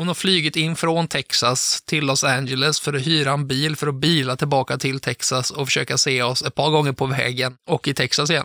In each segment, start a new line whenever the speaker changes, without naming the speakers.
Hon har flygit in från Texas till Los Angeles för att hyra en bil för att bila tillbaka till Texas och försöka se oss ett par gånger på vägen och i Texas igen.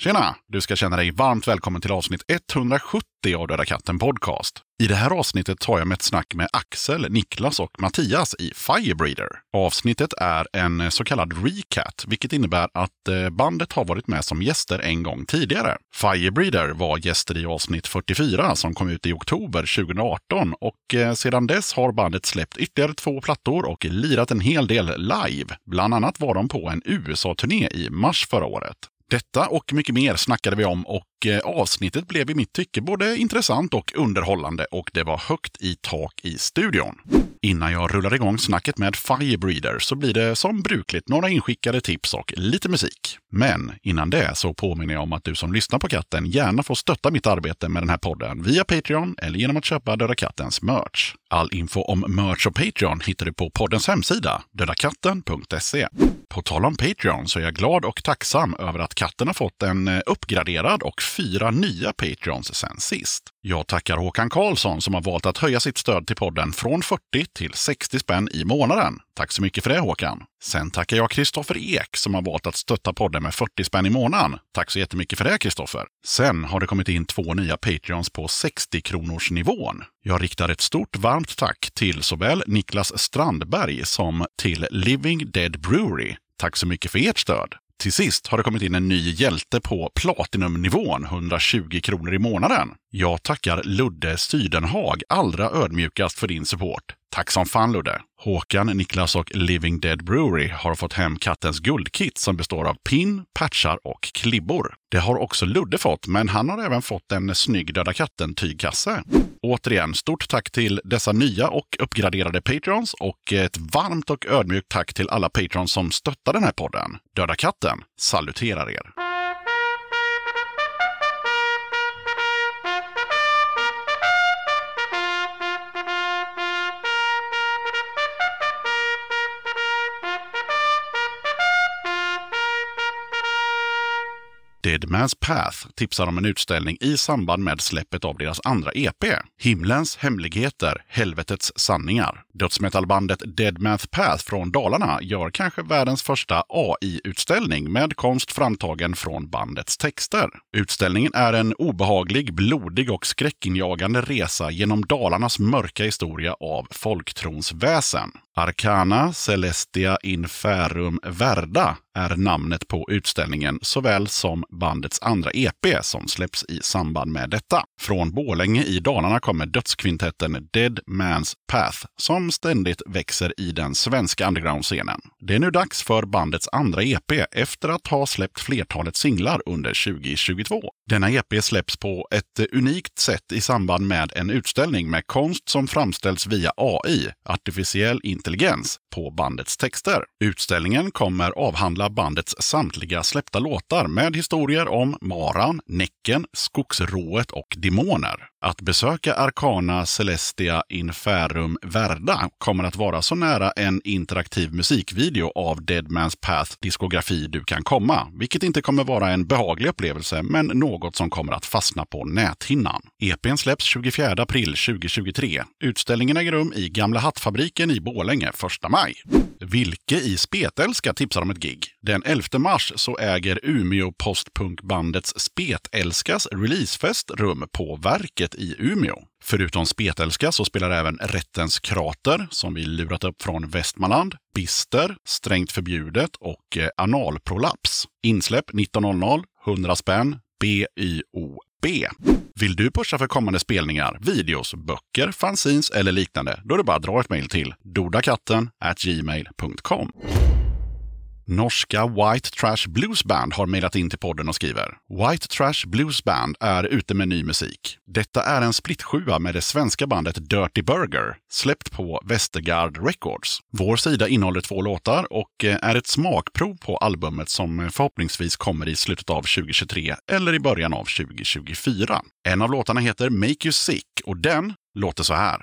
Tjena! Du ska känna dig varmt välkommen till avsnitt 170 av Döda katten Podcast. I det här avsnittet tar jag med ett snack med Axel, Niklas och Mattias i Firebreeder. Avsnittet är en så kallad recat, vilket innebär att eh, bandet har varit med som gäster en gång tidigare. Firebreeder var gäster i avsnitt 44 som kom ut i oktober 2018 och eh, sedan dess har bandet släppt ytterligare två plattor och lirat en hel del live. Bland annat var de på en USA-turné i mars förra året. Detta och mycket mer snackade vi om och eh, avsnittet blev i mitt tycke både intressant och underhållande och det var högt i tak i studion. Innan jag rullar igång snacket med Firebreeder så blir det som brukligt några inskickade tips och lite musik. Men innan det så påminner jag om att du som lyssnar på katten gärna får stötta mitt arbete med den här podden via Patreon eller genom att köpa Döda Kattens merch. All info om merch och Patreon hittar du på poddens hemsida, dödakatten.se. På tal om Patreon så är jag glad och tacksam över att katten har fått en eh, uppgraderad och fyra nya Patreons sen sist. Jag tackar Håkan Karlsson som har valt att höja sitt stöd till podden från 40 till 60 spänn i månaden. Tack så mycket för det Håkan! Sen tackar jag Kristoffer Ek som har valt att stötta podden med 40 spänn i månaden. Tack så jättemycket för det Kristoffer! Sen har det kommit in två nya Patreons på 60 kronors nivån. Jag riktar ett stort varmt tack till såväl Niklas Strandberg som till Living Dead Brewery. Tack så mycket för ert stöd! Till sist har det kommit in en ny hjälte på Platinumnivån, 120 kronor i månaden. Jag tackar Ludde Sydenhag allra ödmjukast för din support. Tack som fan Ludde! Håkan, Niklas och Living Dead Brewery har fått hem kattens guldkit som består av pin, patchar och klibbor. Det har också Ludde fått, men han har även fått en snygg Döda katten-tygkasse. Återigen, stort tack till dessa nya och uppgraderade Patrons och ett varmt och ödmjukt tack till alla Patrons som stöttar den här podden. Döda katten saluterar er! Dead Man's Path tipsar om en utställning i samband med släppet av deras andra EP, Himlens hemligheter, helvetets sanningar. Dödsmetallbandet Dead Man's Path från Dalarna gör kanske världens första AI-utställning med konst framtagen från bandets texter. Utställningen är en obehaglig, blodig och skräckinjagande resa genom Dalarnas mörka historia av folktrons väsen. Arcana Celestia Inferum Verda är namnet på utställningen såväl som bandets andra EP som släpps i samband med detta. Från Borlänge i Dalarna kommer dödskvintetten Dead Man's Path som ständigt växer i den svenska undergroundscenen. Det är nu dags för bandets andra EP efter att ha släppt flertalet singlar under 2022. Denna EP släpps på ett unikt sätt i samband med en utställning med konst som framställs via AI, artificiell intelligens, på bandets texter. Utställningen kommer avhandla bandets samtliga släppta låtar med historier om maran, näcken, skogsrået och demoner. Att besöka Arcana Celestia Inferum Verda kommer att vara så nära en interaktiv musikvideo av Dead Man's Path diskografi du kan komma, vilket inte kommer vara en behaglig upplevelse, men något som kommer att fastna på näthinnan. EPn släpps 24 april 2023. Utställningen äger rum i Gamla Hattfabriken i Borlänge 1 maj. Vilke i Spetälska tipsar om ett gig. Den 11 mars så äger Umeå postpunkbandets Spetälskas releasefest rum på Verket i Umeå. Förutom Spetälska så spelar även Rättens krater, som vi lurat upp från Västmanland, Bister, Strängt förbjudet och eh, Analprolaps. Insläpp 19.00, 100 spänn, BYOB. Vill du pusha för kommande spelningar, videos, böcker, fanzines eller liknande? Då är det bara att dra ett mejl till dodakatten gmail.com. Norska White Trash Blues Band har mejlat in till podden och skriver White Trash Blues Band är ute med ny musik. Detta är en splittsjua med det svenska bandet Dirty Burger, släppt på Westergard Records. Vår sida innehåller två låtar och eh, är ett smakprov på albumet som eh, förhoppningsvis kommer i slutet av 2023 eller i början av 2024. En av låtarna heter Make You Sick och den låter så här.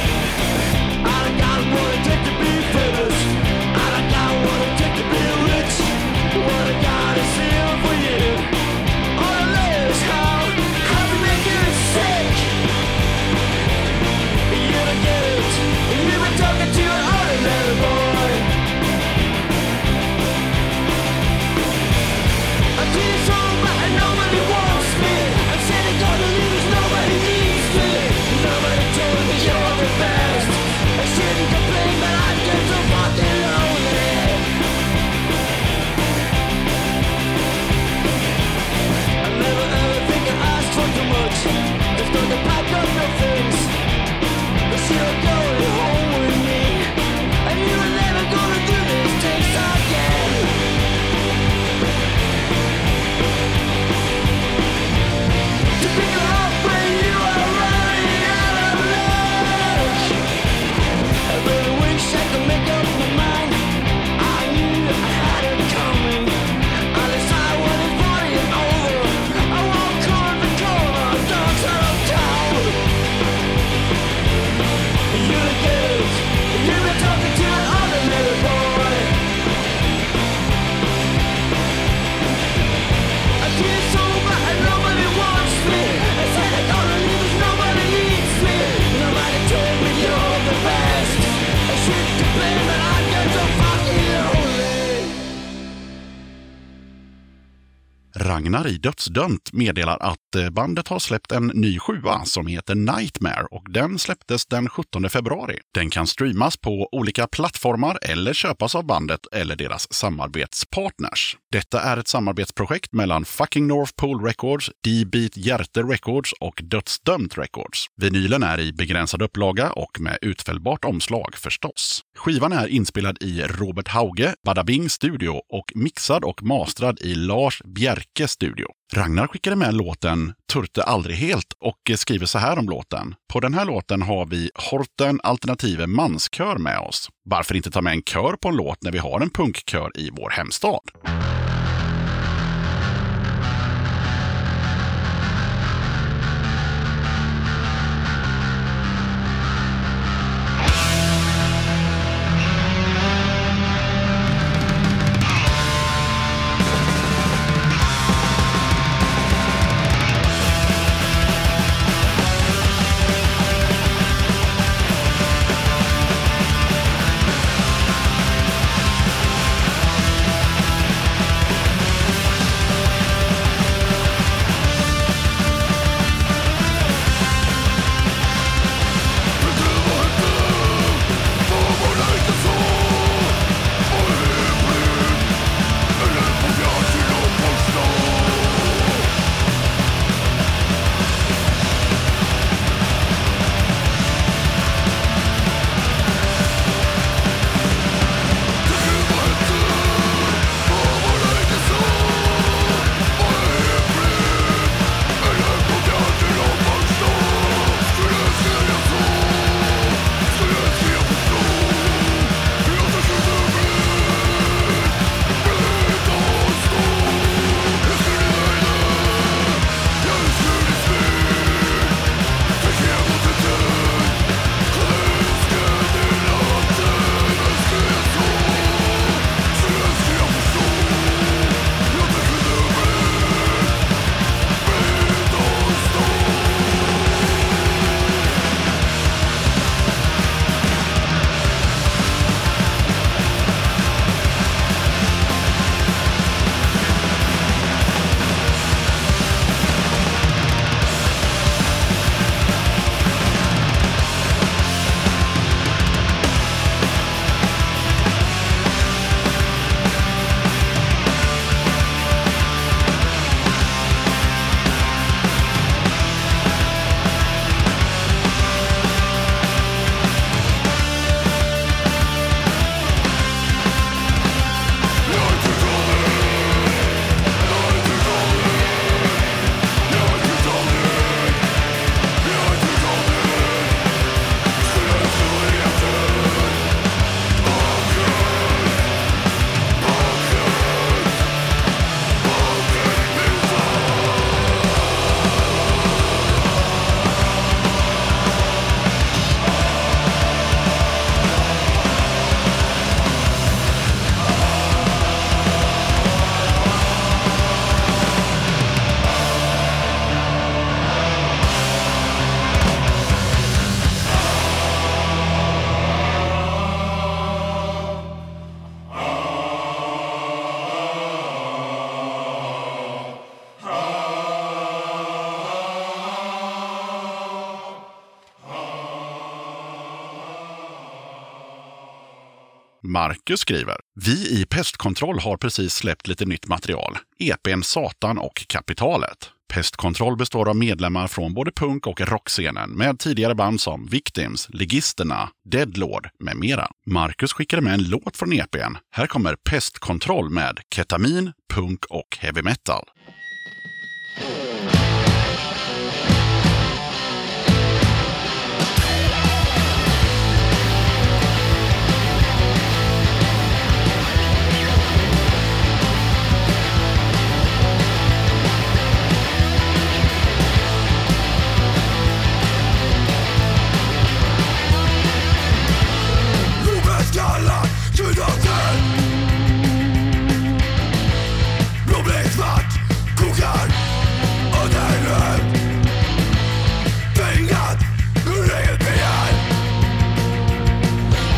I got what it takes to be famous. I got what it takes to be rich. What I got is here for you. All I know is how, how to make you sick. You don't get it. You've been talking to an ordinary boy. I feel so bad, nobody wants me. I'm sitting on the news, nobody needs me. Nobody told me you're the best. I shouldn't complain, but I'm just so fucking lonely. I never ever think I asked for too much. There's not the pack of your things. But you're going home with me. And you were never gonna do these things again. To pick her up when you are running out of luck. I really wish I could make up my mind. I knew I had it coming. I decided when it's funny and over. I won't call the corner, dogs out of town. You get it. You've been talking to an ordinary boy. I feel so bad and nobody wants me. I said I gotta leave 'cause nobody needs me. Nobody told me you're the best. I should to blame, but I get so fucking lonely.
Ragnar i Dödsdömt meddelar att eh, bandet har släppt en ny sjua som heter Nightmare och den släpptes den 17 februari. Den kan streamas på olika plattformar eller köpas av bandet eller deras samarbetspartners. Detta är ett samarbetsprojekt mellan Fucking North Pole Records, D-Beat Hjärte Records och Dödsdömt Records. Vinylen är i begränsad upplaga och med utfällbart omslag förstås. Skivan är inspelad i Robert Hauge, Badabing Studio och mixad och mastrad i Lars Bjerke Studio. Ragnar skickade med låten Turte aldrig helt och skriver så här om låten. På den här låten har vi Horten Alternative Manskör med oss. Varför inte ta med en kör på en låt när vi har en punkkör i vår hemstad? Marcus skriver, vi i Pestkontroll har precis släppt lite nytt material. EPn Satan och Kapitalet. Pestkontroll består av medlemmar från både punk och rockscenen med tidigare band som Victims, Ligisterna, Deadlord med mera. Marcus skickade med en låt från EPn. Här kommer Pestkontroll med Ketamin, punk och heavy metal.
Rovet kallar till döden Blodet svart kokar under röd Pengat ur eget begär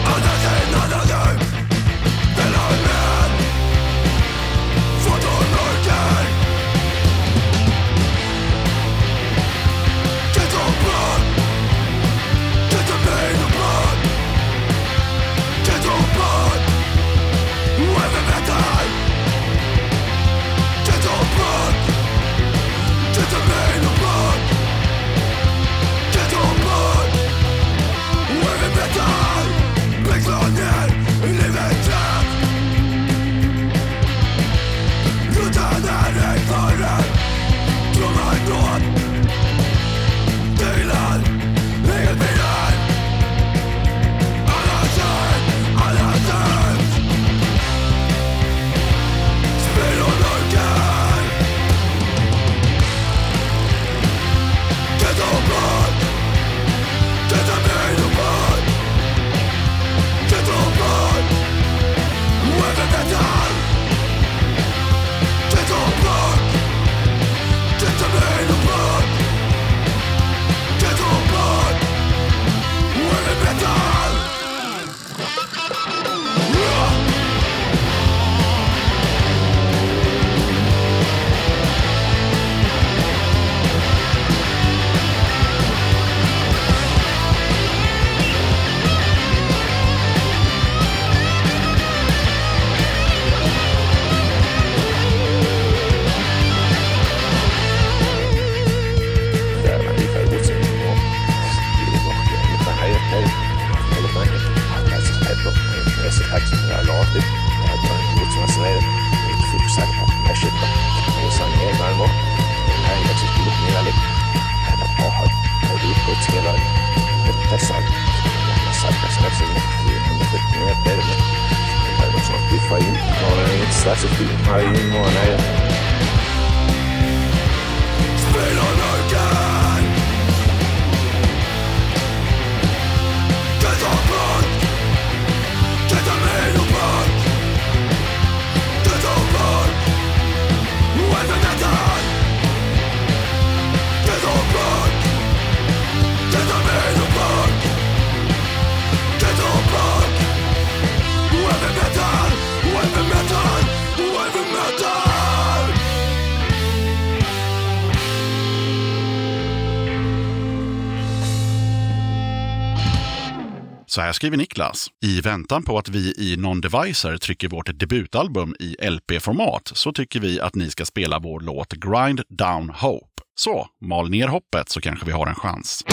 Annars en annan död Mellan män Fått och mörker Tätt och blod Tätt och blod och blod Get on board with the metal. Get on board. Get the main board. Get on board with the metal. Big London, live and death. Utan en äggfare, tror man nåd. Bilar, inget bilar. Alla kön, alla kön Spill och mörker Detta är blod Detta är min och blod Detta är blod Även detta Detta är blod Detta är min och blod Detta är blod Även detta
Täällä pitää itse minua. Ilmoitti, että hän ei ole ollut näin. Hän ei siis heitä ole esimerkiksi minä laati. Ja että on kutsumassa näitä nyt fiksata meshittä. Ei saa niin enää mua. Hän ei siis tullut mieli. Hän on paha. Hän ei liikku siellä. Nyt tässä on. Tässä on tässä on sinne. Hän on nyt minä terve. Hän on sanonut kiffain. Mä olen itse asiassa kiffain. Mua näin.
Metal! Wave metal!
Så här skriver Niklas. I väntan på att vi i Non-Devicer trycker vårt debutalbum i LP-format så tycker vi att ni ska spela vår låt Grind Down Hope. Så, mal ner hoppet så kanske vi har en chans.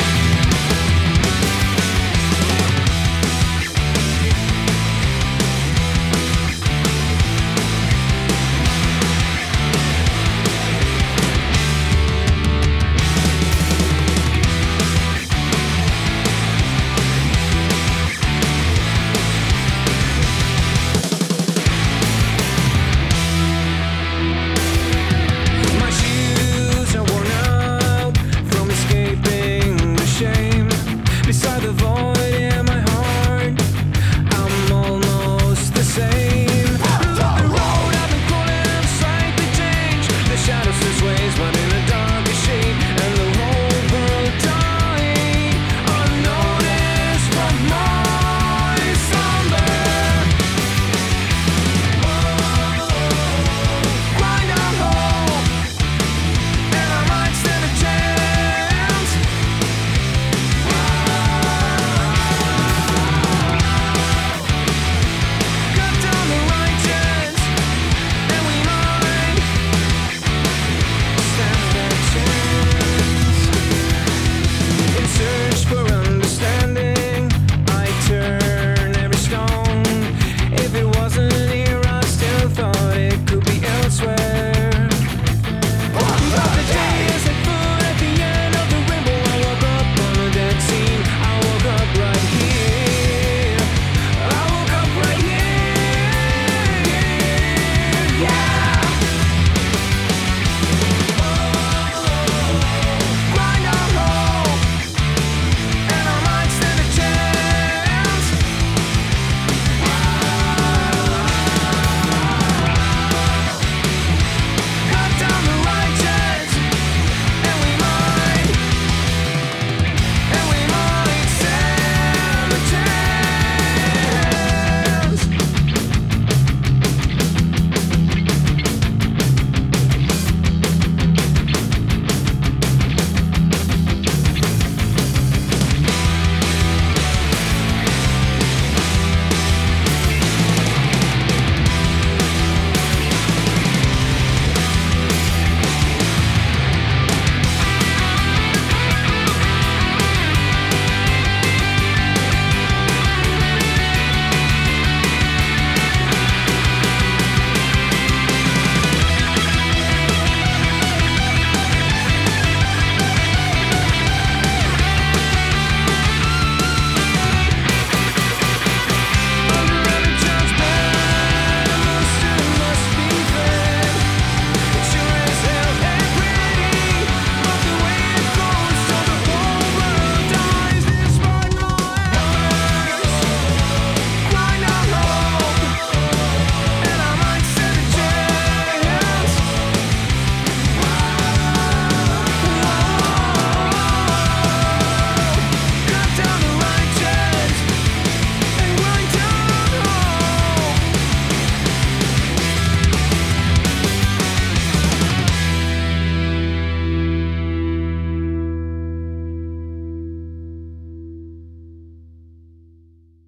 My shoes are worn out from escaping the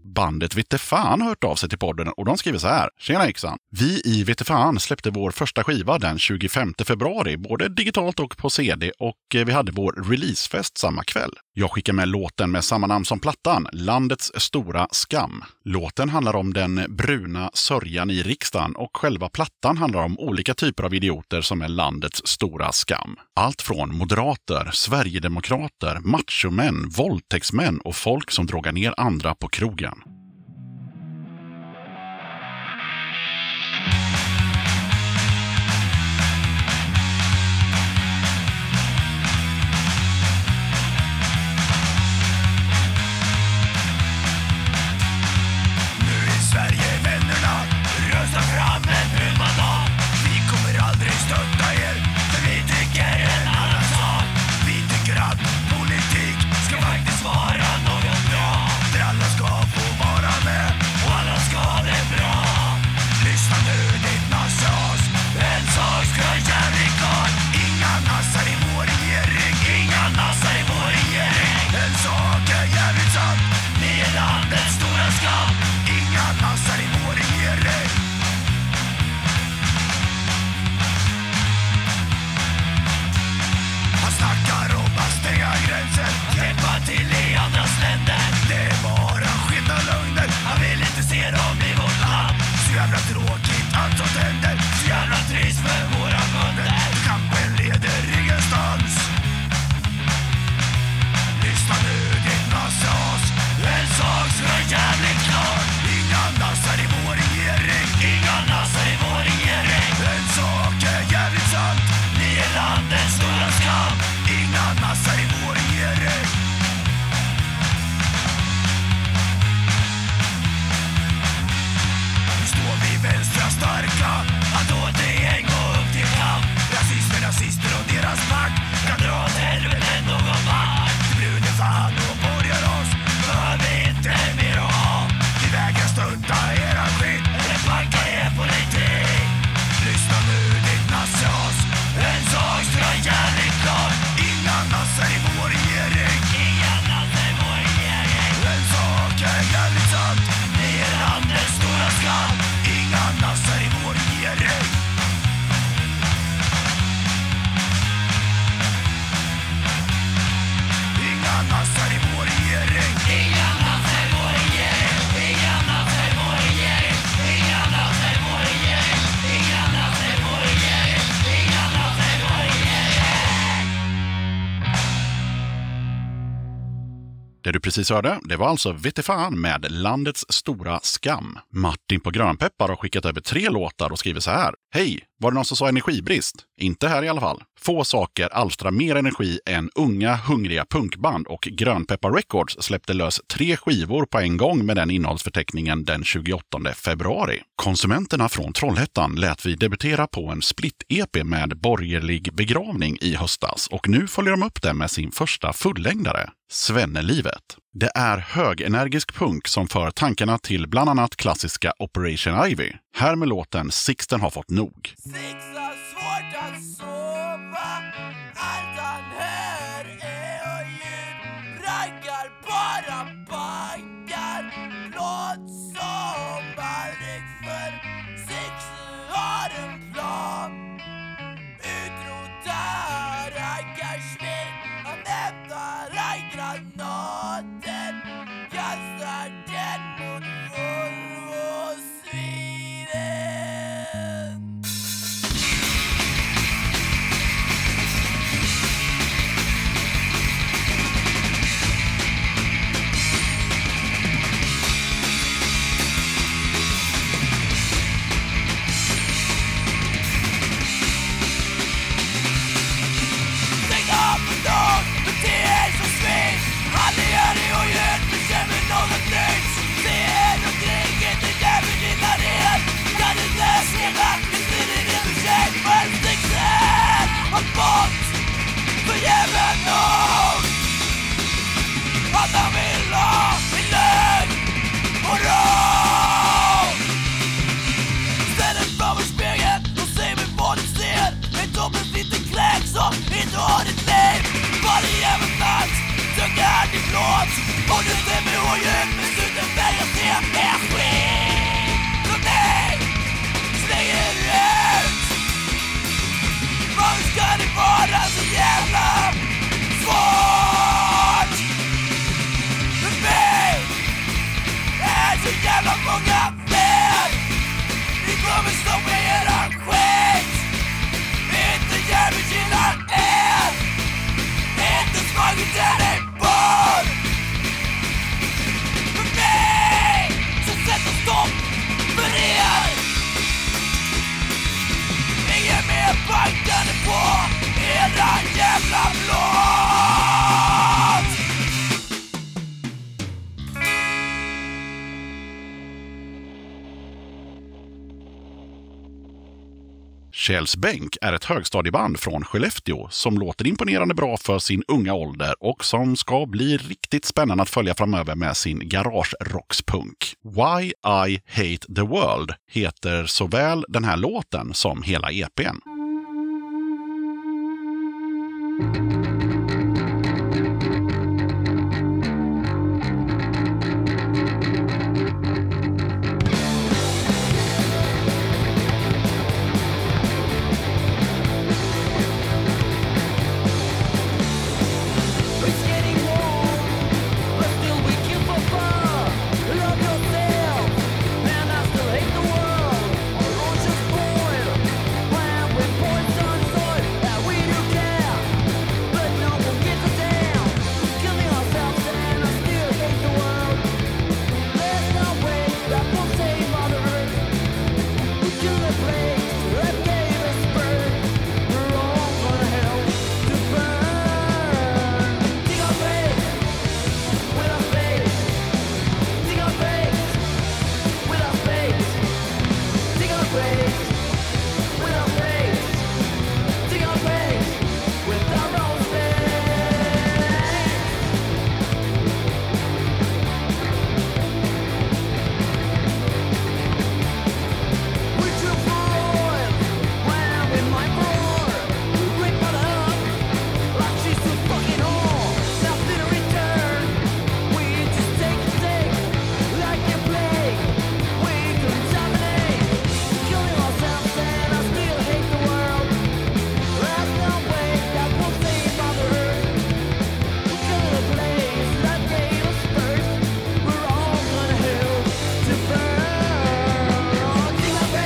bandet Vittefan hört av sig till podden och de skriver så här. Tjena yxan! Vi i Vittefan släppte vår första skiva den 25 februari, både digitalt och på CD och eh, vi hade vår releasefest samma kväll. Jag skickar med låten med samma namn som plattan, Landets stora skam. Låten handlar om den bruna sörjan i riksdagen och själva plattan handlar om olika typer av idioter som är landets stora skam. Allt från moderater, sverigedemokrater, machomän, våldtäktsmän och folk som drogar ner andra på krogen.
Nu är Sverigevännerna Rösta fram en huvudmandat Vi kommer aldrig stötta er För vi tycker en annan sak Vi tycker att politik Ska faktiskt vara något bra Där alla ska få vara med Och alla ska ha det bra Lyssna nu ditt nassas En sak ska jag jävligt klart Inga nassar i vår regering Inga nassar i vår regering En sak är jävligt sant Ni är landets stora skam Inga nassar i vår regering Han snackar om att stänga gränser Hjälpa till i andras länder Det är bara skit och lögner Han vill inte se dem i vårt land Så jävla tråkigt allt som händer Så jävla trist för våra bönder Kampen leder ingenstans Lyssna nu ditt nassas En sak ska jävligt klar Inga nassar i vår regering Inga nassar i vår regering En sak är jävligt sant Ni är landets stora skam Inga nassar i vår regering Nu står vi vänstra starka Att återigen gå upp till kamp Rasister, nazister och deras makt Kan dra åt helvete någon vart Det brune fan omborgar oss Behöver vi inte mer att ha Vi vägrar stunta era skit Eller backa er politik Lyssna nu ditt nassas En sak ska jävligt klar Inga nassar i vår regering Inga nassar i vår regering En sak är jävligt sant Ni är landets stora skam Inga nassar i vår regering Inga nassar i vår regering Inga nassar i vår regering Inga nassar i vår regering Inga nassar i vår regering Inga nassar i vår regering Inga nassar i vår regering
Det du precis hörde, det var alltså Vittefan med Landets stora skam. Martin på Grönpeppar har skickat över tre låtar och skriver så här. Hej! Var det någon som sa energibrist? Inte här i alla fall. Få saker alstrar mer energi än unga, hungriga punkband och Grönpeppar Records släppte lös tre skivor på en gång med den innehållsförteckningen den 28 februari. Konsumenterna från Trollhättan lät vi debutera på en split-EP med Borgerlig begravning i höstas och nu följer de upp den med sin första fullängdare, Svennelivet. Det är högenergisk punk som för tankarna till bland annat klassiska Operation Ivy. Här med låten Sixten har fått nog.
Sex har svårt att sova Allt han hör är och ljud Raggar bara bangar Låt som aldrig förr Sex har en plan Utrota raggarsvin Han hämtar en granaten Kastar den mot Volvo och svinen
och många fler Vi kommer stå med eran skit Inte djävulskt gillar er Inte svaghet är en barn För mig så sätter stopp för er Ingen mer bankande på era jävla blod
Kjells Bänk är ett högstadieband från Skellefteå som låter imponerande bra för sin unga ålder och som ska bli riktigt spännande att följa framöver med sin garagerockspunk. Why I Hate the World heter såväl den här låten som hela E EPn.
It's getting warm, but still we kill for fun. Love yourself, man. I still hate the world. Our oceans boil when we poison soil. And we do care, but no one gives a damn. Killing ourselves, and I still hate the world. There's no way that will save Mother Earth. We kill the plague that gave us birth. We're all gonna hell to burn. Dig our graves with our faith. Dig our graves with our faith. Dig our graves with our faith. Dig our graves with our own faith. We kill for oil when we mine for oil. We rape our love like she's a fucking whore. Nothing in return. We just take and take like a plague. We contaminate, killing ourselves, and I still hate the world. There's no way that will save Mother Earth. We kill the place that gave us birth. We're all gonna hell to burn. Oh, Dig our graves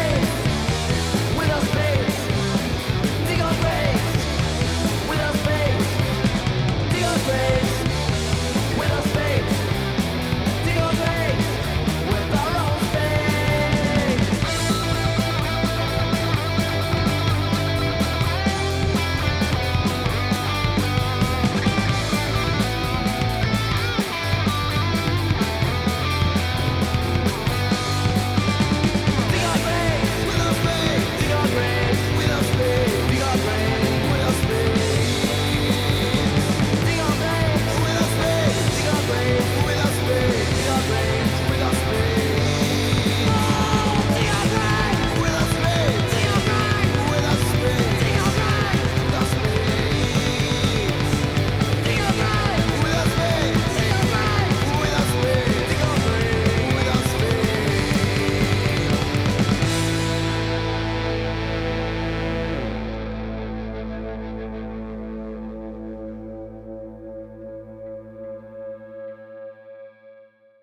with our spades. Dig our graves with our spades. Dig our graves with our spades. Dig our graves with our own spades. Dig our graves with our spades. Dig our graves with our spades. Dig our graves with our spades. Dig our graves with our spades. Dig our graves with our spades. Dig our graves with our spades. Dig our graves with our spades. Dig our graves with our spades. Dig our graves with our spades. Dig our graves with our spades. Dig our graves with our spades. Dig our graves with our spades.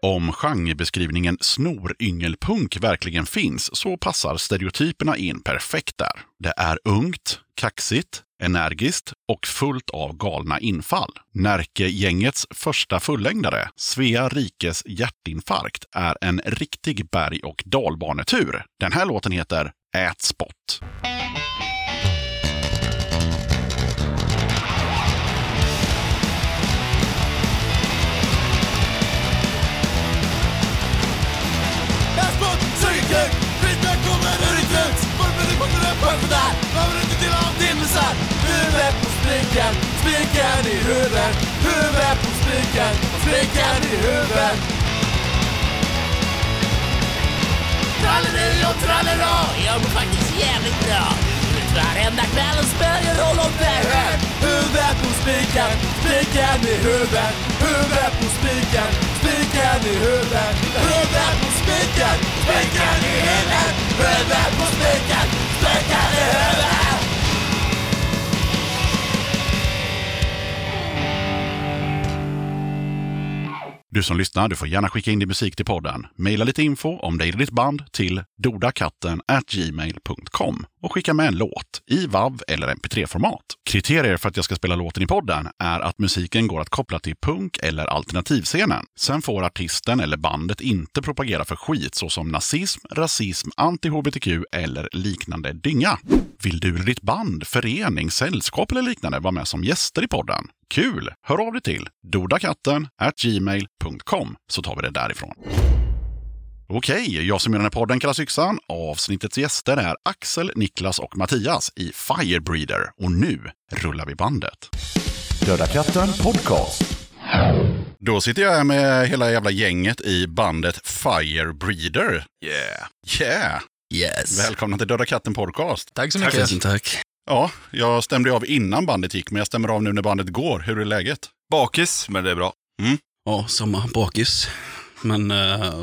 Om genrebeskrivningen snoryngel-punk verkligen finns så passar stereotyperna in perfekt där. Det är ungt, kaxigt, energiskt och fullt av galna infall. Närkegängets första fullängdare, Svea rikes hjärtinfarkt, är en riktig berg och dalbanetur. Den här låten heter Ät spott.
Här smått trycker Skiten kommer ur ditt hus Formel i botten är på där Behöver inte dela av din misär Huvudet på spiken Spiken i huvudet Huvudet på spiken Spiken i huvudet Tralleri och trallera Jag mår faktiskt jävligt bra Ut Varenda kväll spelar jag roll om det är hög Huvudet på spiken Spiken i huvudet Huvudet på spiken Spiken i huvudet Huvudet på spiken Spiken i huvudet Huvudet på spiken Spiken i huvudet
Du Du som lyssnar, du får gärna skicka in din musik till podden. Maila lite info om dig eller ditt band till dodakatten gmail.com och skicka med en låt i WAV eller MP3-format. Kriterier för att jag ska spela låten i podden är att musiken går att koppla till punk eller alternativscenen. Sen får artisten eller bandet inte propagera för skit såsom nazism, rasism, anti-hbtq eller liknande dynga. Vill du eller ditt band, förening, sällskap eller liknande vara med som gäster i podden? Kul! Hör av dig till dodakatten gmail.com så tar vi det därifrån. Okej, jag som gör den här podden kallas Yxan. Avsnittets gäster är Axel, Niklas och Mattias i Firebreeder. Och nu rullar vi bandet.
Döda katten podcast.
Då sitter jag här med hela jävla gänget i bandet Firebreeder. Yeah. Yeah.
Yes.
Välkomna till Döda katten podcast.
Tack så mycket.
Tusen tack.
Ja, jag stämde av innan bandet gick, men jag stämmer av nu när bandet går. Hur är läget? Mm.
Bakis, men det är bra.
Ja, sommarbakis. Men eh,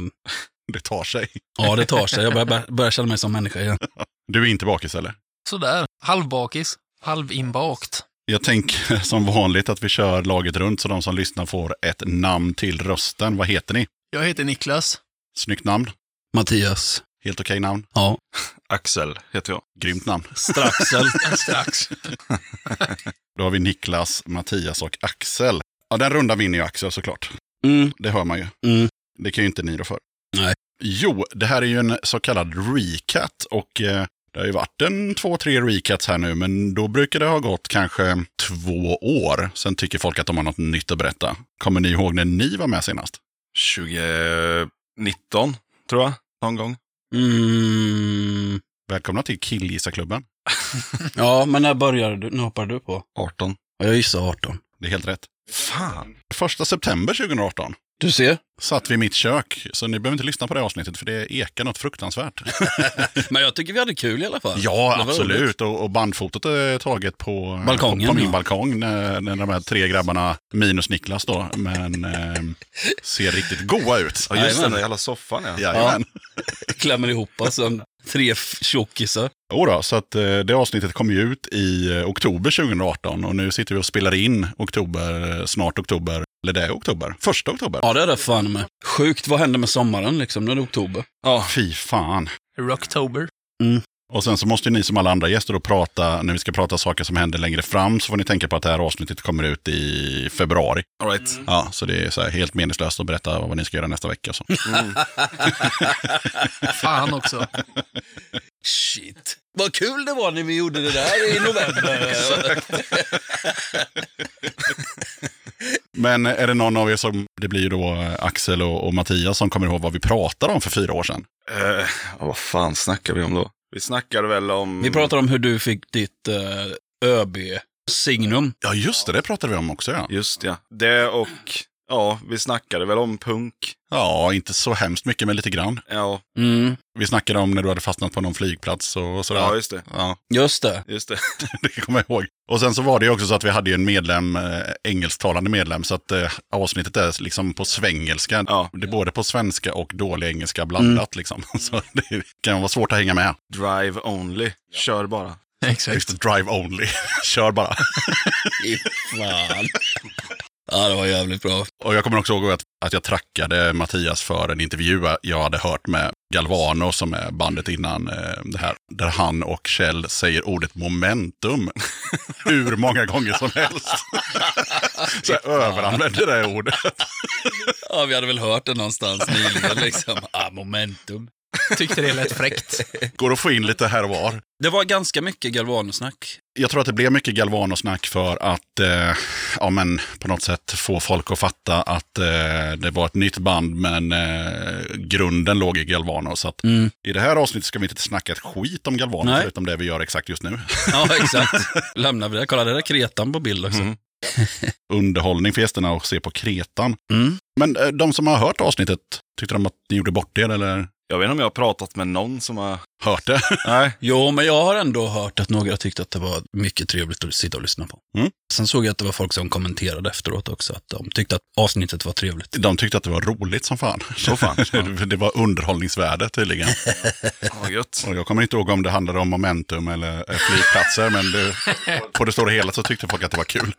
Det tar sig.
ja, det tar sig. Jag börjar, börjar- börjar känna mig som människa igen.
Du är inte bakis eller?
Sådär. Halvbakis. Halvinbakt.
Jag tänker som vanligt att vi kör laget runt så de som lyssnar får ett namn till rösten. Vad heter ni?
Jag heter Niklas.
Snyggt namn.
Mattias.
Helt okej namn.
Ja.
Axel heter jag.
Grymt namn.
Straxel.
Strax.
Då har vi Niklas, Mattias och Axel. Ja, den runda vinner ju Axel såklart.
Mm,
Det hör man ju.
mm.
Det kan ju inte ni då för.
Nej.
Jo, det här är ju en så kallad recat och eh, det har ju varit en två, tre recats här nu, men då brukar det ha gått kanske två år. Sen tycker folk att de har något nytt att berätta. Kommer ni ihåg när ni var med senast?
2019, tror jag. Någon gång.
Mm.
Välkomna till Killgissarklubben.
Ja, men när började du? Nu hoppar du på.
18.
Ja, jag gissar 18.
Det är helt rätt.
Fan.
Första september 2018
Du ser.
satt vi i mitt kök, så ni behöver inte lyssna på det avsnittet för det ekar något fruktansvärt.
Men jag tycker vi hade kul i alla fall.
ja,
Det var roligt.
absolut. Och, och bandfotot är taget på,
Balkongen,
på, på min
ja.
balkong när, när de här tre grabbarna, minus Niklas då, men ehm, ser riktigt goa ut.
Ja, just det,
Jajamän.
den där jävla soffan ja.
Jajamän.
Klämmer ihop oss som tre f- tjockisar.
Jo då, så att eh, det avsnittet kom ju ut i eh, oktober 2018 och nu sitter vi och spelar in oktober, eh, snart oktober, eller det är oktober, första oktober.
Ja, det är det fan med. Sjukt, vad hände med sommaren liksom? Nu är det oktober.
Fy fan.
Rocktober.
Och sen så måste ju ni som alla andra gäster då prata, när vi ska prata saker som händer längre fram, så får ni tänka på att det här avsnittet kommer ut i februari.
All right.
Ja, så det är så här helt meningslöst att berätta vad ni ska göra nästa vecka. och Så.
Fan också.
Shit. Vad kul det var när vi gjorde det där i november.
Men är det någon av er som, det blir ju då Axel och, och Mattias som kommer ihåg vad vi pratade om för fyra år sedan.
Eh, ja, vad fan snackar vi om då? Vi snackade väl om...
Vi pratar om hur du fick ditt eh, ÖB-signum.
Ja, just det, det pratade vi om också ja.
Just ja. Det och... Ja, vi snackade väl om punk.
Ja, inte så hemskt mycket, men lite grann.
Ja,
Mm,
Vi snackade om när du hade fastnat på någon flygplats och sådär.
ja just det.
Ja.
just det.
Just det.
Det kommer jag ihåg. Och sen så var det ju också så att vi hade ju en medlem, eh, engelsktalande medlem, så att eh, avsnittet är liksom på svengelska.
Ja.
Det är både på svenska och dålig engelska blandat
Mm.
liksom. Så det kan vara svårt att hänga med.
Drive only. Kör bara.
Exakt.
Just drive only. Kör bara.
Fy Fan. Ja, det var jävligt bra.
Och jag kommer också ihåg att, att jag trackade Mattias för en intervju jag hade hört med Galvano som är bandet innan eh, det här. Där han och Kjell säger ordet momentum hur många gånger som helst. så jag överanvände det här ordet.
Ja, vi hade väl hört det någonstans nyligen liksom. Ah, momentum.
Tyckte det lät fräckt.
Går att få in lite här och var.
Det var ganska mycket galvanosnack.
Jag tror att det blev mycket Galvano-snack för att eh, ja, men på något sätt få folk att fatta att eh, det var ett nytt band men eh, grunden låg i Galvano. Så att
Mm.
i det här avsnittet ska vi inte snacka ett skit om Galvano
Nej.
förutom det vi gör exakt just nu.
Ja, exakt. Lämnar vi det. Kolla, det där är kretan på bild också.
Mm.
Underhållning för gästerna och se på Kretan.
Mm.
Men eh, de som har hört avsnittet, tyckte de att ni gjorde bort er eller
Jag vet inte om jag har pratat med någon som har...
hört det?
Nej.
Jo, men jag har ändå hört att några tyckte att det var mycket trevligt att sitta och lyssna på.
Mm.
Sen såg jag att det var folk som kommenterade efteråt också, att de tyckte att avsnittet var trevligt.
De tyckte att det var roligt som fan.
fan, ja.
det var underhållningsvärde tydligen.
Ja, gött.
Och jag kommer inte ihåg om det handlade om momentum eller eh, flygplatser, men det, på det stora hela så tyckte folk att det var kul.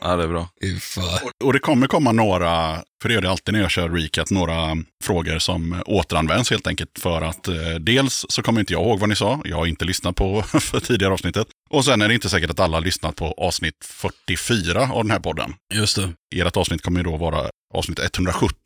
Ja, det är bra.
Fy fan.
Och det kommer komma några, för det gör det alltid när jag kör recap, några frågor som återanvänds helt enkelt. För att eh, dels så kommer inte jag ihåg vad ni sa, jag har inte lyssnat på för tidigare avsnittet. Och sen är det inte säkert att alla har lyssnat på avsnitt 44 av den här podden.
Just det.
Ert avsnitt kommer ju då vara avsnitt 170.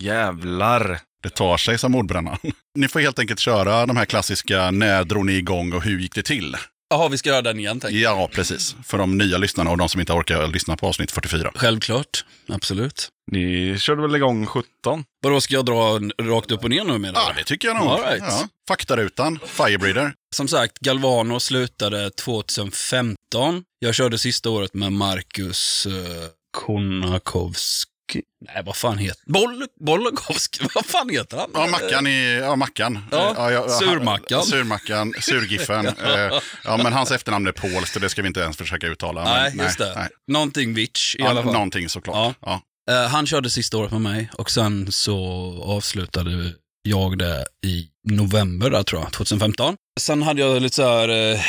Jävlar.
Det tar sig som ordbrännan. Ni får helt enkelt köra de här klassiska när drog ni igång och hur gick det till?
Jaha, vi ska göra den igen, tänker jag.
Ja, precis. För de nya lyssnarna och de som inte orkar lyssna på avsnitt 44.
Självklart. Absolut.
Ni körde väl igång 17?
Vadå, ska jag dra en rakt upp och ner nu menar
Ja,
du?
det tycker jag nog.
All right.
ja. Faktarutan, Firebreeder.
Som sagt, Galvano slutade 2015. Jag körde sista året med Marcus eh, Konakowski. Nej, vad fan heter Boll Bollakowski? Vad fan heter han?
Ja, Mackan i... Ja, Mackan.
Ja,
jag- han-
Surmackan.
Surmackan, Surgiffen. Eh, ja, men hans efternamn är polskt och det ska vi inte ens försöka uttala. men
nej, just det.
nej.
Någonting Witch i
Ja,
alla fall.
någonting såklart.
Ja.
Ja.
Eh, han körde sista året med mig och sen så avslutade jag det i november där, tror jag, 2015. Sen hade jag lite så här eh,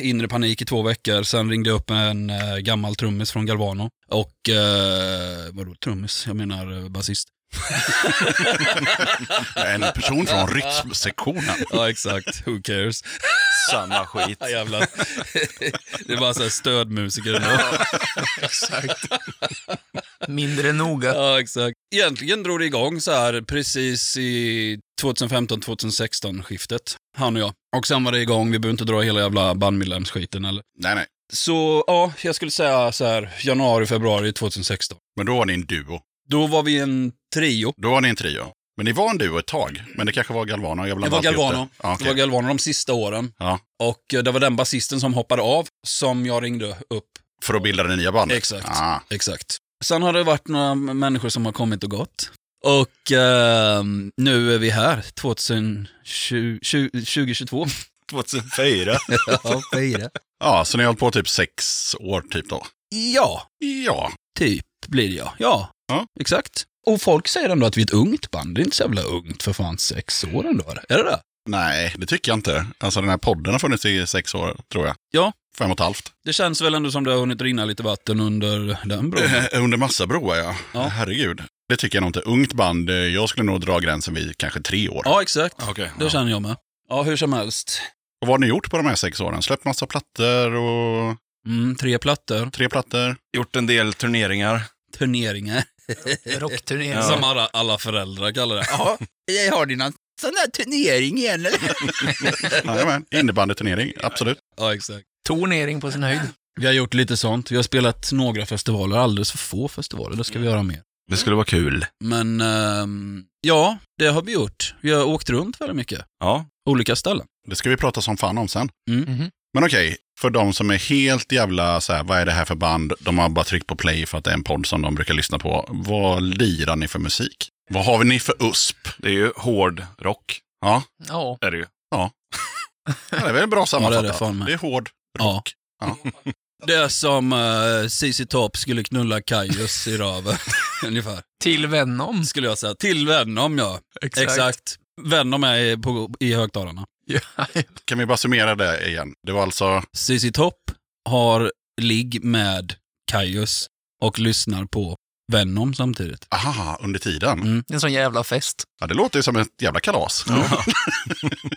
inre panik i två veckor. Sen ringde jag upp en eh, gammal trummis från Galvano och eh, vadå trummis? Jag menar eh, basist.
En person från rytmsektionen.
Ja, exakt. Who cares?
Samma skit.
Ja, jävlar. Det är bara så här stödmusiker ändå.
Exakt. Mindre noga.
Ja, exakt. Egentligen drog det igång så här precis i 2015-2016 skiftet, han och jag. Och sen var det igång, vi behöver inte dra hela jävla bandmedlemsskiten eller.
Nej, nej.
Så ja, jag skulle säga så här januari, februari 2016.
Men då var ni en duo.
Då var vi en trio.
Då var ni en trio. Men ni var en duo ett tag. Men det kanske var Galvano. Jag
Det
blandar
var
alltid upp
Galvano.
Det. Ja,
Det
okej.
var Galvano de sista åren.
ja,
Och eh, det var den basisten som hoppade av som jag ringde upp.
för att bilda det nya bandet.
Exakt.
Ah,
Exakt. Sen har det varit några människor som har kommit och gått. Och eh, nu är vi här, 2020, 2022.
2004.
Ja, fyra.
ja, så ni har hållit på typ sex år typ då?
Ja,
Ja,
typ blir jag. Ja,
Ja.
exakt. Och folk säger ändå att vi är ett ungt band. Det är inte så jävla ungt för fan, sex år ändå. eller? Är det det?
Nej, det tycker jag inte. Alltså den här podden har funnits i sex år, tror jag.
Ja.
Fem och ett halvt.
Det känns väl ändå som det har hunnit rinna lite vatten under den bron.
Eh, Under massa broar, ja.
Ja.
Herregud. Det tycker jag nog inte. Ungt band, eh, jag skulle nog dra gränsen vid kanske tre år.
Ja, exakt.
Okej.
Det känner jag med. Ja, hur som helst.
Och vad har ni gjort på de här sex åren? Släppt massa plattor och
Mm, tre plattor,
tre plattor?
Gjort en del turneringar.
turneringar.
Rockturné.
Ja.
Som alla, alla föräldrar kallar det. Ja, jag har dina sån där turnering igen eller?
Jajamän, innebandyturnering, absolut.
Ja, exakt.
Turnering på sin höjd.
Vi har gjort lite sånt. Vi har spelat några festivaler, alldeles för få festivaler. Det ska vi göra mer.
Det skulle vara kul.
Men ehm, ja, det har vi gjort. Vi har åkt runt väldigt mycket.
Ja.
Olika ställen.
Det ska vi prata som fan om sen.
Mm.
Mhm.
Men okej, för de som är helt jävla så här, vad är det här för band? De har bara tryckt på play för att det är en podd som de brukar lyssna på. Vad lirar ni för musik? Vad har ni för USP?
Det är ju hård rock.
Ja,
Ja.
Är det ju.
Ja, det är väl bra sammanfattat.
det fan med.
det är hård
Ja.
rock. Ja.
Det är som eh, ZZ Top skulle knulla Kaius i röven. Ungefär.
Till Venom.
Skulle jag säga. Till Venom ja. Exakt. Venom är i- på, i högtalarna.
Ja.
Kan vi bara summera det igen? Det var alltså,
ZZ Top har ligg med Kaius och lyssnar på Venom samtidigt.
aha, under tiden.
Mm.
En sån jävla fest.
Ja, det låter ju som ett jävla kalas.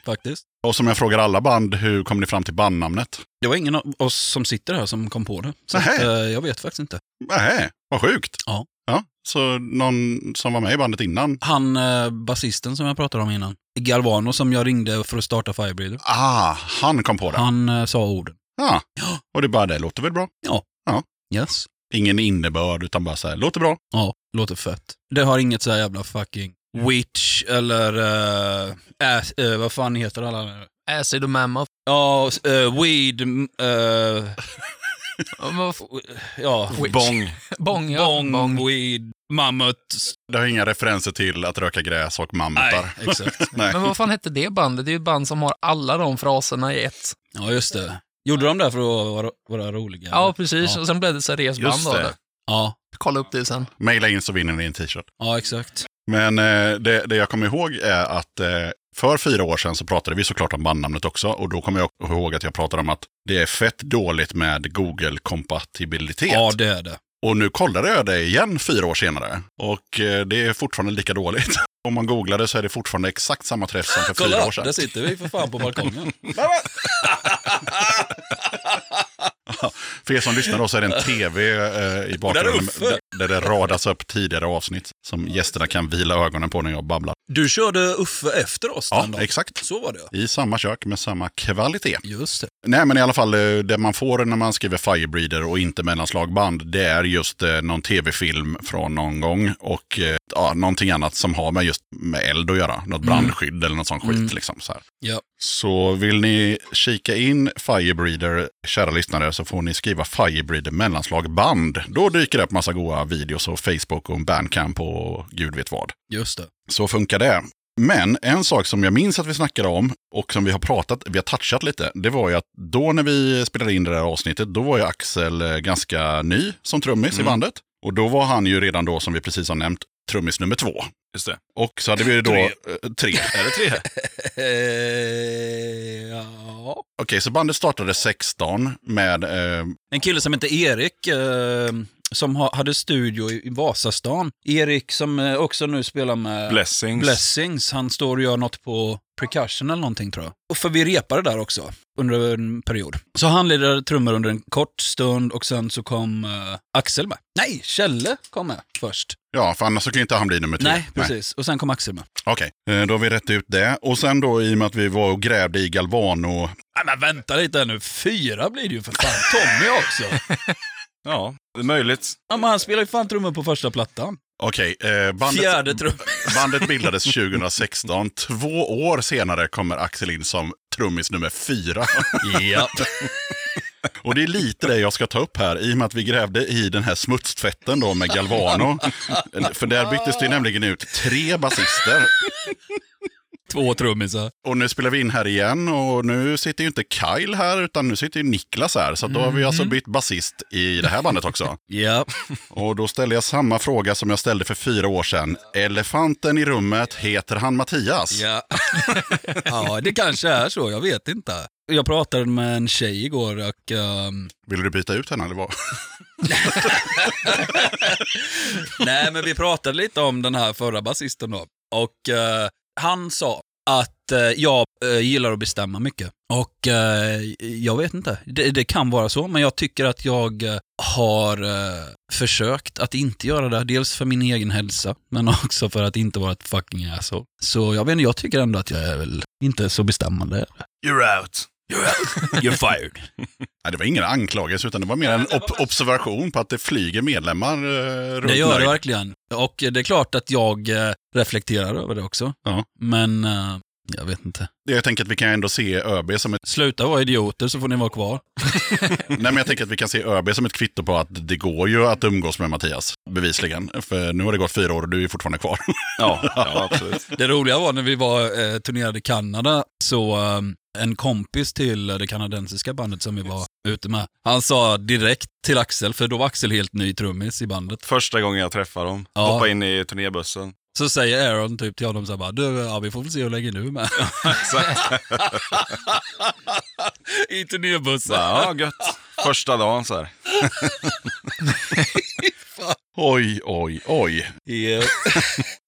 Faktiskt.
Och som jag frågar alla band, hur kom ni fram till bandnamnet?
Det var ingen av oss som sitter här som kom på det. Så att,
Nähä.
eh, jag vet faktiskt inte.
Nej, vad sjukt.
Ja.
ja. Så någon som var med i bandet innan?
Han eh, basisten som jag pratade om innan, Galvano som jag ringde för att starta Firebreeder,
Ah, han kom på det.
han eh, sa orden.
Ja. Och det är bara det, låter väl bra?
Yes.
Ingen innebörd, utan bara så här, låter bra.
Ja, låter fett. Det har inget så här jävla fucking
Mm.
witch eller eh, ass, eh, vad fan heter alla nu?
Acid och Mammoth.
Ja, eh, weed, m- eh,
Ja, men vad f-
ja,
Witch.
Bång.
Bong, ja.
bong,
Bong.
weed, mammut.
Det har inga referenser till att röka gräs och
Nej,
mammutar.
exakt.
Nej.
Men vad fan hette det bandet? Det är ju ett band som har alla de fraserna i ett.
Ja, just det. Gjorde de det för att vara, vara roliga?
Ja,
eller?
precis.
Ja.
Och sen blev det seriöst
Just
band av
det.
det.
ja,
Kolla upp det sen.
Maila in så vinner ni en t-shirt.
ja exakt.
Men eh, det, det jag kommer ihåg är att eh, för fyra år sedan så pratade vi såklart om bandnamnet också. Och då kommer jag ihåg att jag pratade om att det är fett dåligt med Google-kompatibilitet.
Ja, det är det.
Och nu kollade jag det igen fyra år senare och eh, det är fortfarande lika dåligt. Om man googlar det så är det fortfarande exakt samma träff som för fyra
Kolla,
år sedan.
där sitter vi för fan på balkongen.
För er som lyssnar då så är det en tv eh, i bakgrunden
Där uppe.
där, där det radas upp tidigare avsnitt som gästerna kan vila ögonen på när jag babblar.
Du körde Uffe efter oss
Ja,
den dagen.
exakt.
Så var det.
I samma kök med samma kvalitet.
Just det.
Nej, men i alla fall eh, det man får när man skriver Firebreeder och inte mellanslagband, det är just eh, någon tv-film från någon gång och eh, ja, någonting annat som har med just med eld att göra. Något brandskydd eller något sånt skit. Liksom, så, här.
Ja.
så vill ni kika in Firebreeder, kära lyssnare, så får ni skriva Firebreeder mellanslagband. Då dyker det upp massa goa videos och Facebook och en bandcamp och gud vet vad.
Just det.
Så funkar det. Men en sak som jag minns att vi snackade om och som vi har pratat, vi har touchat lite, det var ju att då när vi spelade in det där avsnittet, då var ju Axel eh, ganska ny som trummis
Mm.
i bandet. Och då var han ju redan då, som vi precis har nämnt, trummis nummer två.
Just det.
Och så hade vi ju då
Tre.
eh, tre.
Är det tre?
Eh, ja.
Okej, så bandet startade 16 med, eh,
En kille som heter Erik, eh, som ha, hade studio i i Vasastan. Erik som eh, också nu spelar med
Blessings.
Blessings. Han står och gör något på percussion eller någonting tror jag. Och för vi repade där också under en period. Så han lirade trummor under en kort stund och sen så kom eh, Axel med. Nej, Kjelle kom med först.
ja, för annars så kunde inte han bli nummer tre.
Nej, precis. Och sen kom Axel med.
Okej, eh, då har vi rätt ut det. Och sen då i och med att vi var och grävde i Galvano,
Nej, men vänta lite här nu. Fyra blir det ju för fan. Tommy också.
Ja, det är möjligt.
ja, men han spelar ju fan trummor på första plattan.
okej, eh, bandet...
Fjärde trumma.
Bandet bildades 2016. Två år senare kommer Axel in som trummis nummer fyra.
ja.
Och det är lite det jag ska ta upp här, i och med att vi grävde i den här smutstvätten då med Galvano. För där byttes det nämligen ut tre basister.
Två trummisar.
Och nu spelar vi in här igen och nu sitter ju inte Kyle här utan nu sitter ju Niklas här. Så att då har vi alltså bytt basist i det här bandet också.
Mhm. Ja.
Och då ställer jag samma fråga som jag ställde för fyra år sedan. Elefanten i rummet, heter han Mattias?
Ja. ja, det kanske är så. Jag vet inte. Jag pratade med en tjej igår och ehm,
Vill du byta ut henne eller vad?
Nej, men vi pratade lite om den här förra basisten då. Och eh, han sa att eh, jag eh, gillar att bestämma mycket. Och eh, jag vet inte, det, det kan vara så, men jag tycker att jag eh, har eh, försökt att inte göra det. Dels för min egen hälsa, men också för att inte vara ett fucking asshole. Så jag vet inte, jag tycker ändå att jag är väl inte så bestämmande.
You're out.
You're fired.
Nej, det var ingen anklagelse, utan det var mer en ob- observation på att det flyger medlemmar eh, runt
Det gör det
mig.
verkligen. Och det är klart att jag eh, reflekterar över det också.
Ja.
Men eh, jag vet inte.
Jag tänker att vi kan ändå se ÖB som ett,
Sluta vara idioter så får ni vara kvar.
nej, men jag tänker att vi kan se ÖB som ett kvitto på att det går ju att umgås med Mattias, bevisligen. För nu har det gått fyra år och du är fortfarande kvar.
Ja, ja absolut.
Det roliga var när vi var eh, turnerade i Kanada, så eh, en kompis till eh, det kanadensiska bandet som vi var ute med, han sa direkt till Axel, för då var Axel helt ny trummis i bandet,
Första gången jag träffar dem.
Ja.
Hoppa in i turnébussen.
så säger Aaron typ till honom så här bara, du, ja vi får väl se hur länge du är med.
Exakt.
I turnébussen.
Bara, ja, gött. Första dagen så här.
Oj, oj, oj.
Ja.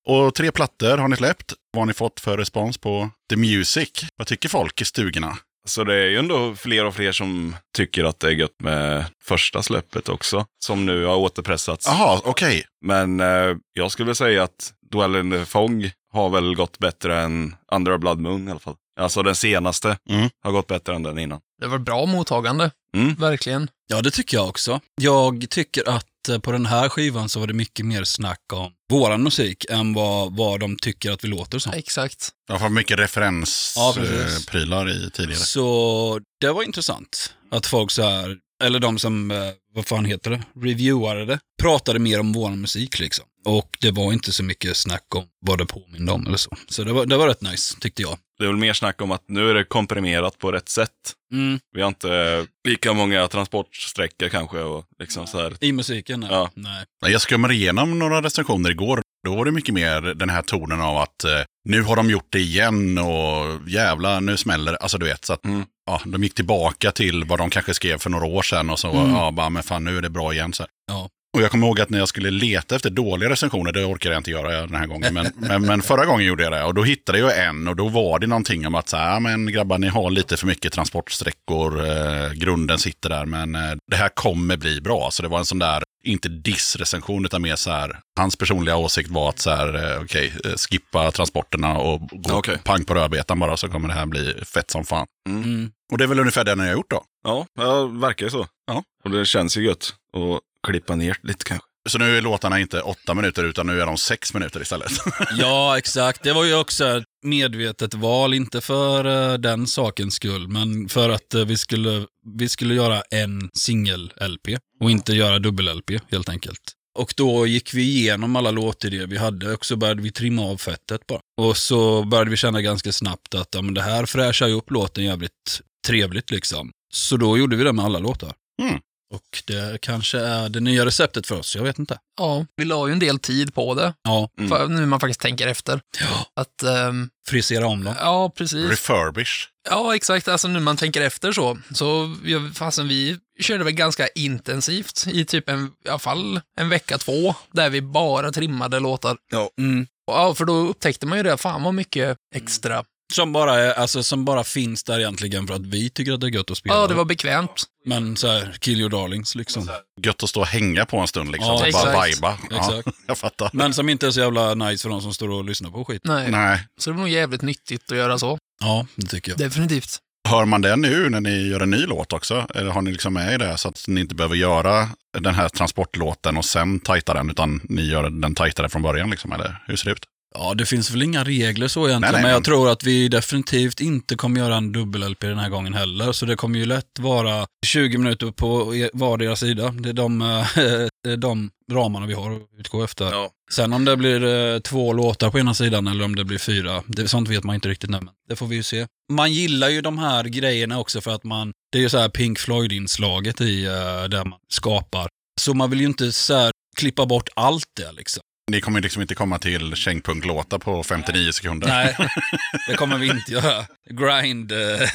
Och tre plattor har ni släppt. Vad har ni fått för respons på The Music? Vad tycker folk i stugorna?
Så det är ju ändå fler och fler som tycker att det är gött med första släppet också. Som nu har återpressats.
Jaha, okej.
Men eh, jag skulle säga att Dwell in the Fog har väl gått bättre än Under a Blood Moon i alla fall. Alltså den senaste
Mm.
har gått bättre än den innan.
Det var bra mottagande,
Mm.
verkligen.
Ja, det tycker jag också. Jag tycker att eh, på den här skivan så var det mycket mer snack om våran musik än vad, vad de tycker att vi låter som.
Exakt.
Jag har fått mycket
Ja, precis.
referensprylar i tidigare.
Så det var intressant att folk så här, eller de som, eh, vad fan heter det, reviewade det, pratade mer om vår musik liksom. Och det var inte så mycket snack om vad det påminde om eller så. Så det var, det var rätt nice, tyckte jag.
Det är väl mer snack om att nu är det komprimerat på rätt sätt.
Mm.
Vi har inte eh, lika många transportsträckor kanske och liksom så här.
I musiken? Nej.
Ja.
nej.
Jag skummade igenom några recensioner igår. Då var det mycket mer den här tonen av att eh, nu har de gjort det igen och jävla nu smäller det. Alltså du vet, så att
Mm.
ja, de gick tillbaka till vad de kanske skrev för några år sedan och så
Mm.
ja, bara men fan nu är det bra igen. Så här.
Ja.
Och jag kommer ihåg att när jag skulle leta efter dåliga recensioner, det orkar jag inte göra den här gången, men, men, men förra gången gjorde jag det. Och då hittade jag en och då var det någonting om att så här, "Ah, men grabbar ni har lite för mycket transportsträckor, eh, grunden sitter där, men eh, det här kommer bli bra. Så det var en sån där, inte dissrecension utan mer så här, hans personliga åsikt var att så här, eh, okej, eh, skippa transporterna och gå
Okej.
pang på rödbetan bara så kommer det här bli fett som fan.
Mm.
Och det är väl ungefär det jag har gjort då.
Ja, ja, verkar ju så.
Ja.
Och det känns ju gött att klippa ner lite kanske.
Så nu är låtarna inte åtta minuter utan nu är de sex minuter istället.
Ja, exakt. Det var ju också ett medvetet val, inte för eh, den sakens skull, men för att eh, vi skulle, vi skulle göra en singel-LP och inte göra dubbel-LP helt enkelt. Och då gick vi igenom alla låtidéer vi hade och så började vi trimma av fettet bara. Och så började vi känna ganska snabbt att ja, men det här fräschar ju upp låten jävligt trevligt liksom. Så då gjorde vi det med alla låtar.
Mm.
Och det kanske är det nya receptet för oss, jag vet inte.
Ja, vi la ju en del tid på det,
Ja,
Mm.
för nu man faktiskt tänker efter.
Ja.
Att, ehm,
frisera om dem.
ja, precis.
Refurbish.
Ja, exakt. Alltså nu man tänker efter så, så vi, fasen, vi körde väl ganska intensivt i typ en, i alla fall en vecka, två, där vi bara trimmade låtar.
Mm.
Och, Ja, för då upptäckte man ju det, fan vad mycket
Mm.
extra.
Som bara, är, alltså, som bara finns där egentligen för att vi tycker att det är gött att spela.
Ja, det var bekvämt.
Men så här, kill your darlings liksom.
Gött att stå och hänga på en stund liksom.
Ja,
och bara
exakt.
vajba. Ja,
Exakt.
jag fattar.
Men som inte är så jävla nice för de som står och lyssnar på skit.
Nej.
Nej.
Så det var nog jävligt nyttigt att göra så.
Ja, det tycker jag.
Definitivt.
Hör man det nu när ni gör en ny låt också? Eller har ni liksom med i det så att ni inte behöver göra den här transportlåten och sen tajta den, utan ni gör den tajtare från början liksom? Eller hur ser det ut?
Ja, det finns väl inga regler så egentligen,
Nej, nej,
men
men-
jag tror att vi definitivt inte kommer göra en dubbel-LP den här gången heller, så det kommer ju lätt vara 20 minuter på e- vardera sida. Det är de, eh, de ramarna vi har att utgå efter.
Ja.
Sen om det blir eh, två låtar på ena sidan eller om det blir fyra, det, sånt vet man inte riktigt nu, men det får vi ju se. Man gillar ju de här grejerna också för att man, det är ju så här Pink Floyd-inslaget i eh, där man skapar. Så man vill ju inte så här klippa bort allt det liksom.
Ni kommer ju liksom inte komma till kängpunklåtar på 59 sekunder.
Nej, det kommer vi inte göra. Grind eh,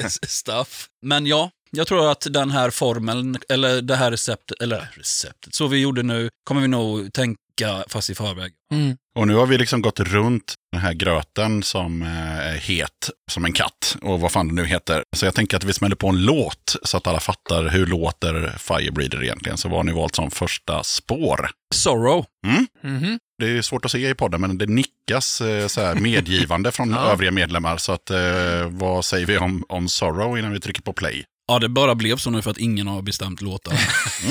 stuff. Men ja, jag tror att den här formeln, eller det här receptet, eller receptet, så vi gjorde nu, kommer vi nog tänka fast i förväg.
Mm.
Och nu har vi liksom gått runt den här gröten som eh, är het som en katt och vad fan det nu heter. Så jag tänker att vi smäller på en låt så att alla fattar hur låter Firebreeder egentligen. Så vad har ni valt som första spår? Mm.
Sorrow.
Mhm.
Det är svårt att se i podden men det nickas eh, så här medgivande från övriga medlemmar. Så att, eh, vad säger vi om, om Sorrow innan vi trycker på play?
Ja, det bara blev så nu för att ingen har bestämt låtar.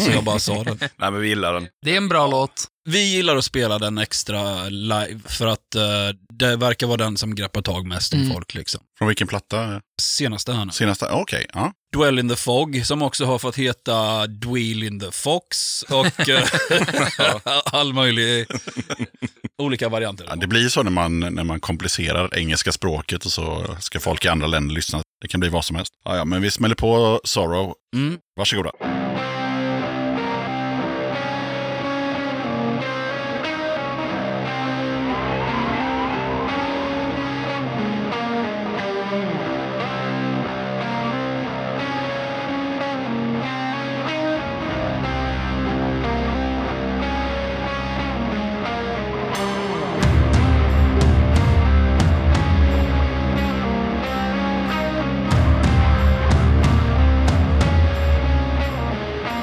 Så jag bara sa det.
Nej, men vi gillar den.
Det är en bra låt.
Vi gillar att spela den extra live för att eh, det verkar vara den som greppar tag mest om
Mm.
folk liksom.
Från vilken platta?
Senaste här nu.
Senaste? Okej, ja.
Dwell in the Fog, som också har fått heta Dweel in the Fox och eh, all möjlig olika varianter.
ja. Det blir så när man, när man komplicerar engelska språket och så ska folk i andra länder lyssna. Det kan bli vad som helst. Ja, ja, men vi smäller på Sorrow.
Mm.
Varsågoda.
Thank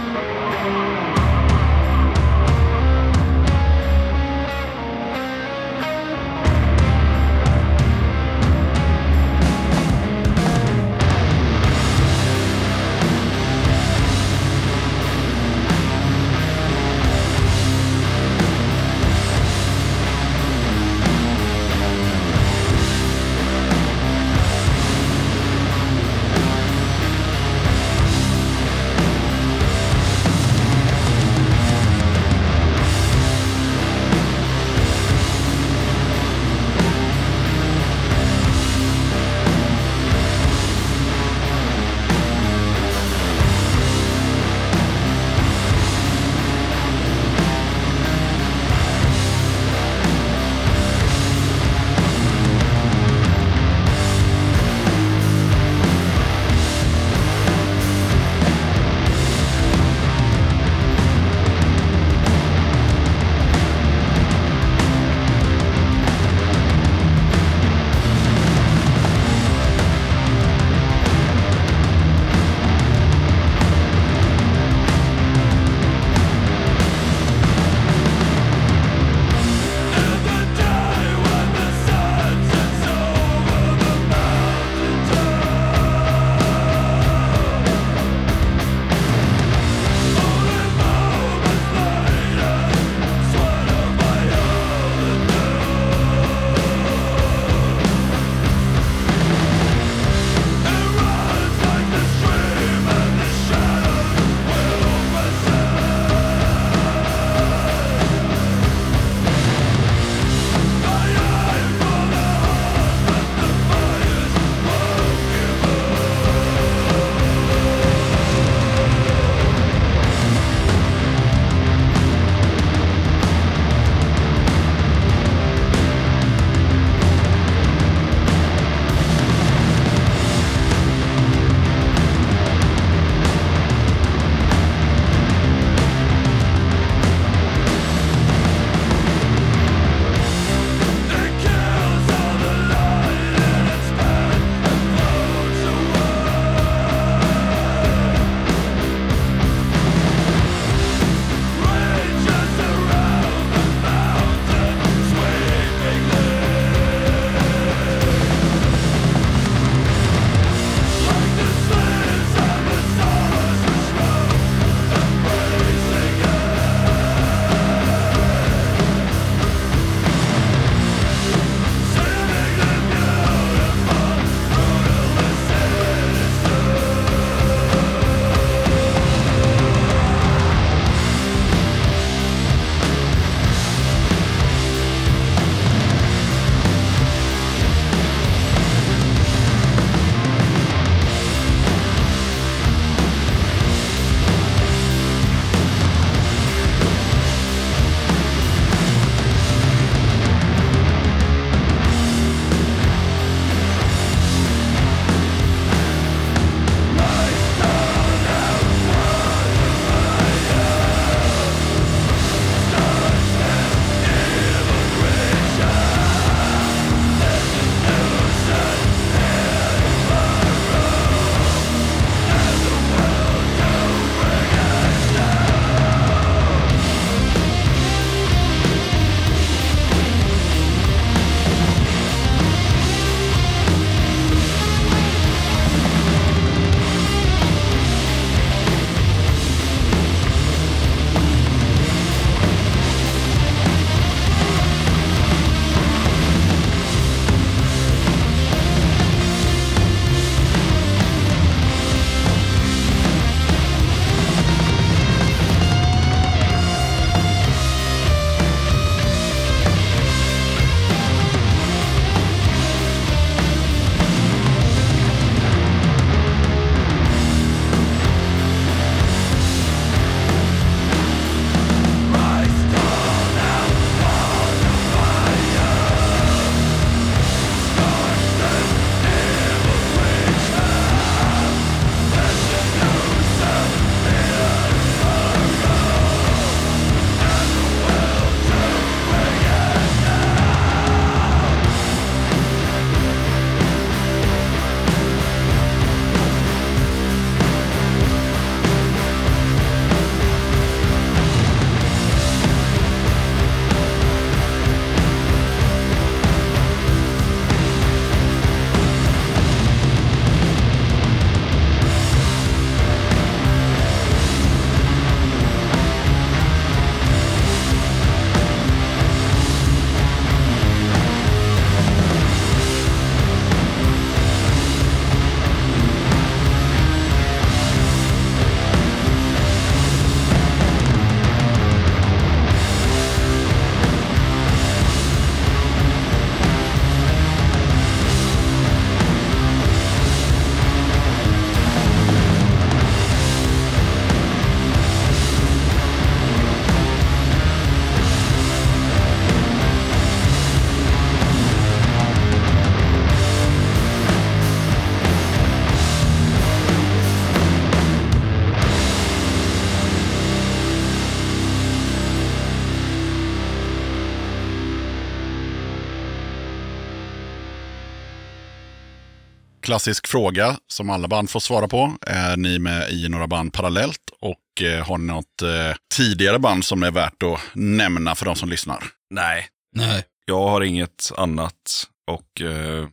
klassisk fråga som alla band får svara på. Är ni med i några band parallellt och eh, har ni något eh, tidigare band som är värt att nämna för de som lyssnar?
Nej,
Nej.
jag har inget annat. Och eh,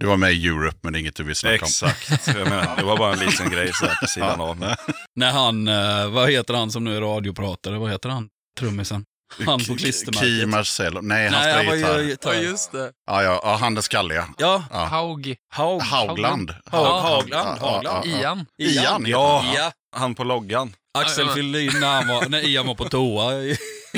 Du var med i Europe men det är inget du vill snacka om.
exakt, jag menar, det var bara en liten grej så här på sidan av. Men,
När han, eh, vad heter han som nu är radiopratare, vad heter han? Trummisen. Han på
K-
klistermärket.
Key Marcello. Nej, han
Nej, han
spelar gitarr.
var ju
Ja,
gitarr.
just det.
Ja, ja, ja, han den skalliga.
Ja,
Ja.
Haug,
Haug.
Haugland.
Haug-
Ja,
Haugland.
ja, ja,
Haugland.
ja.
Ian.
Ian,
ja.
ja.
Ja.
Han på loggan.
Axel
Ja, ja.
fyllde in när, han var, när Ian var på toa i,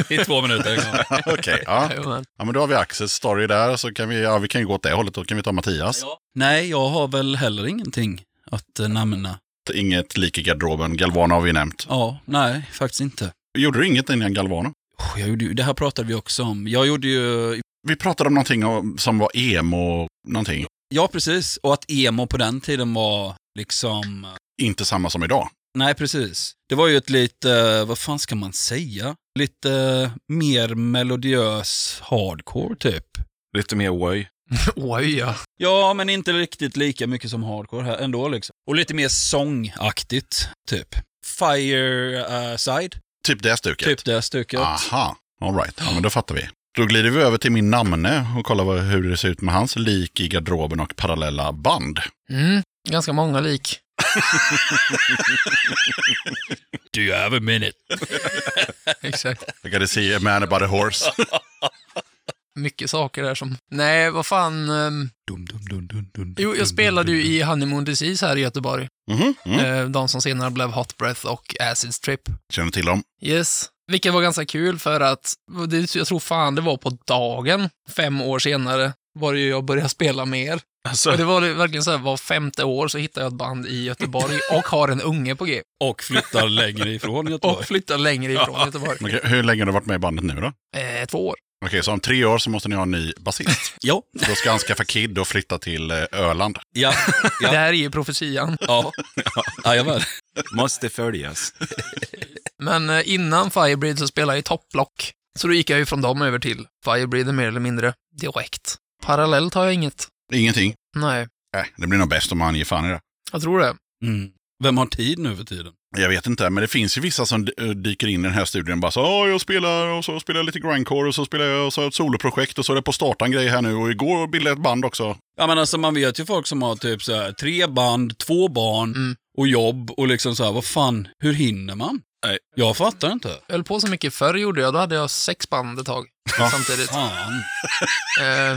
i två minuter.
Okej, ja.
Jajamän.
ja. men då har vi Axels story där. Så kan vi, ja, vi kan ju gå åt det hållet. Då kan vi ta Mattias.
Nej, jag har väl heller ingenting att eh, nämna.
Inget lik i garderoben. Galvano har vi nämnt.
Ja, nej, faktiskt inte.
Gjorde du inget innan Galvano?
Oh, Jag gjorde ju, det här pratade vi också om. Jag gjorde ju
Vi pratade om någonting om- som var emo, någonting.
Ja, precis. Och att emo på den tiden var liksom...
Inte samma som idag.
Nej, precis. Det var ju ett lite, eh, vad fan ska man säga? Lite eh, mer melodiös hardcore typ.
Lite mer way.
Oj, ja.
Ja, men inte riktigt lika mycket som hardcore här ändå liksom. Och lite mer sångaktigt typ. Fireside,
Typ det stuket.
typ det stycket.
Aha, all right. Ja, men då fattar vi. Då glider vi över till min namne och kollar vad, hur det ser ut med hans lik i garderoben och parallella band.
Mm, ganska många lik.
Do you have a minute?
Exakt.
I gotta see a man about a horse.
Mycket saker där som... Nej, vad fan. ehm,
Dum, dum, dum, dum, dum,
Jo, jag spelade ju i Honeymoon Disease här i Göteborg.
Mhm, mm.
Eh, De som senare blev Hot Breath och Acid Strip.
Känner till dem.
Yes. Vilket var ganska kul för att, det, jag tror fan det var på dagen, fem år senare, var det ju jag började spela med er.
Alltså,
Och det var det verkligen så här, var femte år så hittar jag ett band i Göteborg och har en unge på G.
Och flyttar längre ifrån
Och
Göteborg.
flyttar längre ifrån Göteborg.
Okej, hur länge har du varit med i bandet nu då? Okej,
Eh, två år.
så om tre år så måste ni ha en ny basist.
Ja,
För Då ska han skaffa kid och flytta till eh, Öland.
ja, Ja.
Det här är ju profetian.
ja. Jajamän.
måste följas.
Men eh, innan Firebreed så spelade jag i topplock. Så då gick jag ju från dem över till Firebreed mer eller mindre direkt. Parallellt har jag inget.
Ingenting.
Nej,
Äh, det blir nog bäst om han ger fan i det.
jag tror det.
Mm. Vem har tid nu för tiden?
Jag vet inte, men det finns ju vissa som d- eh, dyker in i den här studien och bara så "Ja, jag spelar och så spelar jag lite grindcore och så spelar jag och så har jag ett soloprojekt och så är det på startan grej här nu och igår bildade jag ett band också.
Ja men alltså man vet ju folk som har typ så här, tre band, två barn
Mm.
och jobb och liksom så här, vad fan, hur hinner man?
Nej.
Jag fattar inte.
Jag höll på så mycket förr gjorde jag, då hade jag sex band ett tag samtidigt.
Fan.
Eh,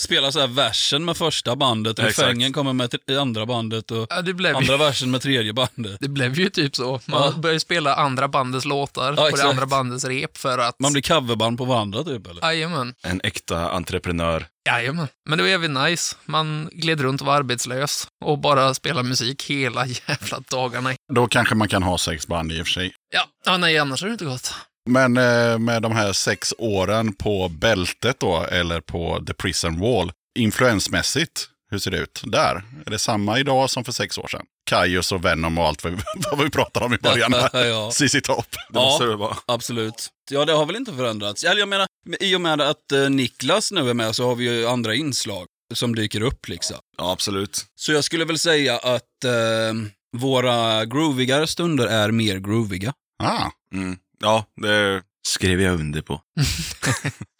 Spela så här versen med första bandet,
Exakt.
refrängen kommer med t- andra bandet och
ja, det, blev ju,
andra versen med tredje bandet.
det blev ju typ så. Man
Ja.
började spela andra bandets låtar på
exakt.
det andra bandets rep för att...
Man blir coverband på varandra typ eller?
Jajamän.
En äkta entreprenör.
Jajamän. Men det var jävligt nice. Man gled runt och var arbetslös och bara spelade musik hela jävla dagarna.
Då kanske man kan ha sex band i och för sig.
Ja, ja nej, annars är det inte gott.
Men eh, med de här sex åren på bältet då, eller på The Prison Wall, influensmässigt, hur ser det ut där? Är det samma idag som för sex år sedan? Kaius och Venom och allt vad vi, vad vi pratade om i början. här.
ja,
ZZ Top.
Det
Ja.
måste det vara.
absolut. Ja, det har väl inte förändrats. Eller jag menar, i och med att eh, Niklas nu är med så har vi ju andra inslag som dyker upp liksom.
Ja, absolut.
Så jag skulle väl säga att eh, våra groovigare stunder är mer grooviga.
Ah,
Mm. Ja, det skrev jag under på.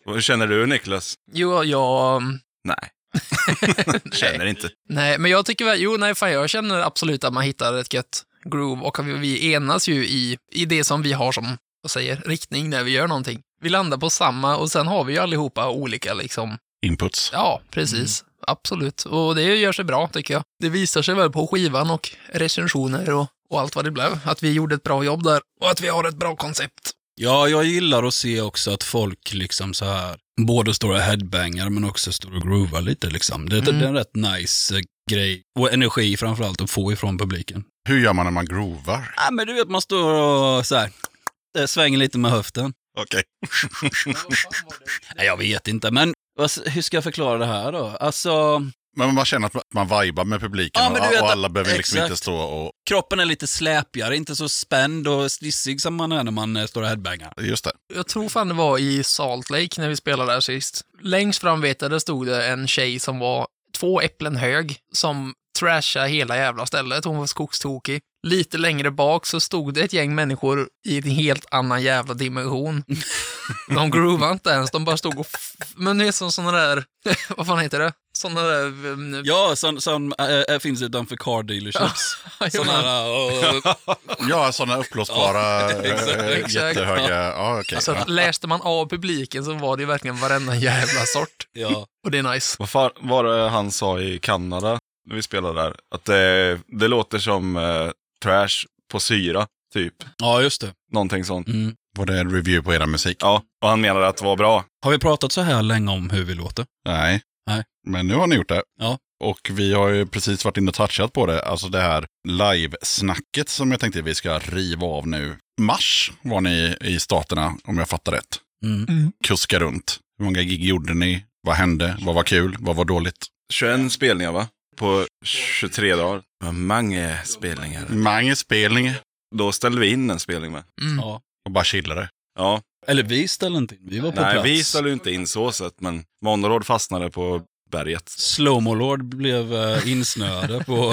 Vad känner du Niklas?
Jo, jag...
Nej,
nej.
känner inte.
nej, men jag tycker väl... Jo, nej, fan, jag känner absolut att man hittar ett gött groove och vi, vi enas ju i, i det som vi har som, vad säger, riktning när vi gör någonting. Vi landar på samma och sen har vi ju allihopa olika liksom.
inputs.
Ja, precis. Absolut. Och det gör sig bra, tycker jag. Det visar sig väl på skivan och recensioner och, och allt vad det blev, att vi gjorde ett bra jobb där och att vi har ett bra koncept.
Ja, jag gillar att se också att folk liksom så här, både står och headbangar men också står och groovar lite liksom. Det,
Mm.
det är en rätt nice eh, grej och energi framförallt att få ifrån publiken.
Hur gör man när man groovar?
Ja, men du vet, man står och så här, eh, svänger lite med höften.
Okej.
Nej, jag vet inte, men vad s- hur ska jag förklara det här då? Alltså,
Men man känner att man vibar med publiken
Ja, men du
och-
vet
och
att-
alla behöver liksom
exakt.
inte stå och...
kroppen är lite släpigare, inte så spänd och stissig som man är när man eh, står och headbangar.
Just det.
Jag tror fan det var i Salt Lake när vi spelade där sist. Längst fram vet jag, där stod det en tjej som var två äpplen hög som trashade hela jävla stället. Hon var skogstokig. Lite längre bak så stod det ett gäng människor i en helt annan jävla dimension. De groovade inte ens, de bara stod och... F- men det är som såna där... Vad fan heter det? Såna där... mm,
Ja, som, som äh, finns utanför car dealerships. Sådana här, äh,
Ja, sådana uppblåsbara
exakt,
eh,
exakt.
jättehöga. Ja, okej.
Alltså, att läste man av publiken så var det ju verkligen varenda jävla sort.
ja.
Och det är nice.
Vad fan var det han sa i Kanada när vi spelade där? Att det, det låter som eh, trash på syra, typ.
ja, just det.
Någonting sånt.
Mm.
Var det en review på era musik?
Ja, och han menade att det var bra.
Har vi pratat så här länge om hur vi låter?
Nej.
Nej.
Men nu har ni gjort det.
Ja.
Och vi har ju precis varit inne och touchat på det, alltså det här live-snacket som jag tänkte vi ska riva av nu. Mars var ni i Staterna, om jag fattar rätt.
Mm.
Kuska runt. Hur många gig gjorde ni? Vad hände? Vad var kul? Vad var dåligt?
21 spelningar va? På 23 dagar. Det var Många spelningar.
Många spelningar.
Då ställde vi in en spelning med.
Mm.
Ja.
Och bara chillade.
Ja,
Eller vi ställde inte in, vi var på
nej
plats.
vi ställde ju inte in så sett, men Monorod fastnade på berget.
Slowmo Lord blev äh, insnöade på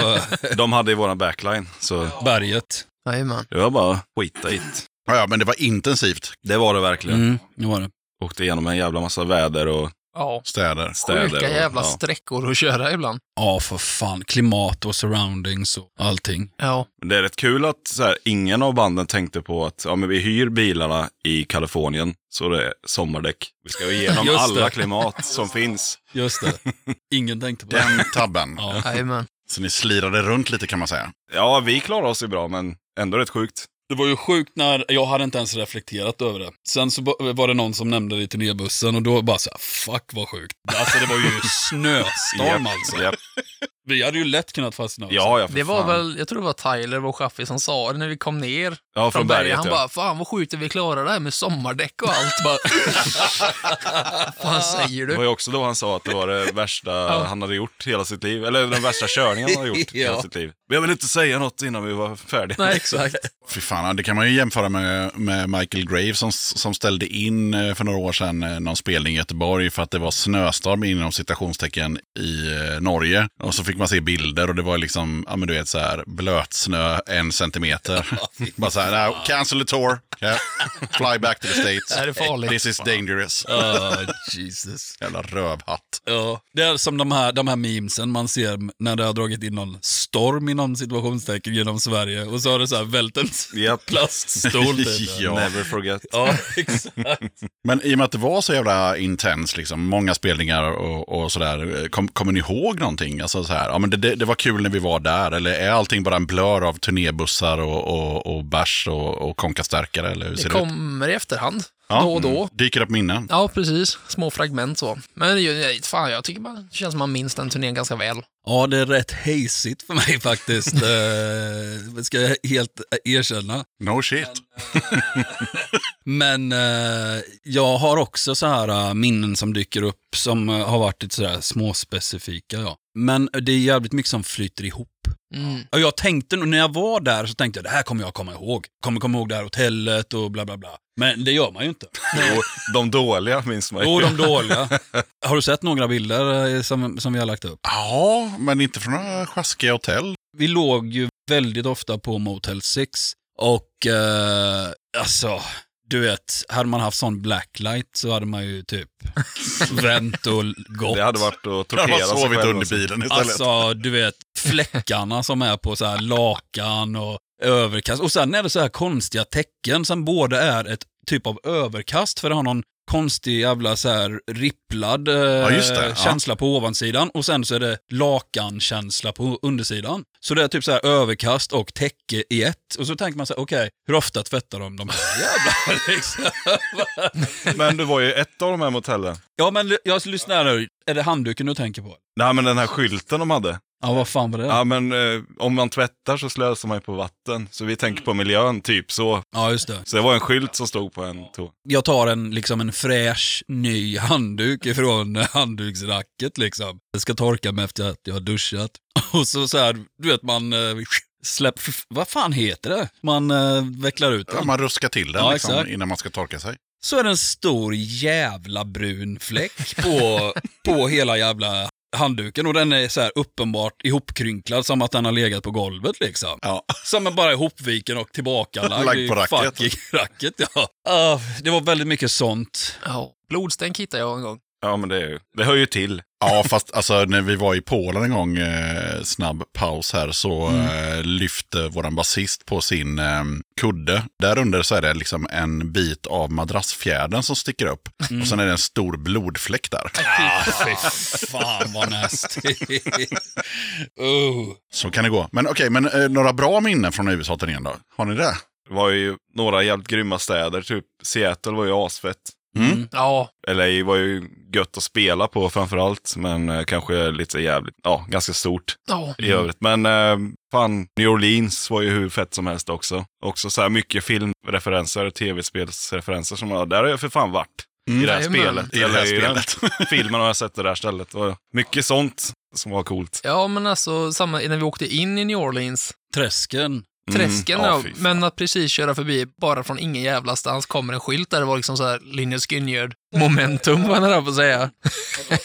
äh,
De hade ju våran backline, så
berget.
Jajamän.
det var bara skita i det.
Ja, ja, men det var intensivt.
Det var det verkligen.
Mm, det var det.
Åkte igenom en jävla massa väder och
Ja.
Städer.
städer.
Sjuka
och,
jävla
ja.
sträckor att köra ibland.
Ja, för fan. Klimat och surroundings och allting.
Ja.
Men Det är rätt kul att så här, ingen av banden tänkte på att ja, men vi hyr bilarna i Kalifornien, så det är sommardäck. Vi ska igenom
Just
alla
det.
klimat som finns.
Just det. Ingen tänkte på det.
Den tabben.
Ja.
Jajamän.
Så ni slirade runt lite kan man säga.
Ja, vi klarar oss ju bra, men ändå rätt sjukt.
Det var ju sjukt när, jag hade inte ens reflekterat över det. Sen så ba- var det någon som nämnde det i turnébussen och då bara så här, fuck vad sjukt. Alltså det var ju snöstorm
Japp,
alltså.
japp.
Vi hade ju lätt kunnat fastna. också.
Ja, ja, för
Det var
fan.
väl, jag tror det var Tyler, vår chaufför, som sa det när vi kom ner
ja,
från berget. Han
ja.
bara, fan vad sjukt att vi klarar det här med sommardäck och allt. Bara, fan säger
Det var
du?
ju också då han sa att det var det värsta han hade gjort hela sitt liv. Eller den värsta körningen han hade gjort
Ja.
hela sitt liv. Men jag vill inte säga något innan vi var färdiga.
Nej, exakt.
Fy fan, det kan man ju jämföra med, med Michael Graves som, som ställde in eh, för några år sedan eh, någon spelning i Göteborg för att det var snöstorm inom citationstecken i eh, Norge. Och så fick man se bilder och det var liksom, ja men du vet så här, blötsnö en centimeter. Bara så här, now cancel the tour, yeah. fly back to the
Det här är
States.
farligt.
This is dangerous.
Ah, Jesus.
Jävla rövhatt.
Ja, det är som de här, de här memesen man ser när det har dragit in någon storm inom situationstecken genom Sverige och så har det så här vält en
Japp.
plaststol typ.
Ja.
Never forget.
Ja, exakt.
Men i och med att det var så jävla intens, liksom, många spelningar och, och sådär, eh, kom, kommer ni ihåg någonting? Alltså så här, ja, men det, det, det var kul när vi var där, eller är allting bara en blör av turnébussar och, och, och bärs och, och konkastärkare? Eller hur ser
Det
det ut?
kommer i efterhand.
Ja,
Då och då.
mm. Dyker upp minnen?
Ja, precis. Små fragment så. Men det är ju- nej, fan, jag tycker man, det känns som man minns den turnén ganska väl.
Ja, det är rätt hejsigt för mig faktiskt. eh, ska jag helt erkänna.
No shit.
Men eh, jag har också så här eh, minnen som dyker upp som eh, har varit lite sådär småspecifika. Ja. Men det är jävligt mycket som flyter ihop.
Mm.
Och jag tänkte nog, när jag var där så tänkte jag det här kommer jag komma ihåg. Kommer komma ihåg det här hotellet och bla bla bla. Men det gör man ju inte.
Jo, de dåliga minns man ju.
Jo, de dåliga. Har du sett några bilder eh, som, som vi har lagt upp?
Ja, men inte från några sjaskiga hotell.
Vi låg ju väldigt ofta på Motel 6 och eh, alltså, du vet, hade man haft sån blacklight så hade man ju typ vänt och gått.
Det hade varit att
Jag har
tortera sig
sovit
själv
under
också.
bilen istället.
Alltså, du vet, fläckarna som är på så här lakan och överkast. Och sen är det så här konstiga tecken som både är ett typ av överkast, för det har någon konstig jävla så här ripplad eh,
just det, ja.
känsla på ovansidan och sen så är det lakankänsla på undersidan. Så det är typ så här överkast och täcke i ett. Och så tänker man så här, okej, hur ofta tvättar de de här jävla liksom?
Men du var ju i ett av de här motellen.
Ja, men jag lyssnar här nu. Är det handduken du tänker på?
Nej, men den här skylten de hade.
Ja, vad fan var det?
Ja, men eh, om man tvättar så slösar man ju på vatten. Så vi tänker på miljön, typ så.
Ja, just det.
Så det var en skylt som stod på en toa.
jag tar en, liksom en fräsch, ny handduk ifrån handduksracket liksom. Jag ska torka mig efter att jag har duschat. Och så så här, du vet man eh, släpp, vad fan heter det? Man eh, vecklar ut
Ja,
den.
man ruskar till den
Ja,
liksom,
exakt.
innan man ska torka sig.
Så är det en stor jävla brun fläck på, på hela jävla handduken och den är så här uppenbart ihopkrynklad som att den har legat på golvet liksom.
Ja.
Som är bara ihopviken och tillbakalagd
Lagd
i
på racket.
fucking racket ja. Ah, det var väldigt mycket sånt.
Ja. Blodstänk hittade jag en gång.
Ja, men det, är ju, det hör ju till.
Ja, fast alltså, när vi var i Polen en gång, eh, snabb paus här, så
Mm.
eh, lyfte våran basist på sin eh, kudde. Där under så är det liksom en bit av madrassfjädern som sticker upp.
Mm.
Och sen är det en stor blodfläck där.
Ah, fy fan vad nasty. oh.
Så kan det gå. Men okej, men eh, några bra minnen från USA-turnén då? Har ni det?
Det var ju några jävligt grymma städer, typ Seattle var ju asfett.
Mm.
Ja,
LA var ju gött att spela på framförallt, men eh, kanske lite jävligt, ja, ganska stort
ja.
i övrigt. Men eh, fan, New Orleans var ju hur fett som helst också. Också så här mycket filmreferenser, tv-spelsreferenser som jag, där har jag för fan varit. I det här
Jajamän.
spelet.
Mm. I det här
Eller den
spelet.
filmen har jag sett det där stället. Och mycket sånt som var coolt.
Ja, men alltså, samma, när vi åkte in i New Orleans,
Träsken.
träsken,
Mm. ja,
ja,
fy fan.
men att precis köra förbi, bara från ingen jävla stans kommer en skylt där det var liksom så här Linus Gynnegärd momentum, vad han höll på att säga.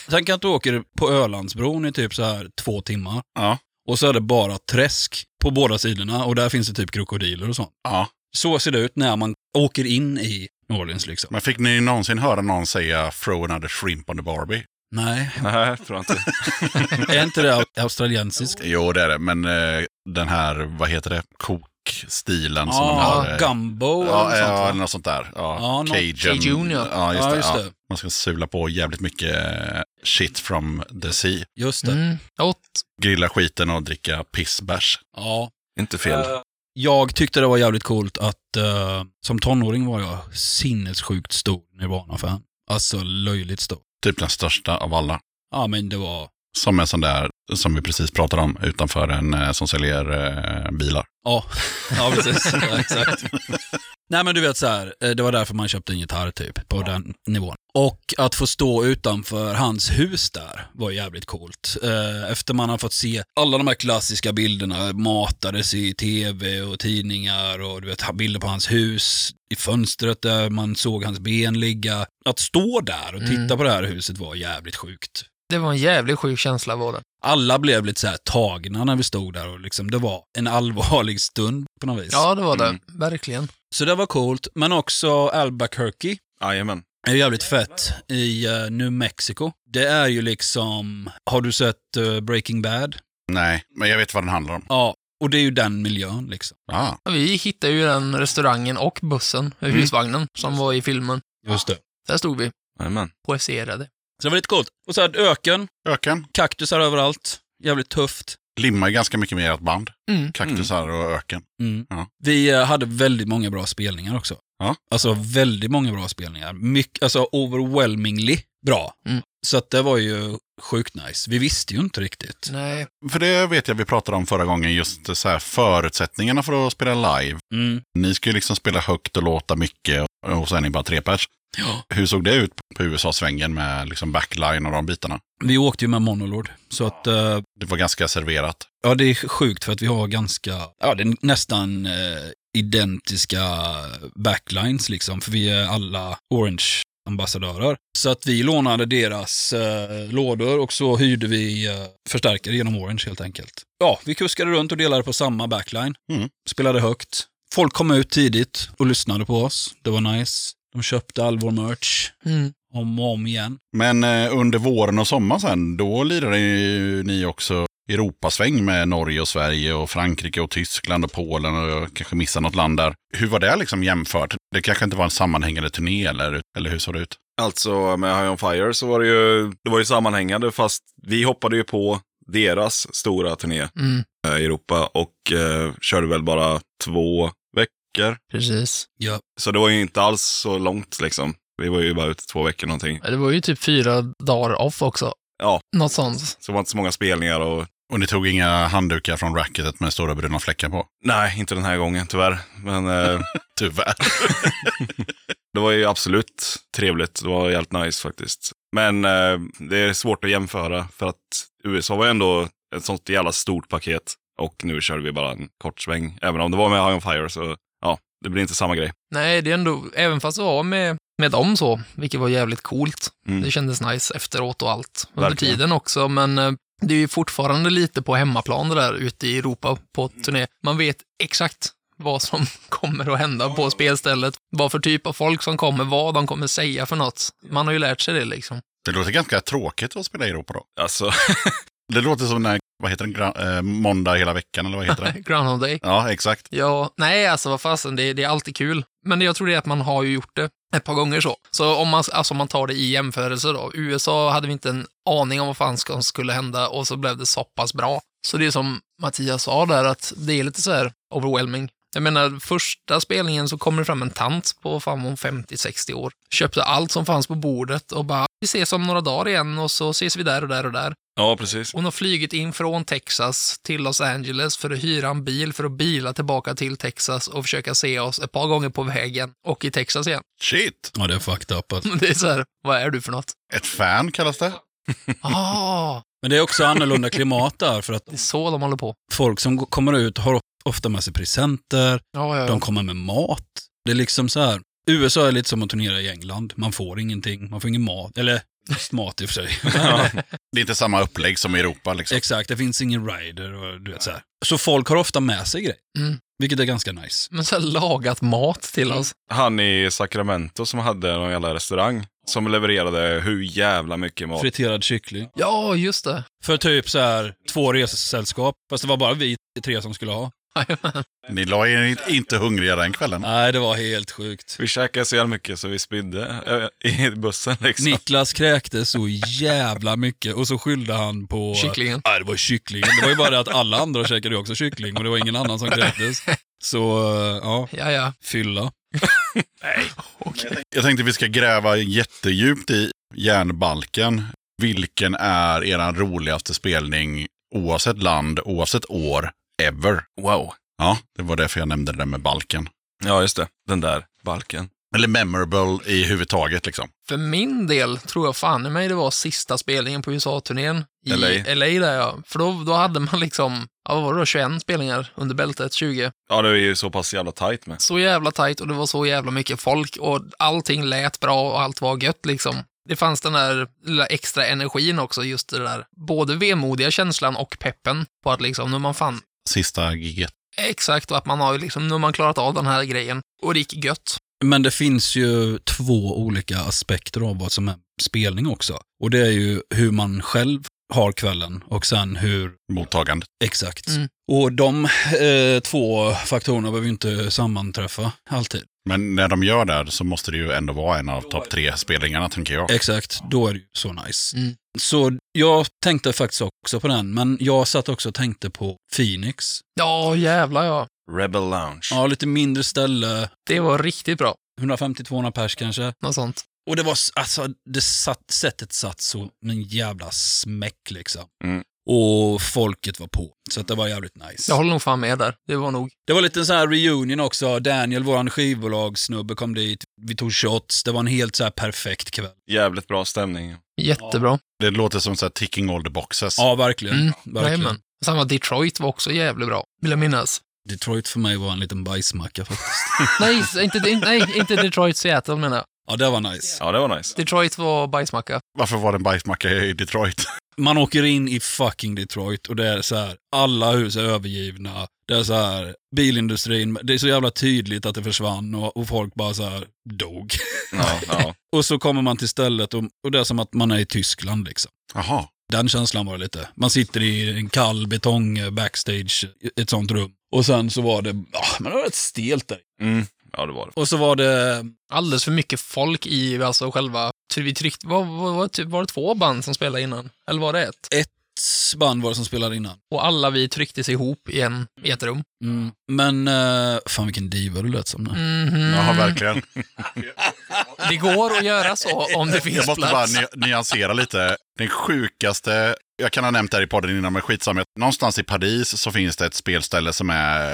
Tänk att du åker på Ölandsbron i typ så här två timmar.
Ja.
Och så är det bara träsk på båda sidorna och där finns det typ krokodiler och sånt.
Ja.
Så ser det ut när man åker in i New Orleans liksom.
Men fick ni någonsin höra någon säga “throw another shrimp on the Barbie”?
Nej,
Nej, tror jag inte.
är inte det au- australiensiskt?
Jo, det är det, men eh, den här, vad heter det, kokstilen som de
Ja,
har. eh,
Ah, gumbo
Ja,
eller något
ja,
sånt va?
något sånt där. Ja,
Ja, något-
Cajun.
Cajun, ja.
ja, just
Ja,
det.
just
ja.
det.
Man ska sula på jävligt mycket eh, shit from the sea.
Just det.
Mm. Åt.
Grilla skiten och dricka pissbärs.
Ja. Eh,
inte fel.
Jag tyckte det var jävligt coolt att eh, som tonåring var jag sinnessjukt stor Nirvana-fan. Alltså löjligt stor.
Typ den största av alla.
Ja, men det var...
Som en sån där som vi precis pratade om utanför en eh, som säljer eh, bilar.
Ja, ja precis. Ja, exakt. Nej men du vet så här, eh, det var därför man köpte en gitarr typ, på den nivån. Och att få stå utanför hans hus där var jävligt coolt. Eh, Efter man har fått se alla de här klassiska bilderna matades i tv och tidningar och du vet ha- bilder på hans hus i fönstret där man såg hans ben ligga. Att stå där och titta
Mm.
på det här huset var jävligt sjukt.
Det var en jävligt sjuk känsla var det.
Alla blev lite så här tagna när vi stod där och liksom, det var en allvarlig stund på något vis.
Ja, det var det.
Mm.
Verkligen.
Så det var coolt, men också Albuquerque
Jajamän.
är jävligt fett i eh, New Mexico. Det är ju liksom, har du sett eh, Breaking Bad?
Nej, men jag vet vad den handlar om.
Ja, och det är ju den miljön liksom.
Ah,
Ja, Vi hittade ju den restaurangen och bussen,
Mm.
husvagnen, som var i filmen.
Just det.
Där stod vi,
Jajamän.
poeserade.
Så det var lite coolt. Och så här, öken,
öken.
kaktusar överallt, jävligt tufft.
Limmar ju ganska mycket med ert band.
Mm.
Kaktusar och öken.
Mm.
Ja.
Vi eh, hade väldigt många bra spelningar också.
Ja.
Alltså väldigt många bra spelningar. Mycket, alltså overwhelmingly bra.
Mm.
Så att det var ju sjukt nice. Vi visste ju inte riktigt.
Nej,
För det vet jag vi pratade om förra gången, just så här förutsättningarna för att spela live.
Mm.
Ni ska ju liksom spela högt och låta mycket och så är ni bara tre pers.
Ja.
Hur såg det ut på USA-svängen med liksom backline och de bitarna?
Vi åkte ju med Monolord, så att eh,
Det var ganska serverat.
Ja, det är sjukt för att vi har ganska, ja det är nästan eh, identiska backlines liksom, för vi är alla orange ambassadörer. Så att vi lånade deras eh, lådor och så hyrde vi eh, förstärkare genom Orange helt enkelt. Ja, vi kuskade runt och delade på samma backline.
Mm.
Spelade högt. Folk kom ut tidigt och lyssnade på oss. Det var nice. De köpte all vår merch
mm.
om och om igen.
Men eh, under våren och sommaren sen, då lirade ju ni också Europasväng med Norge och Sverige och Frankrike och Tyskland och Polen och jag kanske missade något land där. Hur var det liksom jämfört? Det kanske inte var en sammanhängande turné eller, eller hur såg det ut?
Alltså med High on Fire så var det ju, det var ju sammanhängande fast vi hoppade ju på deras stora turné
Mm.
eh, i Europa och eh, körde väl bara två veckor.
Precis.
Så det var ju inte alls så långt liksom. Vi var ju bara ute två veckor någonting.
Ja, Det var ju typ fyra dagar off också.
Ja.
Något sånt.
Så det var inte så många spelningar och
Och ni tog inga handdukar från racketet med stora bruna fläckar på?
nej, inte den här gången tyvärr. Men eh,
Tyvärr.
det var ju absolut trevligt. Det var jävligt nice faktiskt. Men eh, det är svårt att jämföra för att USA var ju ändå ett sånt jävla stort paket. Och nu körde vi bara en kort sväng. Även om det var med High on Fire så ja, det blir inte samma grej.
Nej, det är ändå, även fast det var med med dem så, vilket var jävligt coolt.
Mm.
Det kändes nice efteråt och allt under
Verkligen.
tiden också, men eh, det är ju fortfarande lite på hemmaplan det där ute i Europa på
Mm.
turné. Man vet exakt vad som kommer att hända på spelstället, vad för typ av folk som kommer, vad de kommer säga för något. Man har ju lärt sig det liksom.
Det låter ganska tråkigt att spela i Europa då.
Alltså,
Det låter som den här, vad heter den, Gra- eh, måndag hela veckan eller vad heter det?
Groundhog Day.
Ja, exakt.
Ja, nej alltså vad fasen, det, det är alltid kul. Men jag tror det är att man har ju gjort det ett par gånger så. Så om man, alltså om man tar det i jämförelse då. USA hade vi inte en aning om vad fan som skulle hända och så blev det så pass bra. Så det är som Mattias sa där, att det är lite så här overwhelming. Jag menar, första spelningen så kommer det fram en tant på fan hon 50-60 år. Köpte allt som fanns på bordet och bara, vi ses om några dagar igen och så ses vi där och där och där.
ja precis.
Hon har flugit in från Texas till Los Angeles för att hyra en bil för att bila tillbaka till Texas och försöka se oss ett par gånger på vägen och i Texas igen.
Shit!
Ja, det är fucked up. Alltså.
Det är så här, vad är du för något?
Ett fan kallas det.
Ah,
Men det är också annorlunda klimat där, för att
det är så de håller på.
folk som g- kommer ut har ofta med sig presenter,
Ja, ja,
de
ja.
kommer med mat. Det är liksom så här. USA är lite som att turnera i England. Man får ingenting, man får ingen mat. Eller, just mat i och för sig.
Det är inte samma upplägg som i Europa liksom.
Exakt, det finns ingen rider och du vet så här. Så folk har ofta med sig grejer.
Mm.
Vilket är ganska nice.
Men så här lagat mat till oss.
Han i Sacramento som hade någon jävla restaurang som levererade hur jävla mycket mat.
Friterad kyckling.
Ja, just det.
För typ så här två resesällskap. Fast det var bara vi tre som skulle ha.
Jajamän.
Ni la er in- inte hungriga den kvällen.
Nej, det var helt sjukt.
Vi käkade så jävla mycket så vi spydde eh, i bussen liksom.
Niklas kräktes så jävla mycket och så skyllde han på...
Kycklingen.
Nej, det var kycklingen. Det var ju bara det att alla andra käkade ju också kyckling och det var ingen annan som kräktes. Så, eh, ja,
Ja, ja.
fylla.
Jag tänkte vi ska gräva jättedjupt i järnbalken. Vilken är er roligaste spelning oavsett land, oavsett år, ever?
Wow.
Ja, det var därför jag nämnde det där med balken.
Ja, just det. Den där balken.
Eller memorable i huvud taget liksom.
För min del tror jag fan i mig det var sista spelningen på USA-turnén i
LA.
LA. där ja. För då, då hade man liksom, ja, vad var det då, 21 spelningar under bältet, 20.
Ja, det är ju så pass jävla tajt med.
så jävla tajt och det var så jävla mycket folk och allting lät bra och allt var gött liksom. Det fanns den där lilla extra energin också, just det där både vemodiga känslan och peppen på att liksom, nu är man fan
Sista giget.
exakt och att man har ju liksom, nu har man klarat av den här grejen och det gick gött.
Men det finns ju två olika aspekter av vad som är spelning också. Och det är ju hur man själv har kvällen och sen hur
Mottagandet.
Exakt.
Mm.
Och de eh, två faktorerna behöver ju inte sammanträffa alltid.
Men när de gör det här så måste det ju ändå vara en av topp tre spelningarna tänker jag.
Exakt, då är det ju så nice.
Mm.
Så jag tänkte faktiskt också på den, men jag satt också och tänkte på Phoenix.
Ja, jävlar ja.
Rebel Lounge.
Ja, lite mindre ställe,
Det var riktigt bra,
150-200 pers kanske.
något sånt.
Och det var, s- alltså, det satt, sättet satt så med en jävla smäck liksom.
Mm.
Och folket var på, så att det var jävligt nice.
Jag håller nog fan med där. Det var nog,
Det var lite en sån här reunion också. Daniel, våran skivbolagssnubbe, kom dit. Vi tog shots. Det var en helt så här perfekt kväll.
Jävligt bra stämning.
jättebra.
Det låter som så här ticking all the boxes.
Ja, verkligen.
Mm,
verkligen.
jajamän. Samma Detroit var också jävligt bra, vill jag minnas.
Detroit för mig var en liten bajsmacka faktiskt.
Nej, inte, nej, inte Detroit, Seattle menar jag.
Ja, det var nice.
Ja, det var nice.
Detroit var bajsmacka.
Varför var det en bajsmacka i Detroit?
Man åker in i fucking Detroit och det är så här, alla hus är övergivna. Det är så här, bilindustrin, det är så jävla tydligt att det försvann och, och folk bara så här dog.
Ja, ja.
Och så kommer man till stället och, och det är som att man är i Tyskland liksom.
Jaha.
Den känslan var det lite. Man sitter i en kall betong eh, backstage, i ett sånt rum. Och sen så var det, ah, men det var rätt stelt där.
Mm. Ja, det var det.
Och så var det,
alldeles för mycket folk i alltså själva... Ty- Vi tryckte, var, var, var, typ, var det två band som spelade innan? Eller var det ett?
ett band var det som spelade innan.
Och alla vi trycktes ihop i, en, i ett rum.
Mm. Men, eh, fan vilken diva du lät som nu.
Mhm.
Jaha, verkligen.
Det går att göra så om det finns
Jag måste bara
plats.
ny- nyansera lite. Den sjukaste, jag kan ha nämnt det här i podden innan, men skitsamma. Någonstans i Paris så finns det ett spelställe som är,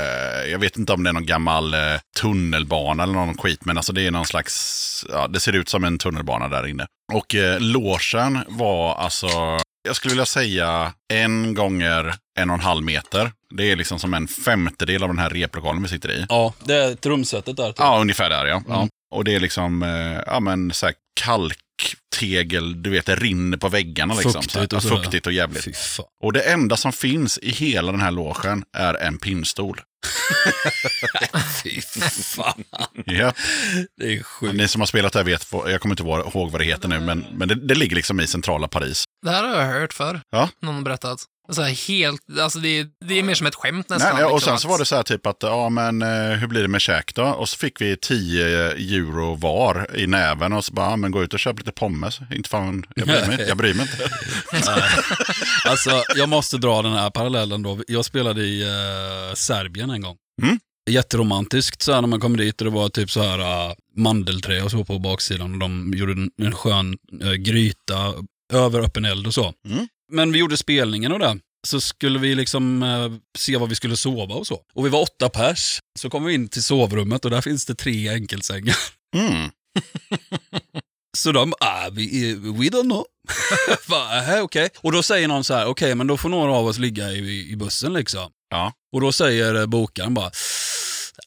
jag vet inte om det är någon gammal eh, tunnelbana eller någon skit, men alltså det är någon slags, ja, det ser ut som en tunnelbana där inne. Och eh, logen var alltså, jag skulle vilja säga en gånger en och en halv meter. Det är liksom som en femtedel av den här replokalen vi sitter i.
Ja, det är trumsetet där. typ.
Ja, ungefär där ja. ja. Och det är liksom, eh, ja men så här kalktegel, du vet det rinner på väggarna liksom.
Fuktigt
Så här,
och
ja,
sådär.
fuktigt och jävligt.
Fy fan.
Och det enda som finns i hela den här logen är en pinnstol.
Fy fan.
Ja.
Det är sjukt.
Ni som har spelat det här vet, vad- jag kommer inte vara- ihåg vad det heter nu, men, men det, det ligger liksom i centrala Paris.
Det här har jag hört för.
Ja.
Någon har berättat. Så här helt, alltså det, är- det är mer som ett skämt
Nej,
nästan.
nej, och
liksom,
sen så
att-
var det så här typ att, ja men eh, hur blir det med käk då? Och så fick vi 10 euro var i näven och så bara, ja men gå ut och köp lite pommes. Inte fan, jag bryr mig, inte, jag bryr mig inte.
Alltså, jag måste dra den här parallellen då. Jag spelade i eh, Serbien en gång.
Mm.
Jätteromantiskt så här när man kom dit och det var typ så här eh, mandelträ och så på baksidan och de gjorde en, en skön eh, gryta över öppen eld och så.
Mm.
Men vi gjorde spelningen och det. Så skulle vi liksom eh, se var vi skulle sova och så. Och vi var åtta pers. Så kom vi in till sovrummet och där finns det tre enkelsängar.
Mm.
Så de, ah, vi, eh, we don't know. Bara, "Ähä, okej. Och då säger någon så här, okej, men då får några av oss ligga i, i bussen liksom.
Ja.
Och då säger eh, bokaren bara,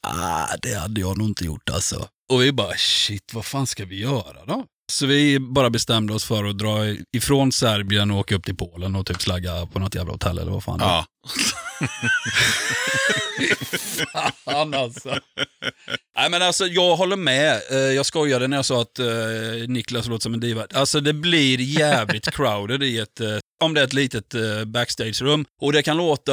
ah, det hade jag nog inte gjort alltså. Och vi bara, shit, vad fan ska vi göra då? Så vi bara bestämde oss för att dra i- ifrån Serbien och åka upp till Polen och typ slagga på något jävla hotell eller vad fan det var.
Ja.
Fan alltså. Nej men alltså jag håller med. Eh, Jag skojade när jag sa att eh, Niklas låter som en diva. Alltså det blir jävligt crowded i ett, eh, om det är ett litet eh, backstage-rum. Och det kan låta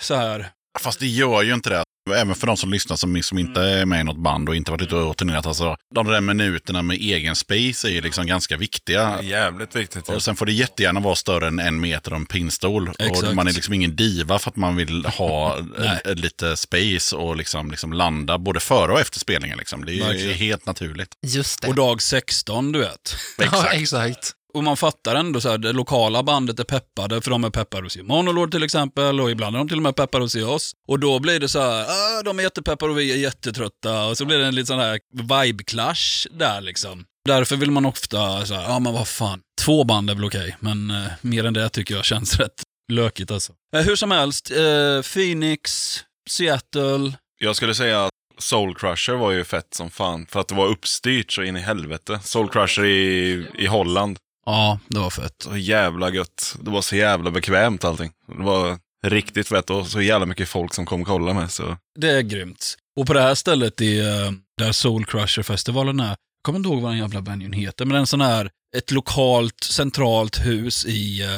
så här.
Fast det gör ju inte det. Även för de som lyssnar som, som inte är med i något band och inte varit ute och turnerat. Alltså, de där minuterna med egen space är ju liksom ganska viktiga.
Jävligt viktigt. ja.
Och sen får det jättegärna vara större än en meter och en pinstol.
Exakt.
Och man är liksom ingen diva för att man vill ha
Nej.
eh, lite space och liksom, liksom landa både före och efter spelningen. Liksom. Det är ju
Verkligen.
helt naturligt.
Just det.
Och dag 16 du vet.
Ja, exakt.
Och man fattar ändå så här, det lokala bandet är peppade, för de är peppade hos Monolord till exempel, och ibland är de till och med peppade hos oss. Och då blir det så här, ah, de är jättepeppade och vi är jättetrötta, och så blir det en liten sån här vibe-clash där liksom. Därför vill man ofta så här, ja ah, men vad fan, två band är väl okej, men eh, mer än det tycker jag känns rätt lökigt alltså. Eh, hur som helst, eh, Phoenix, Seattle,
Jag skulle säga att Soul Crusher var ju fett som fan. För att det var uppstyrt så in i helvete. Soul Crusher i, i Holland.
ja det var fett.
Så jävla gött. Det var så jävla bekvämt allting. Det var riktigt fett och så jävla mycket folk som kom och kollade med. Så.
Det är grymt. Och på det här stället i, eh, där Soul Crusher-festivalen är, jag kommer inte ihåg vad den jävla venuen heter, men en sån här, ett lokalt centralt hus i uh,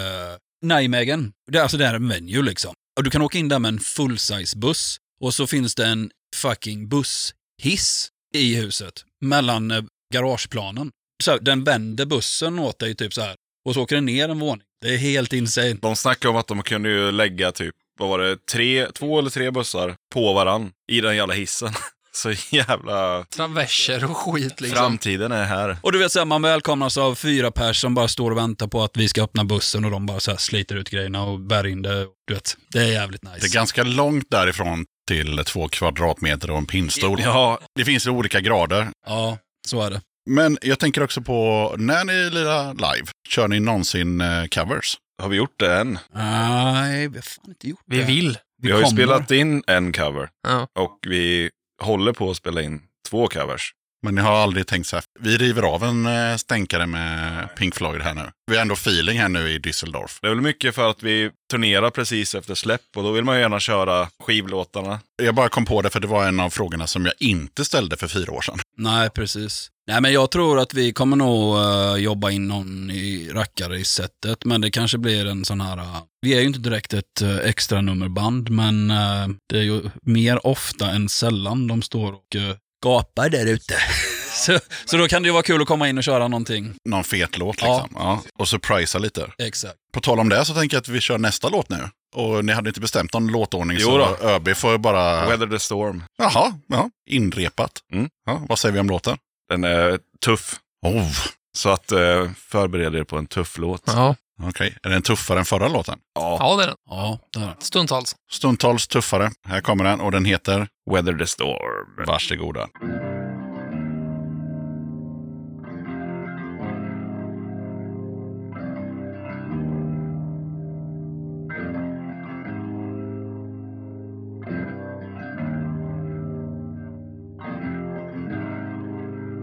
Nijmegen. Det är alltså det här är en venue liksom. Och du kan åka in där med en full-size-buss och så finns det en fucking busshiss i huset mellan eh, garageplanen. Så här, den vänder bussen åt dig typ så här och så åker den ner en våning. Det är helt insane.
De snackade om att de kunde ju lägga typ, vad var det, tre, två eller tre bussar på varann i den jävla hissen. Så jävla...
Traverser och skit liksom.
Framtiden är här.
Och du vet, så här, man välkomnas av fyra pers som bara står och väntar på att vi ska öppna bussen och de bara så här, sliter ut grejerna och bär in det. Du vet, det är jävligt
Det är
nice.
ganska långt därifrån till två kvadratmeter och en pinnstol.
Ja,
Det finns ju olika grader.
Ja, så är det.
Men jag tänker också på när ni lirar live, kör ni någonsin eh, covers?
har vi gjort det än?
Nej, vi har fan inte gjort
Vi
det.
vill.
Vi har ju
kommer.
spelat in en cover
Ja.
och vi håller på att spela in två covers.
Men ni har aldrig tänkt så här, vi river av en eh, stänkare med Pink Floyd här nu. Vi har ändå feeling här nu i Düsseldorf.
Det är väl mycket för att vi turnerar precis efter släpp och då vill man ju gärna köra skivlåtarna.
Jag bara kom på det för det var en av frågorna som jag inte ställde för fyra år sedan.
Nej, precis. Nej, men jag tror att vi kommer nog eh, jobba in någon i rackare i setet, men det kanske blir en sån här... eh, vi är ju inte direkt ett eh, extra nummerband, men eh, det är ju mer ofta än sällan de står och eh, gapar där ute. så, så då kan det ju vara kul att komma in och köra någonting.
Någon fet låt
Ja.
liksom. Ja. Och surprisa lite.
Exakt.
På tal om det så tänker jag att vi kör nästa låt nu. Och ni hade inte bestämt någon låtordning
Jo
så
då.
ÖB får bara...
Weather the Storm.
Jaha, ja. inrepat.
Mm.
Ja, vad säger vi om låten?
Den är tuff.
Oh,
Så att eh, förbered er på en tuff låt.
Ja.
okej. Är den tuffare än förra låten?
Ja.
ja, det är den.
Ja, det är det.
Stundtals.
Stundtals tuffare. Här kommer den och den heter
Weather the Storm.
Varsågoda.
Weather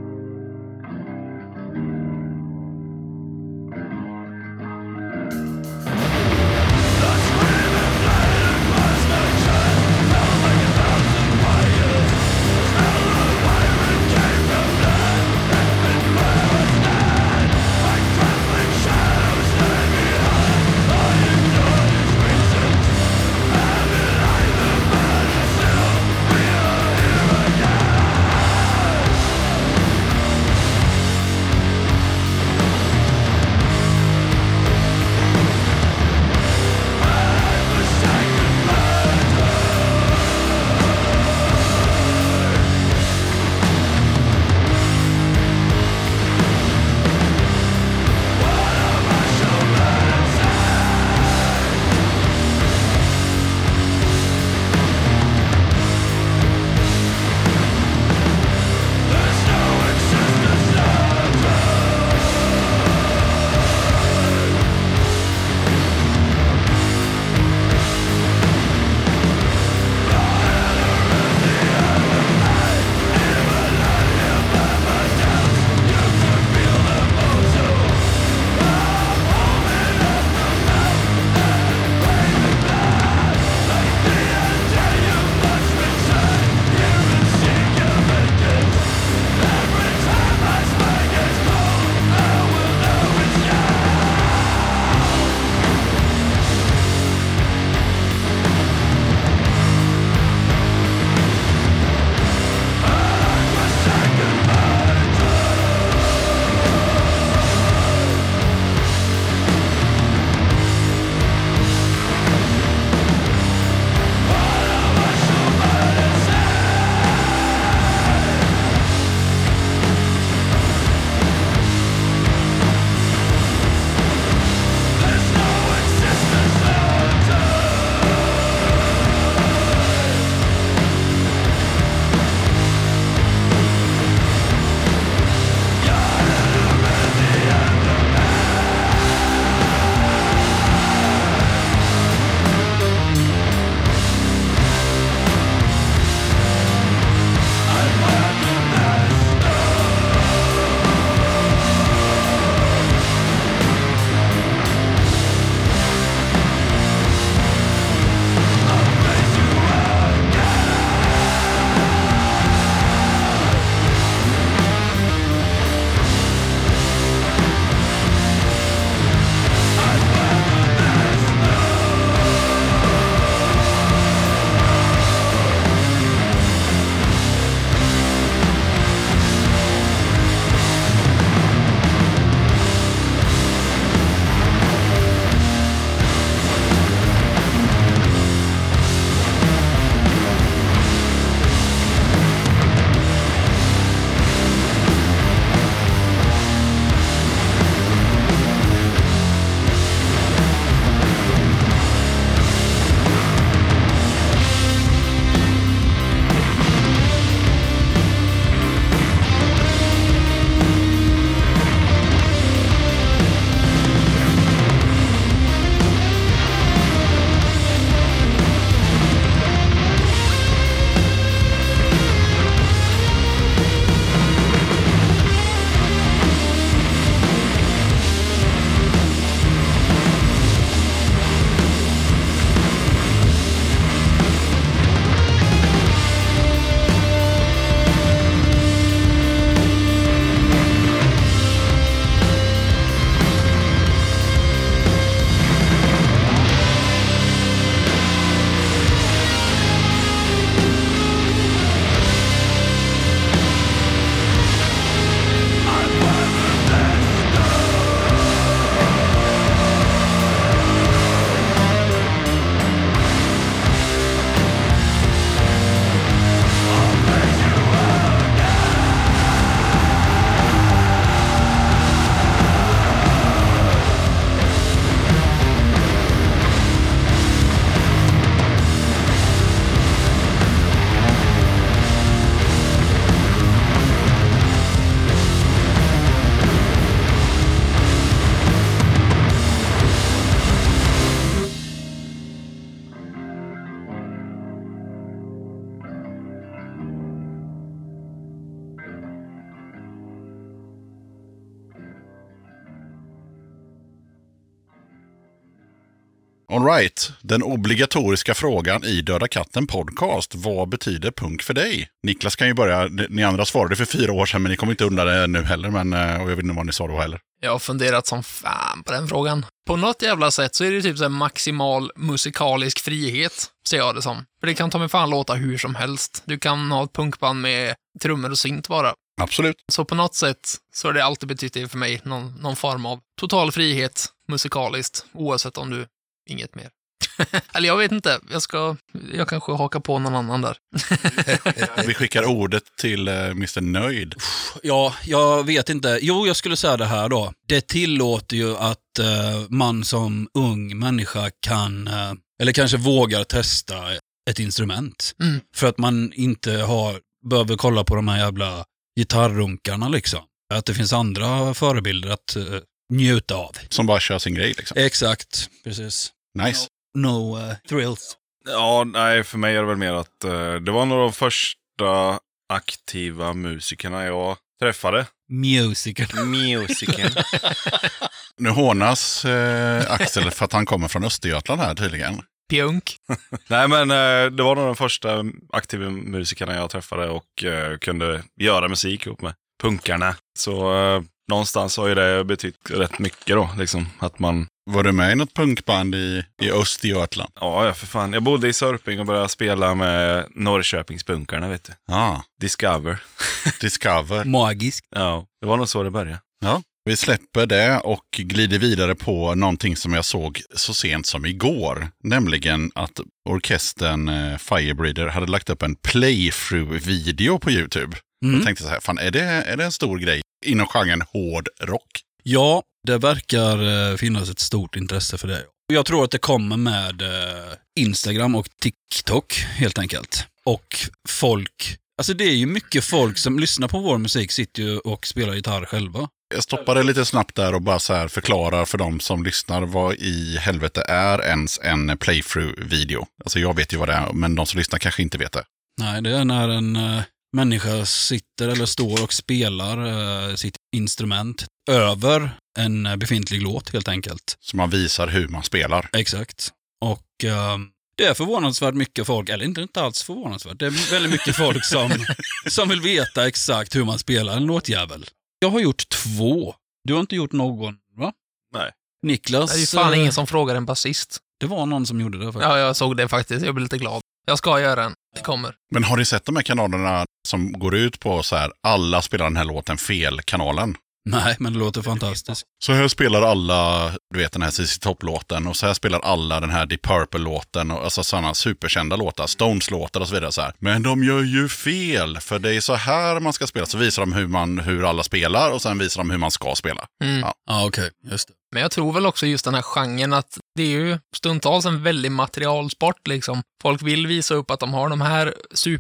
Alright, den obligatoriska frågan i Döda katten podcast. Vad betyder punk för dig? Niklas kan ju börja. Ni andra svarade för fyra år sedan, men ni kommer inte undan det nu heller. Men, eh, och jag vet inte vad ni sa då heller.
Jag har funderat som fan på den frågan. På något jävla sätt så är det typ så här maximal musikalisk frihet, ser jag det som. För det kan ta mig fan låta hur som helst. Du kan ha ett punkband med trummor och synt bara.
Absolut.
Så på något sätt så har det alltid betytt det för mig, någon, någon form av total frihet musikaliskt, oavsett om du inget mer. Eller jag vet inte, jag ska, jag kanske hakar på någon annan där.
Vi skickar ordet till eh, Mr Nöjd.
Ja, jag vet inte. Jo, jag skulle säga det här då. Det tillåter ju att eh, man som ung människa kan, eh, eller kanske vågar testa ett instrument.
Mm.
För att man inte har, behöver kolla på de här jävla gitarrunkarna liksom. Att det finns andra förebilder att eh, njuta av.
Som bara kör sin grej liksom.
Exakt, precis.
Nice.
No eh, thrills.
Ja, nej, för mig är det väl mer att eh, det var nog de första aktiva musikerna jag träffade.
Musical.
Musiken.
Nu hånas eh, Axel för att han kommer från Östergötland här tydligen.
Pjunk.
nej, men eh, det var nog de första aktiva musikerna jag träffade och eh, kunde göra musik ihop med. Punkarna. Så eh, någonstans har ju det betytt rätt mycket då, liksom. Att man
Var du med i något punkband i, i Östergötland?
Ja, ja, för fan. Jag bodde i Sörping och började spela med Norrköpingspunkarna, vet du.
Ja,
Discover.
Discover.
Magisk.
Ja, det var nog så det började.
Vi släpper det och glider vidare på någonting som jag såg så sent som igår. Nämligen att orkestern eh, Firebreeder hade lagt upp en playthrough-video på YouTube. Jag
Mm.
tänkte så här, fan är det, är det en stor grej inom genren hård rock?
Ja, det verkar eh, finnas ett stort intresse för det. Jag tror att det kommer med eh, Instagram och TikTok helt enkelt. Och folk, alltså det är ju mycket folk som lyssnar på vår musik sitter ju och spelar gitarr själva.
Jag stoppade lite snabbt där och bara så här förklarar för de som lyssnar vad i helvete är ens en playthrough-video. Alltså jag vet ju vad det är, men de som lyssnar kanske inte vet det.
Nej, det är när en eh, människa sitter eller står och spelar eh, sitt instrument över en eh, befintlig låt helt enkelt.
Så man visar hur man spelar.
Exakt. Och eh, det är förvånansvärt mycket folk, eller inte, inte alls förvånansvärt, det är väldigt mycket folk som, som vill veta exakt hur man spelar en låtjävel. Jag har gjort två. Du har inte gjort någon, va?
Nej.
Niklas,
Det är ju fan
eh,
ingen som frågar en basist.
det var någon som gjorde det faktiskt.
Ja, jag såg det faktiskt. Jag blev lite glad. Jag ska göra en. Det kommer.
Men har ni sett de här kanalerna som går ut på så här, alla spelar den här låten fel-kanalen?
Nej, men det låter fantastiskt.
Så här spelar alla, du vet den här ZZ Top-låten och så här spelar alla den här Deep Purple-låten och alltså sådana superkända låtar, Stones-låtar och så vidare. Så här. Men de gör ju fel, för det är så här man ska spela. Så visar de hur, man, hur alla spelar och sen visar de hur man ska spela.
Mm.
Ja, okej, just det.
Men jag tror väl också just den här genren att det är ju stundtals en väldig materialsport liksom. Folk vill visa upp att de har de här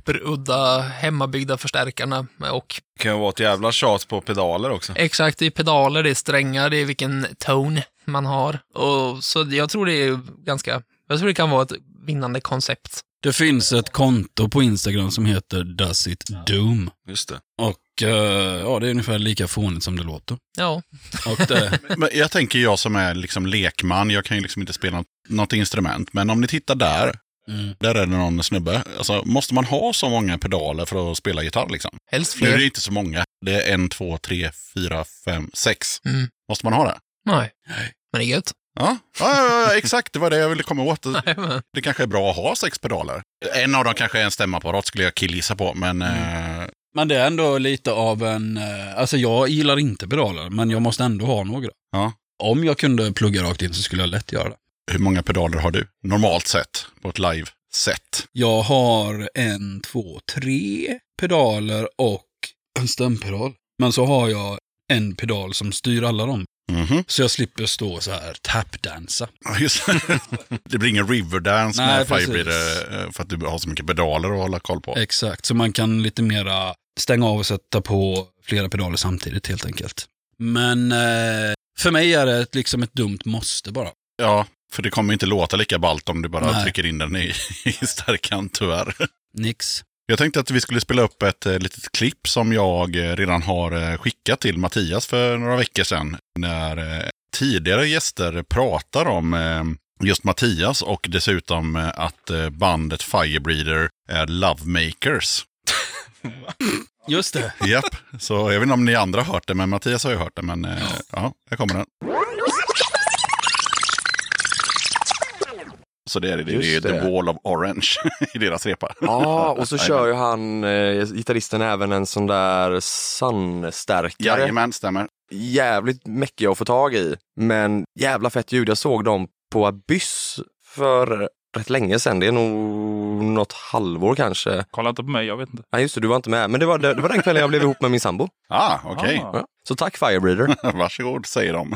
superudda hemmabyggda förstärkarna med- och
Det kan ju vara ett jävla tjat på pedaler också.
exakt, det är pedaler, det är strängar, det är vilken tone man har. Och så jag tror det är ganska, jag tror det kan vara ett vinnande koncept.
Det finns ett konto på Instagram som heter Does It Doom.
Just det.
Och eh, ja, det är ungefär lika fånigt som det låter.
Ja,
Och det,
Men jag tänker jag som är liksom lekman, jag kan ju liksom inte spela något, något instrument, men om ni tittar där,
mm,
där är det någon snubbe. Alltså, måste man ha så många pedaler för att spela gitarr liksom?
helst
Nu är det
fler.
inte så många. Det är en, två, tre, fyra, fem, sex.
Mm.
Måste man ha det?
Nej. Men det är gött.
Ja, ja, ja, ja exakt. Det var det jag ville komma åt.
Nej, men-
Det kanske är bra att ha sex pedaler. En av dem kanske är en stämapparat skulle jag killgissa på, men
Mm.
eh,
Men det är ändå lite av en, eh, alltså jag gillar inte pedaler, men jag måste ändå ha några.
Ja.
Om jag kunde plugga rakt in så skulle jag lätt göra det.
hur många pedaler har du? Normalt sett, på ett live-set.
Jag har en, två, tre pedaler och en stämpedal. Men så har jag en pedal som styr alla dem.
Mhm.
Så jag slipper stå så här tapdansa.
Ja, just det. det blir ingen riverdance
Nej,
med
precis.
Firebreeder eh, för att du har så mycket pedaler att hålla koll på.
Exakt, så man kan lite mera stänga av och sätta på flera pedaler samtidigt helt enkelt. Men eh, för mig är det ett- liksom ett dumt måste bara.
Ja, för det kommer inte låta lika ballt om du bara
Nej.
trycker in den i, i stärkan, tyvärr.
Nix.
Jag tänkte att vi skulle spela upp ett eh, litet klipp som jag eh, redan har eh, skickat till Mattias för några veckor sedan. När eh, tidigare gäster pratar om eh, just Mattias och dessutom eh, att eh, bandet Firebreeder är Lovemakers.
Just det.
Japp, så jag vet inte om ni andra har hört det, men Mattias har ju hört det. Men eh, ja, här kommer den. Så det är det, det, är
Just
The
det.
Wall of Orange i deras repa.
Ja, och så kör ju han, eh, gitarristen, även en sån där sandstärkare.
Jajamän, stämmer.
Jävligt mäckiga att få tag i, men jävla fett ljud. Jag såg dem på Abyss för rätt länge sedan. Det är nog något halvår kanske.
Kolla inte på mig, jag vet inte.
Nej, just det, du var inte med. Men det var, det, var den kvällen jag blev ihop med min sambo.
Ah, okej.
Ah.
Ja. Så tack Firebreeder.
Varsågod, säger de.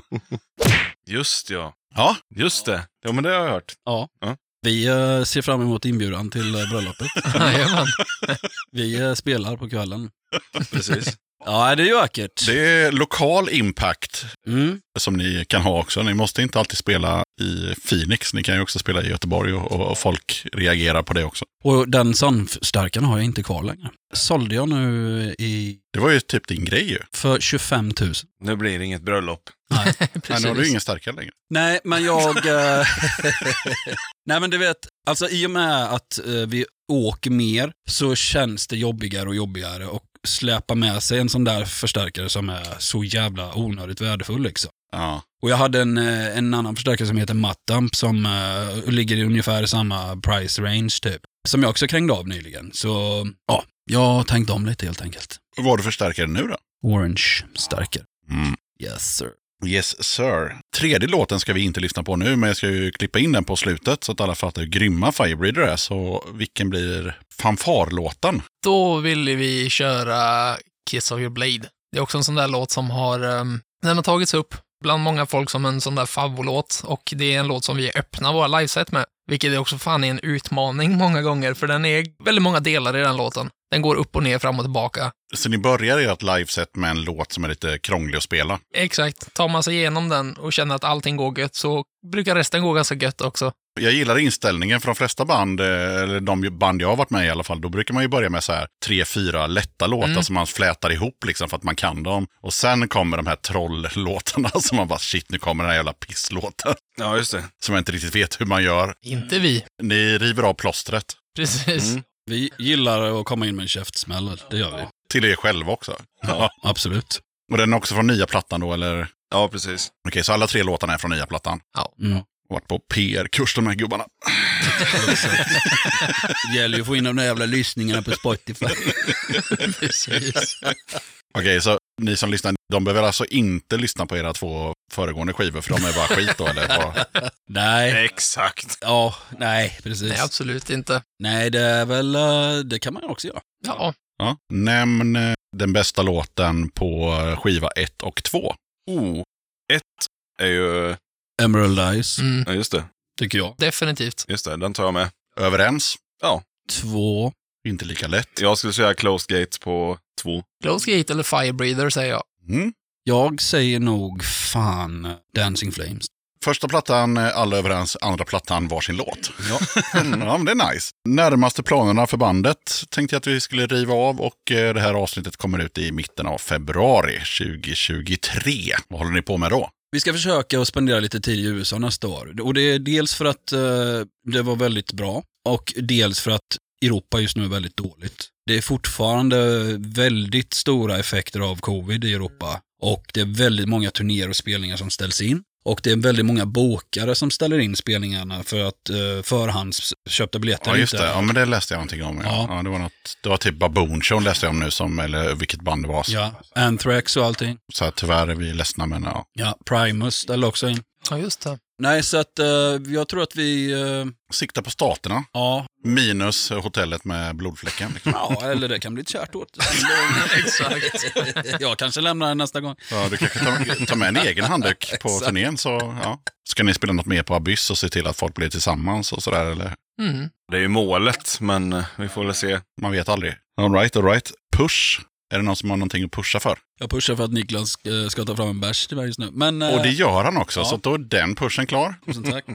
Just ja.
Ja,
Just det. Ja, men det har jag hört.
Ja.
Ja.
Vi eh, ser fram emot inbjudan till eh, bröllopet.
Jajamän.
Vi eh, spelar på kvällen.
Precis.
Ja, det är vackert.
det är lokal impact
Mm.
som ni kan ha också. Ni måste inte alltid spela i Phoenix. Ni kan ju också spela i Göteborg och, och, och folk reagerar på det också.
Och den sandstärkan har jag inte kvar längre. Sålde jag nu i
Det var ju typ din grej ju.
för 25 000.
Nu blir det inget bröllop.
Men nu har du ju ingen starkare längre.
Nej, men jag... eh, Nej, men du vet, alltså i och med att eh, vi åker mer så känns det jobbigare och jobbigare och släpa med sig en sån där förstärkare som är så jävla onödigt värdefull liksom.
Ja.
Och jag hade en, eh, en annan förstärkare som heter Mattamp som eh, ligger i ungefär samma price range typ. Som jag också krängde av nyligen. Så ja, jag tänkte om lite helt enkelt.
Vad har du för starkare nu då?
Orange stärkare.
Mm.
Yes sir.
Yes sir. Tredje låten ska vi inte lyssna på nu, men jag ska ju klippa in den på slutet så att alla fattar hur grymma Firebreeder är. Så vilken blir fanfarlåten?
Då ville vi köra Kiss of your blade. Det är också en sån där låt som har, um, den har tagits upp bland många folk som en sån där favvolåt och det är en låt som vi öppnar våra liveset med, vilket är också fan är en utmaning många gånger, för den är väldigt många delar i den låten. Den går upp och ner, fram och tillbaka.
Så ni börjar ert liveset med en låt som är lite krånglig att spela.
Exakt. Tar man sig igenom den och känner att allting går gött så brukar resten gå ganska gött också.
Jag gillar inställningen för de flesta band, eh, eller de band jag har varit med i i alla fall, då brukar man ju börja med så här tre, fyra lätta låtar
Mm.
som man flätar ihop liksom för att man kan dem. Och sen kommer de här trolllåtarna som man bara shit, nu kommer den här jävla pisslåten
Ja, just det.
som jag inte riktigt vet hur man gör.
Inte vi.
Ni river av plåstret
Precis.
Mm.
Vi gillar att komma in med en käftsmäll, det gör vi.
till er själva också. Ja.
Absolut.
Och den är också från nya plattan då, eller? Okej,
Ja, precis.
så alla tre låtarna är från nya plattan.
Mm.
Vart på PR-kurs de här gubbarna.
Det gäller ju att få in de där jävla lyssningarna på Spotify.
Precis.
Okej, så ni som lyssnar, de behöver alltså inte lyssna på era två föregående skivor, för de är bara skit då, eller? Vad?
nej,
Exakt.
ja, nej, precis.
Nej, absolut inte.
Nej, det är väl, eh, det kan man också göra.
Ja,
Ja. Nämn eh, den bästa låten på eh, skiva 1 och 2.
Oh. Ett är ju...
Emerald Eyes,
mm,
Ja, just det.
tycker jag.
definitivt.
Just det, den tar jag med.
Överens?
Två.
Inte lika lätt.
Jag skulle säga Closed Gate på två.
Close Gate eller Firebreather säger jag.
Mm.
Jag säger nog fan Dancing Flames.
Första plattan, eh, alla överens. Andra plattan, varsin låt. Ja. ja, men det är nice. Närmaste planerna för bandet tänkte jag att vi skulle riva av och eh, det här avsnittet kommer ut i mitten av februari 2023. Vad håller ni på med då?
Vi ska försöka att spendera lite tid i USA nästa år. Och det är dels för att eh, det var väldigt bra och dels för att Europa just nu är väldigt dåligt. Det är fortfarande väldigt stora effekter av covid i Europa och det är väldigt många turnéer och spelningar som ställs in. Och det är väldigt många bokare som ställer in spelningarna för att eh, förhandsköpta biljetter
Ja, just
inte-
det. Ja, men det läste jag någonting om. Ja.
Ja.
Ja, det, var något, det var typ Baboon Show läste jag om nu, som, eller vilket band det var.
Ja, Anthrax och allting.
Så här, tyvärr är vi ledsna, men ja.
Ja, Primus ställer också in.
Ja, just det.
Nej, så att eh, jag tror att vi, eh,
Sikta på staterna,
ja,
minus hotellet med blodfläcken. liksom.
ja, eller det kan bli ett kärt åt.
Exakt.
jag kanske lämnar den nästa gång.
Ja, du kanske tar, tar med en egen handduk på turnén. Så, ja. Ska ni spela något mer på Abyss och se till att folk blir tillsammans och sådär? Eller?
Mm.
Det är ju målet, men eh, vi får väl se.
Man vet aldrig. All right, all right. Push. Är det någon som har någonting att pusha för?
Jag pushar för att Niklas eh, ska ta fram en bärs till mig just nu. Men, eh,
Och det gör han också,
ja.
så då är den pushen klar.
tusen tack.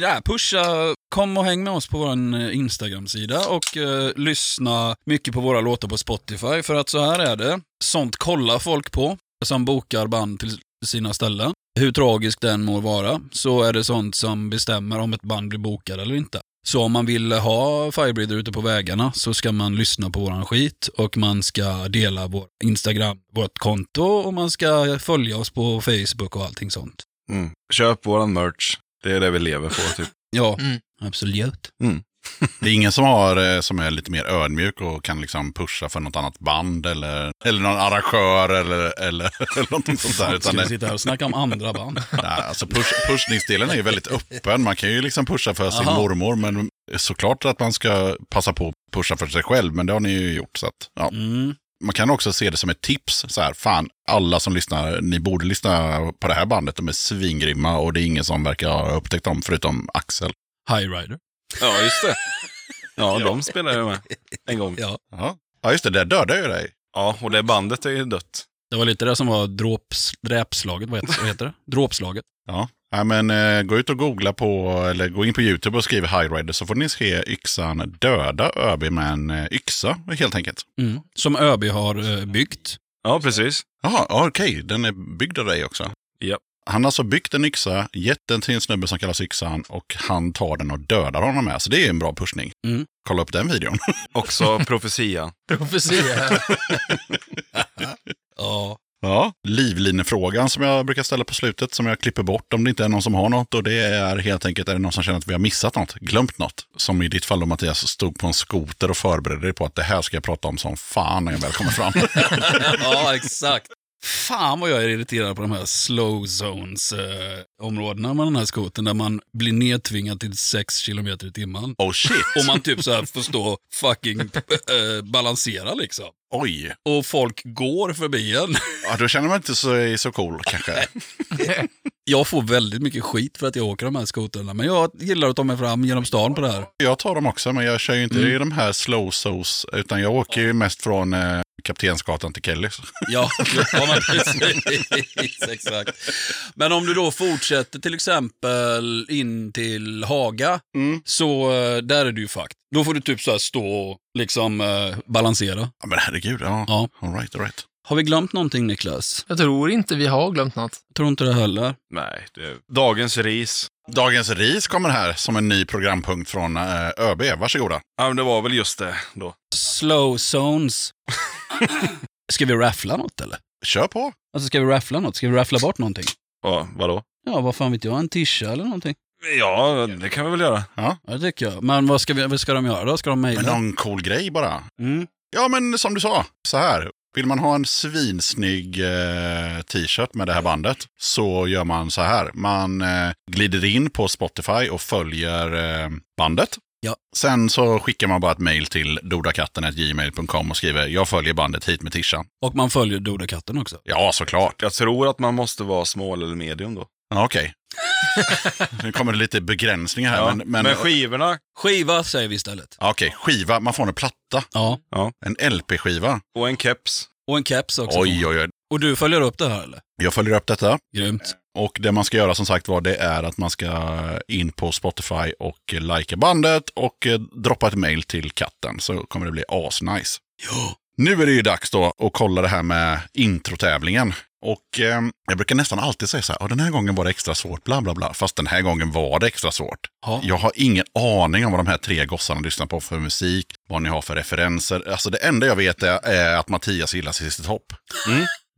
Ja, pusha, kom och häng med oss på vår eh, Instagram-sida och eh, lyssna mycket på våra låtar på Spotify. För att så här är det, sånt kollar folk på som bokar band till sina ställen. Hur tragisk den må vara, så är det sånt som bestämmer om ett band blir bokad eller inte. Så om man vill ha Firebreeder ute på vägarna så ska man lyssna på våran skit och man ska dela vår Instagram, vårt konto och man ska följa oss på Facebook och allting sånt.
Mm. Köp våran merch. Det är det vi lever på typ.
Ja,
Mm.
absolut.
Det är ingen som, har, eh, som är lite mer ödmjuk och kan liksom pusha för något annat band eller, eller någon arrangör eller, eller, eller någonting sånt där. Utan
Ska vi
det,
sitta här och snacka om andra band?
nej, alltså push, pushningsdelen är ju väldigt öppen. Man kan ju liksom pusha för sin
Aha.
mormor, men såklart att man ska passa på att pusha för sig själv, men det har ni ju gjort. Så att, ja.
Mm.
Man kan också se det som ett tips. Så här, fan, alla som lyssnar, ni borde lyssna på det här bandet. De är svingrymma och det är ingen som verkar ha upptäckt dem förutom Axel.
High Rider.
Ja, just det. Ja, de spelar jag med. En gång.
Ja.
Ja, ja just det, där dödade jag ju dig.
Ja, och det bandet är ju dött.
Det var lite det som var dråps, dräpslaget, vad heter, vad heter det? Dråpslaget.
Ja. Nej, men eh, gå ut och googla på, eller gå in på YouTube och skriv High Rider så får ni se yxan döda ÖB med en eh, yxa helt enkelt.
Mm. Som ÖB har eh, byggt.
Ja, precis.
Jaha, ja, okej, den är byggd av dig också.
Japp.
Han har alltså byggt en yxa, gett den till en snubbe som kallas yxan och han tar den och dödar honom med. Så det är en bra pushning.
Mm.
Kolla upp den videon.
Också profetia.
Profetia.
Ja.
Ja. Livlinefrågan som jag brukar ställa på slutet som jag klipper bort om det inte är någon som har något. Och det är helt enkelt, är det någon som känner att vi har missat något, glömt något? Som i ditt fall då Mattias, stod på en skoter och förberedde dig på att det här ska jag prata om som fan när jag väl kommer fram.
ja, exakt. Fan vad jag är irriterad på de här slow zones-områdena med den här skoten där man blir nedtvingad till 6 kilometer i timmen.
oh shit,
Och man typ så här får stå och fucking eh, balansera liksom.
oj.
Och folk går förbi en.
Ja, då känner man inte sig så cool kanske.
Jag får väldigt mycket skit för att jag åker de här skotrarna, men jag gillar att ta mig fram genom stan på det här.
Jag tar dem också, men jag kör ju inte
Mm.
i de här slow souls, utan jag åker ju mest från eh, Kaptensgatan till Kellys.
Ja, ja men precis. Exakt. Men om du då fortsätter till exempel in till Haga,
Mm.
så eh, där är du ju fucked. Då får du typ så här stå och liksom eh, balansera.
Ja, men herregud, ja.
Ja.
All right, all right.
Har vi glömt någonting Niklas?
Jag tror inte vi har glömt något.
Tror inte det heller.
Nej, det är dagens ris.
Dagens ris kommer här som en ny programpunkt från eh, ÖB. Varsågoda.
Ja, men det var väl just det då.
Slow zones. Ska vi raffla något eller?
Kör på.
Alltså ska vi raffla något? Ska vi raffla bort någonting?
Ja, vadå?
Ja, vad fan vet jag? En tisha eller någonting?
Ja, det kan vi väl göra.
Ja, det tycker jag. Men vad ska, vi, vad ska de göra då? Ska de
Men
mejla?
någon cool grej bara.
Mm.
Ja, men som du sa, så här. Vill man ha en svinsnygg eh, t-shirt med det här bandet så gör man så här. Man eh, glider in på Spotify och följer eh, bandet.
Ja.
Sen så skickar man bara ett mejl till dodakatten.gmail.com och skriver jag följer bandet hit med tishan.
Och man följer Dodakatten också.
Ja, såklart.
Jag tror att man måste vara smål eller medium då.
Ja, Okej. nu kommer det lite begränsningar här.
Ja,
men,
men,
men,
skivorna,
Skiva säger vi istället.
Ja, Okej, skiva. Man får en platta.
Ja.
En LP-skiva.
och en keps.
Och en keps också.
Oj, oj, oj.
Och du följer upp det här eller?
Jag följer upp detta. Eh,
Grymt.
Och det man ska göra som sagt var det är att man ska in på Spotify och likea bandet och eh, droppa ett mail till katten så kommer det bli asnice.
Ja.
Nu är det ju dags då att kolla det här med introtävlingen. Och eh, jag brukar nästan alltid säga så här, "Ja, den här gången var det extra svårt, bla bla bla. Fast den här gången var det extra svårt.
Ja.
Jag har ingen aning om vad de här tre gossarna lyssnar på för musik, vad ni har för referenser. Alltså det enda jag vet är, är att Mattias gillar Sist Hopp.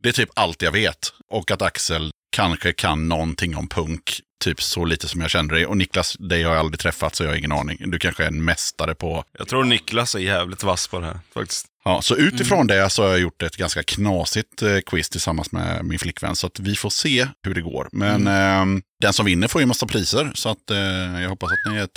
Det är typ allt jag vet. Och att Axel kanske kan någonting om punk, typ så lite som jag känner dig. Och Niklas, dig har jag aldrig träffat så jag har ingen aning. Du kanske är en mästare på
Jag tror Niklas är jävligt vass på det här faktiskt.
Ja, så utifrån det så har jag gjort ett ganska knasigt eh, quiz tillsammans med min flickvän. Så att vi får se hur det går. Men ehm, den som vinner får ju massa priser. Så att, eh, jag hoppas att ni är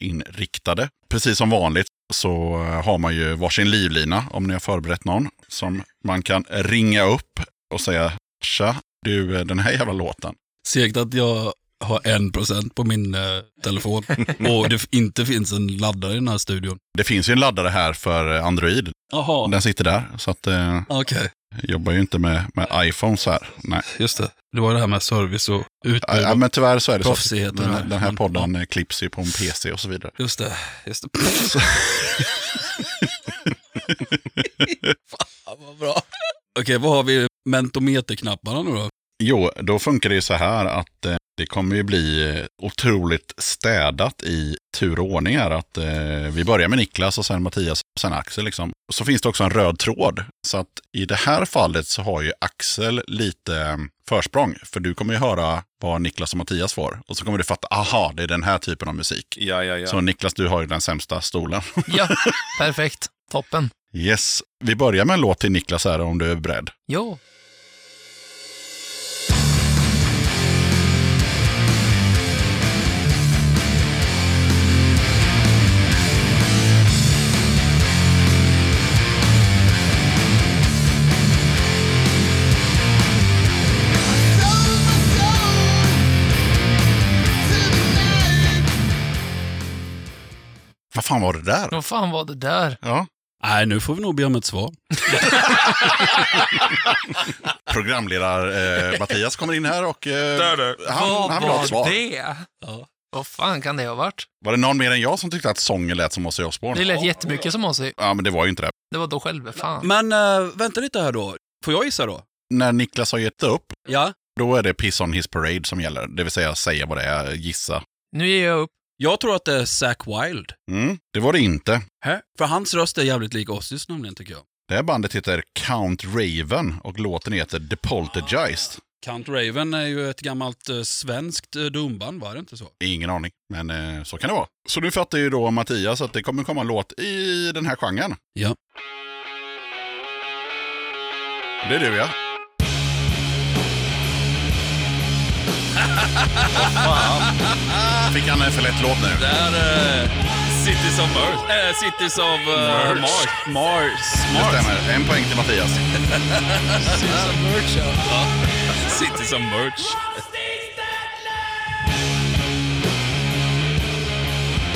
tävlingsinriktade. Precis som vanligt så eh, har man ju varsin livlina om ni har förberett någon. Som man kan ringa upp och säga Tja, du eh, den här jävla låten.
Segt att jag har en procent på min eh, telefon och det f- inte finns en laddare i den här studion.
Det finns ju en laddare här för eh, Android.
Jaha,
Den sitter där. Så att, eh,
okej.
jag jobbar ju inte med, med iPhones här. Nej.
Just det. Det var det här med service och
Ja,
utbud.
ja, men tyvärr så är det så. att
Proffsigheten
Den, här-
här.
den här
Men-
podden eh, klipps ju på en PC och så vidare.
Just det. Just det. Fan vad bra. Okej, vad har vi mentometerknapparna nu då?
Jo, då funkar det ju så här att eh, det kommer ju bli eh, otroligt städat i tur och ordning här. Att, eh, vi börjar med Niklas och sen Mattias och sen Axel. Liksom. Och Så finns det också en röd tråd. Så att i det här fallet så har ju Axel lite eh, försprång. För du kommer ju höra vad Niklas och Mattias får. Och så kommer du fatta, aha, det är den här typen av musik.
Ja, ja, ja.
Så Niklas, du har ju den sämsta stolen.
Ja, perfekt. Toppen.
Yes, vi börjar med en låt till Niklas här om du är beredd.
Jo.
Vad fan var det där?
Vad fan var det där?
Ja.
Nej, nu får vi nog be om ett svar.
Programledare eh, Mattias kommer in här och eh,
Där, där.
han, han vill ha ett svar.
det?
Ja.
Vad fan kan det ha varit?
Var det någon mer än jag som tyckte att sången lät som Ozzy
Det
Osbourne?
lät jättemycket som Ozzy.
Ja, men det var ju inte det.
Det var då själv, fan.
Men eh, vänta lite här då. Får jag gissa då?
När Niklas har gett upp,
Ja.
då är det Piss on his parade som gäller. Det vill säga säga vad det är, gissa.
Nu ger jag upp.
Jag tror att det är Zack Wild.
Mm, det var det inte.
Hä? För hans röst är jävligt lik Ozzys nämligen, tycker jag.
Det här bandet heter Count Raven och låten heter The Poltergeist.
Count Raven är ju ett gammalt eh, svenskt eh, domband, var det inte så?
Ingen aning, men eh, så kan det vara. Så nu fattar ju då Mattias att det kommer komma en låt i den här genren.
Ja.
Det är du ja. Fick han en för lätt låt nu?
Där... Uh, Cities of Mars. Eh, Cities of eh,
Mars.
Mars. Mars.
Det
Mars.
stämmer. En poäng till Mattias.
Cities of Merch, ja. Cities of Merch.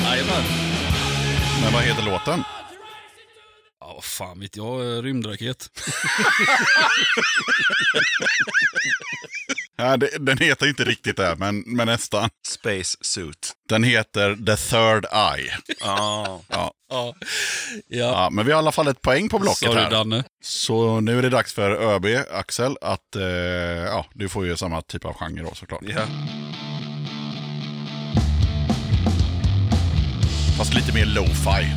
Jajamän.
Men vad heter låten?
Ja, vad fan vet jag. eh, Rymdraket.
Ja, det, den heter inte riktigt det, men, men nästan.
Space suit.
Den heter The Third Eye.
Ah.
Ja.
Ja. ja.
Ja, men vi har i alla fall ett poäng på blocket
Sorry,
här.
Danne.
Så nu är det dags för ÖB, Axel, att eh, ja, du får ju samma typ av genre då såklart.
Ja.
Fast lite mer lo-fi.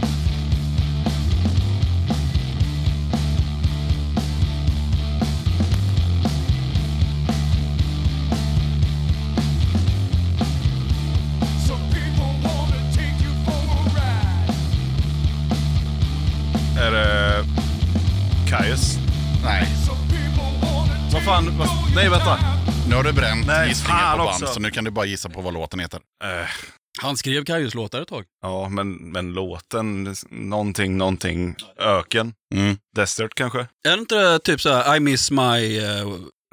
Är det... Kaius?
Nej,
Vad fan? Vad... Nej, vänta.
nu har du bränt
Nej,
gissningen
fan
på band
också.
så nu kan du bara gissa på vad låten heter.
Eh,
Han skrev Kajus-låtar ett tag.
ja, men, men låten, någonting, någonting. Öken.
Mm.
Desert kanske?
Är det inte eh, typ så här, I miss my... eh,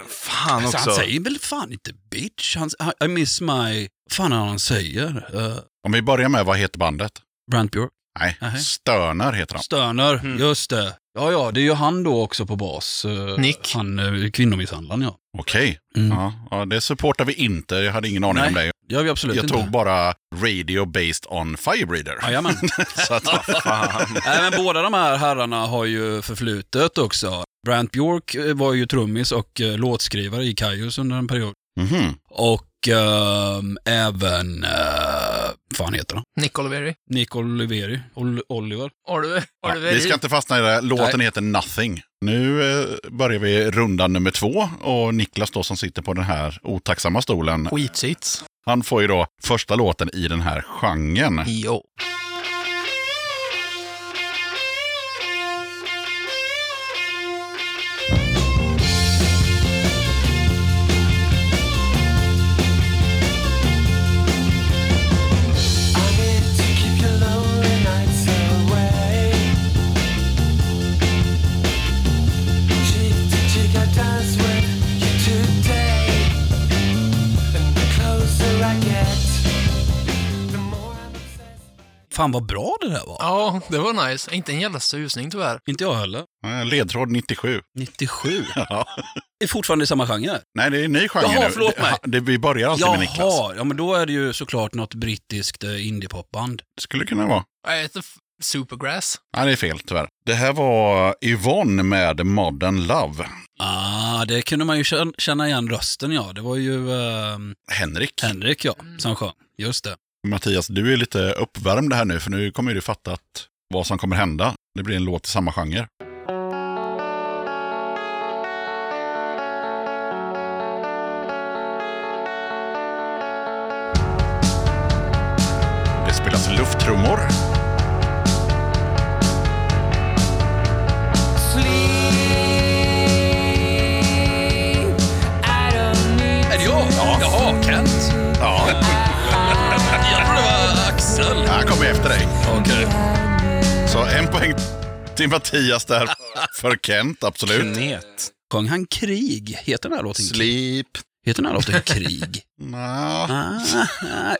Fan
Alltså,
också.
han säger väl fan inte bitch? Han, han- I miss my... fan är han säger? Uh,
Om vi börjar med vad heter bandet?
Brant Björk.
Nej,
Nej.
Störner heter de.
Störner,
Mm.
just det. Ja, ja, det är ju han då också på bas. eh,
Nick.
Han uh, kvinnomisshandlaren, ja.
Okej,
Mm.
ja, ja, det supportar vi inte. Jag hade ingen aning
Nej,
om det.
Det gör vi absolut
Jag
inte.
tog bara Radio Based on Firebreeder.
Jajamän.
så att, vad fan.
Nej, men båda de här herrarna har ju förflutet också. Brant Björk eh, var ju trummis och eh, låtskrivare i Kajus under en period.
Mhm.
Och ehm, även, eh, vad fan heter han?
Nick Oliveri.
Nick Oliveri, Ol- Oliver.
Oliver.
Ja,
Oliveri.
vi ska inte fastna i det. här. Låten heter Nothing. Nu eh, börjar vi runda nummer två och Niklas då som sitter på den här otacksamma stolen.
Skitsits.
Han får ju då första låten i den här genren.
Jo.
Fan vad bra det där var.
Ja, det var nice. Inte en jävla susning tyvärr.
Inte jag heller.
Eh, Ledtråd 97.
97.
Ja.
Det är fortfarande i samma genre.
Nej, det är en ny genre
Jaha,
nu.
förlåt mig.
Det, vi börjar alltid med Niklas.
ja men då är det ju såklart något brittiskt eh, indiepopband.
Det skulle kunna vara.
Jag vet inte f- Supergrass.
Nej, det är fel tyvärr. Det här var Yvonne med Modern Love.
Ah, det kunde man ju kän- känna igen rösten ja. Det var ju ehm,
Henrik.
Henrik ja, som sjöng. Just det.
Mattias, du är lite uppvärmd här nu, för nu kommer ju du fatta att vad som kommer hända. Det blir en låt i samma genre. Det spelas lufttrummor.
Är det jag? Ja. Jaha, Kent.
Ja,
Jag trodde det var Axel.
han kommer efter dig.
Okej.
Så en poäng till Mattias där för Kent, absolut.
Knet.
Sjöng han krig? Heter den här låten krig?
Sleep.
Heter den här låten krig?
Nja.
ah,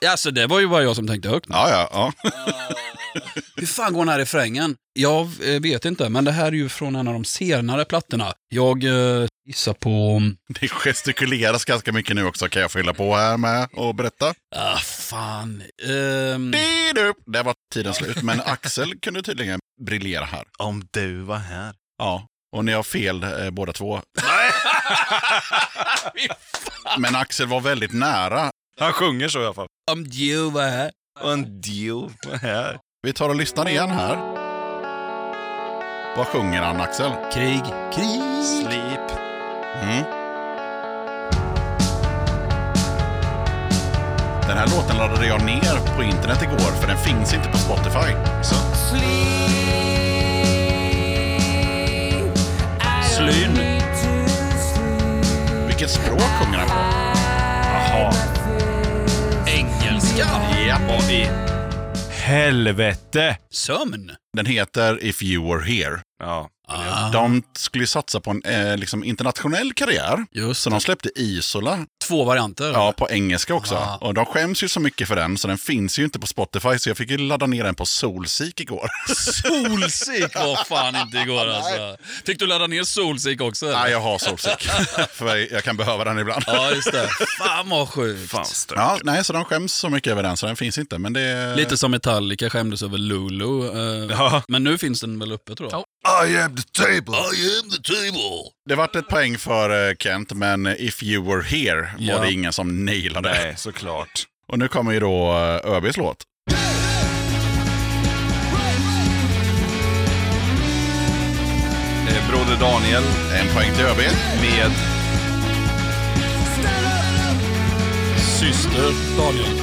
ah. alltså det var ju bara jag som tänkte högt.
Ja, ja, ja.
Hur fan går den här refrängen? Jag eh, vet inte, men det här är ju från en av de senare plattorna. Jag eh, gissar på...
Det gestikuleras ganska mycket nu också kan jag fylla på här med och berätta.
Ah, fan. Ehm,
Didup! Där var tiden slut, men Axel kunde tydligen briljera här.
Om du var här.
Ja. Och ni har fel eh, båda två. Men Axel var väldigt nära.
Han sjunger så i alla fall.
om du var här.
Om du var här.
Vi tar och lyssnar igen här. Vad sjunger han Axel?
Krig. Krig.
Sleep.
Mm. Den här låten laddade jag ner på internet igår för den finns inte på Spotify. Så.
Slyn.
Vilket språk sjunger han på? Jaha.
Engelska.
Ja.
Helvete!
Sömn.
Den heter If You Were Here.
Ja.
Ah,
De skulle ju satsa på en eh, liksom internationell karriär.
just
Så de släppte Isola
Två varianter.
ja, på engelska också.
Ah.
Och de skäms ju så mycket för den så den finns ju inte på Spotify så jag fick ju ladda ner den på Solsik igår.
Solsik var fan inte igår alltså. Fick du ladda ner Solsik också? eller?
Nej, jag har Solsik. för jag kan behöva den ibland.
Ja, just det. Fan vad sjukt.
Fan, stö-
Ja, nej, så de skäms så mycket över den så den finns inte. Men det...
Lite som Metallica skämdes över Lulu. eh,
Ja.
Men nu finns den väl uppe tror jag.
Ja.
I am the table.
I am the table.
Det vart ett poäng för eh, Kent, men if you were here var
Ja.
det ingen som nailade.
Nej, såklart.
Och nu kommer ju då eh, ÖBs låt.
Eh, Broder Daniel
En poäng till ÖB.
med...
Syster Daniel.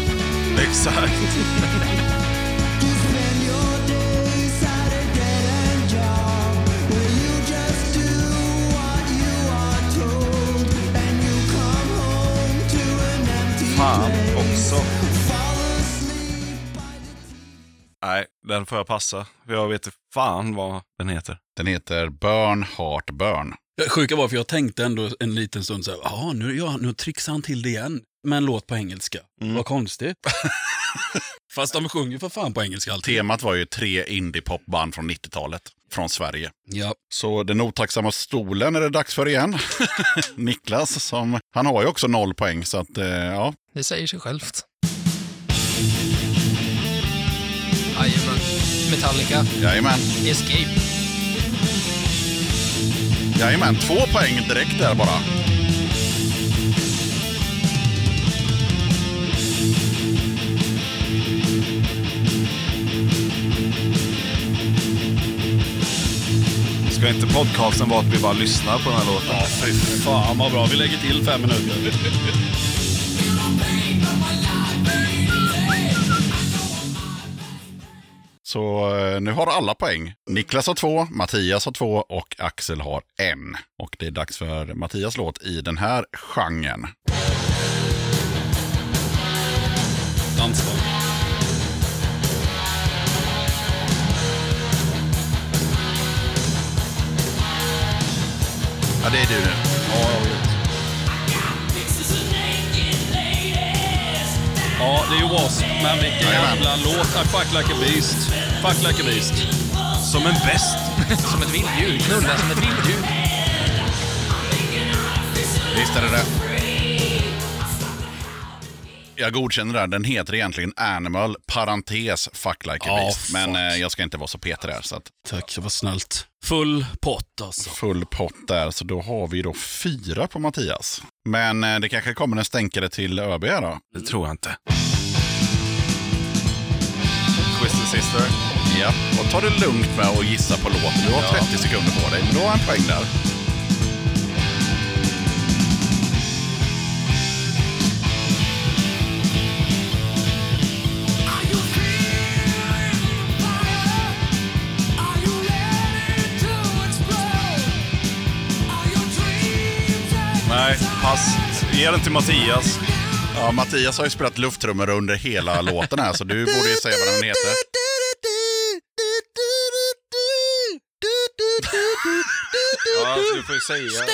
Exakt. Fan också. Nej, den får jag passa. För jag vet inte fan vad den heter.
Den heter Burn Heart Burn.
Det sjuka var för jag tänkte ändå en liten stund så här, ja nu, ja, nu trixar han till det igen. Med en låt på engelska.
Mm.
Vad konstigt. Fast de sjunger för fan på engelska alltid.
Temat var ju tre indiepopband från 90-talet från Sverige.
Ja.
Så den otacksamma stolen är det dags för igen. Niklas, som, han har ju också noll poäng så att eh, ja.
Det säger sig självt. Jajamän. Metallica.
Jajamän,
Escape.
jajamän. Två poäng direkt där bara.
Ska inte podcasten vara att vi bara lyssnar på den här låten?
Ja, fy fan vad bra. Vi lägger till fem minuter.
Så eh, nu har alla poäng. Niklas har två, Mattias har två och Axel har en. Och det är dags för Mattias låt i den här genren.
Dansband.
Ja, det är du nu.
Ja, det är ju Wasp, men vilken
Jajamän.
jävla låt. I fuck like a beast. Fuck like a beast.
Som en bäst.
Som ett vilddjur. Knulla som ett vilddjur.
Visst är det det. Jag godkänner det här. Den heter egentligen Animal, parentes, fuck like a
Ja,
beast. Men
fuck.
eh, jag ska inte vara så petig där. Så att
Tack, det var snällt. Full pott alltså.
full pott där, så då har vi då fyra på Mattias. Men eh, det kanske kommer en stänkare till ÖB då?
Det tror jag inte.
Twisted Sister. Ja, och ta det lugnt med att gissa på låten. Du har 30 sekunder på dig, men du har en poäng där.
Nej, pass. Ge den till Mattias.
Ja, Mattias har ju spelat lufttrummor under hela låten här, så du borde ju säga vad den heter.
Ja,
alltså,
du får ju säga.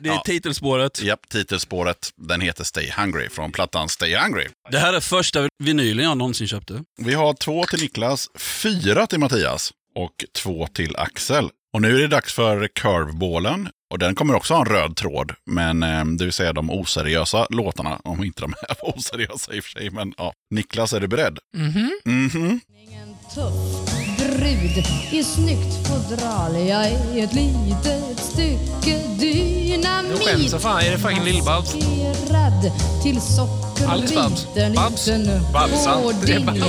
Det är titelspåret.
Japp, titelspåret. Den heter Stay Hungry från plattan Stay Hungry.
Det här är första vinylen jag någonsin köpte.
Vi har två till Niklas, fyra till Mattias och två till Axel. Och nu är det dags för curveballen. Och den kommer också ha en röd tråd, men eh, det vill säga de oseriösa låtarna. Om inte de här var oseriösa i och för sig, men ja. Niklas, är du beredd?
Mhm.
Mhm.
Tuff brud i snyggt fodral Jag är ett litet stycke dynamit
Jag skäms som fan. Är det fucking Lill-Babs?
Maskerad till
Alice Babs.
sockerbiten
Babs.
Liten
Babsan. Det är
hårding
Bab-
I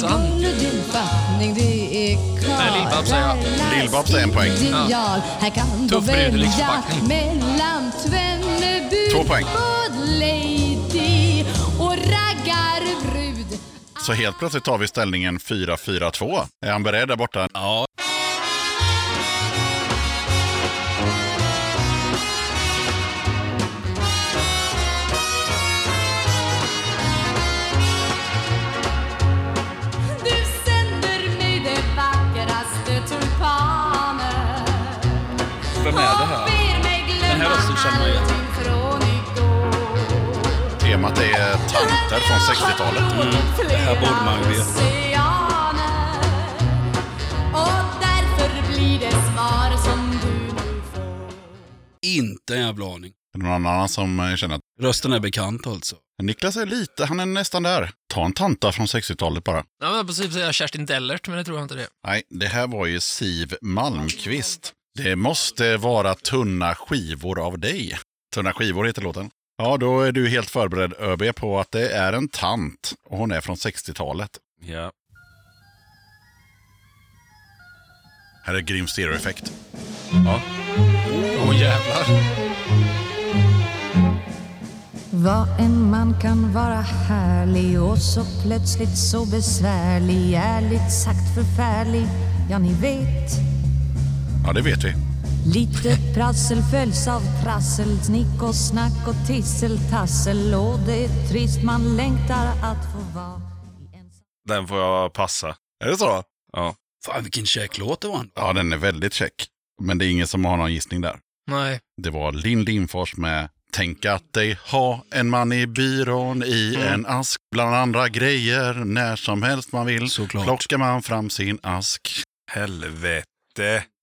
Babsan.
guld och din fattning Det är
Nej, Lill-Babs säger jag.
Lill-Babs är en poäng.
ideal Här kan
Tuff
du
brud,
välja
lyxförpackning.
mellan Tvenneby
Två poäng.
Lady och raggarbrud
Så helt plötsligt tar vi ställningen 4-4-2. Är han beredd där borta? Ja.
Du sänder mig det vackraste tulpaner
Vem är det här?
Ber mig
Den här
glömma
rösten känner jag igen.
från igår
Temat är tanter från 60-talet.
Mm.
Det här borde man ju veta. oceaner Och därför blir det svar som du
Inte en jävla aning.
Är det någon annan som eh, känner att...
Rösten är bekant alltså.
Niklas är lite, han är nästan där. Ta en tanta från 60-talet bara.
Ja, men på princip säger jag Kerstin Dellert, men det tror jag inte det.
Nej, det här var ju Siv Malmqvist. Det måste vara Tunna skivor av dig. Tunna skivor heter låten. Ja, då är du helt förberedd ÖB på att det är en tant och hon är från 60-talet.
Ja.
Här är grym stereoeffekt.
Ja.
Åh jävlar.
Vad en man kan vara härlig och så plötsligt så besvärlig Ärligt sagt förfärlig, ja ni vet
Ja, det vet vi.
Lite prassel följs av trassel Snick och snack och tisseltassel Och det är trist man längtar att få vara
Den får jag passa.
Är det så?
Ja.
Fan vilken käck låt det var.
Ja, den är väldigt check. Men det är ingen som har någon gissning där.
Nej.
Det var Linn Lindfors med Tänk att dig ha en man i byrån i
Mm.
en ask bland andra grejer när som helst man vill. Såklart. Plockar man fram sin ask.
Helvete.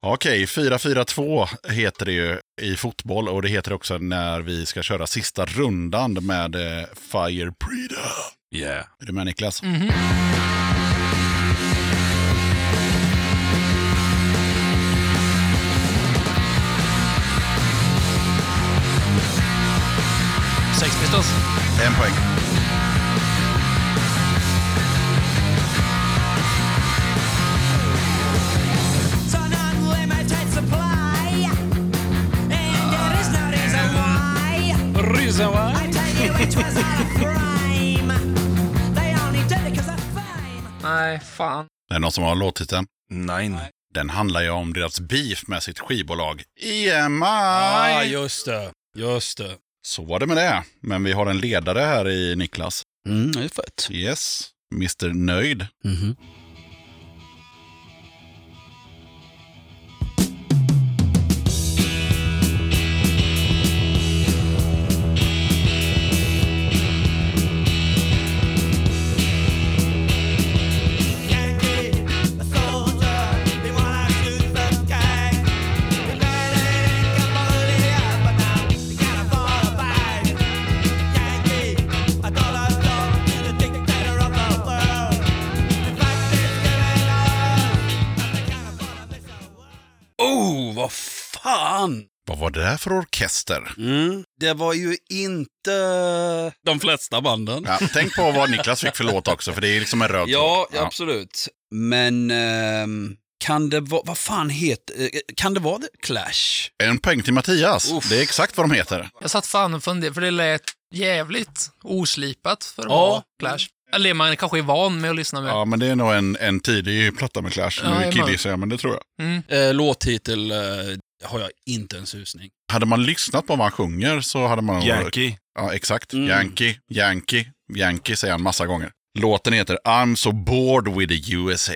Okej, 4-4-2 heter det ju i fotboll och det heter det också när vi ska köra sista rundan med eh, Fire Preda.
Yeah.
Är du med Niklas?
Mhm.
Sex Pistols.
En poäng.
Reason why?
Nej, fan.
Är det någon som har låttiteln?
Nej.
Den handlar ju om deras beef med sitt skivbolag EMI.
Ja, Ah, just det. Just det.
Så var det med det. Men vi har en ledare här i Niklas.
Mm, det är fett.
Yes. Mr Nöjd.
Mm-hmm.
Mhm.
I don't
Oh, vad fan!
Vad var det där för orkester?
Mm. Det var ju inte de flesta banden.
Ja, tänk på vad Niklas fick för låt också, för det är liksom en röd
Ja,
tråd.
absolut. Men ehm, kan det vara, vad fan heter, eh, kan det vara The Clash?
En poäng till Mattias. Det är exakt vad de heter.
Jag satt fan och funderade, för det lät jävligt oslipat för att
Ja.
vara Clash. Eller man kanske är van med att lyssna med.
Ja, men det är nog en, en tidig platta med Clash.
Ja,
nu är
jajamän.
killgissar jag, men det tror jag.
Mm.
Eh, låttitel eh, har jag inte en susning.
Hade man lyssnat på vad han sjunger så hade man... nog-
Yankee.
Ja, exakt. Yankee, Yankee, Yankee säger han massa gånger. Låten heter I'm so bored with the USA.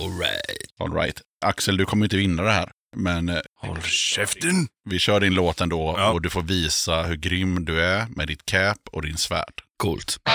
All right.
All right. Axel, du kommer inte vinna det här. Men... eh,
Håll käften!
Vi kör din låt ändå och du får visa hur grym du är med ditt cap och din svärd.
Coolt.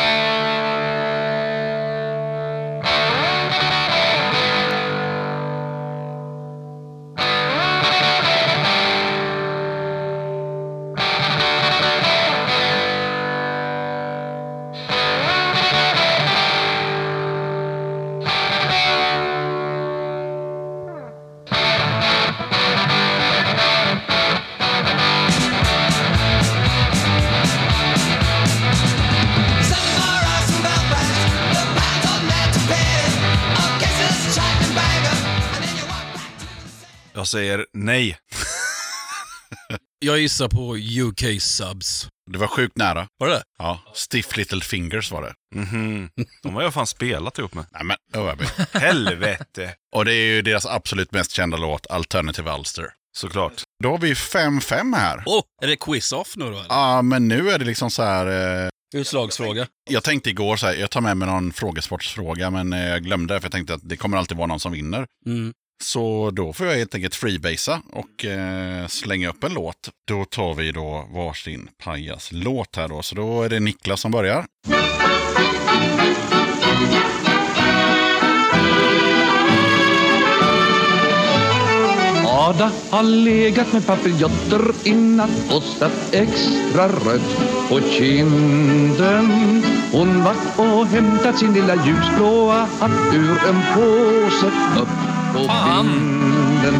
Jag säger nej.
Jag gissar på UK Subs.
Det var sjukt nära.
Var det?
Ja. Stiff Little Fingers var det.
Mhm. De har jag fan spelat ihop med.
Nej men, ÖB.
Helvete.
Och det är ju deras absolut mest kända låt, Alternative Ulster.
Såklart.
Då har vi 5-5 här.
Åh, oh, är det quiz-off nu då? eller?
Ja, men nu är det liksom så här... Eh,
Utslagsfråga.
jag tänkte igår så här, jag tar med mig någon frågesportsfråga, men eh, jag glömde det för jag tänkte att det kommer alltid vara någon som vinner.
Mm.
Så då får jag helt enkelt freebasea och eh, slänga upp en låt. Då tar vi då varsin pajas-låt här då. Så då är det Niklas som börjar.
Ada har legat med papiljotter i natt och satt extra rött på kinden. Hon vart och hämtat sin lilla ljusblåa hatt ur en påse upp på vinden.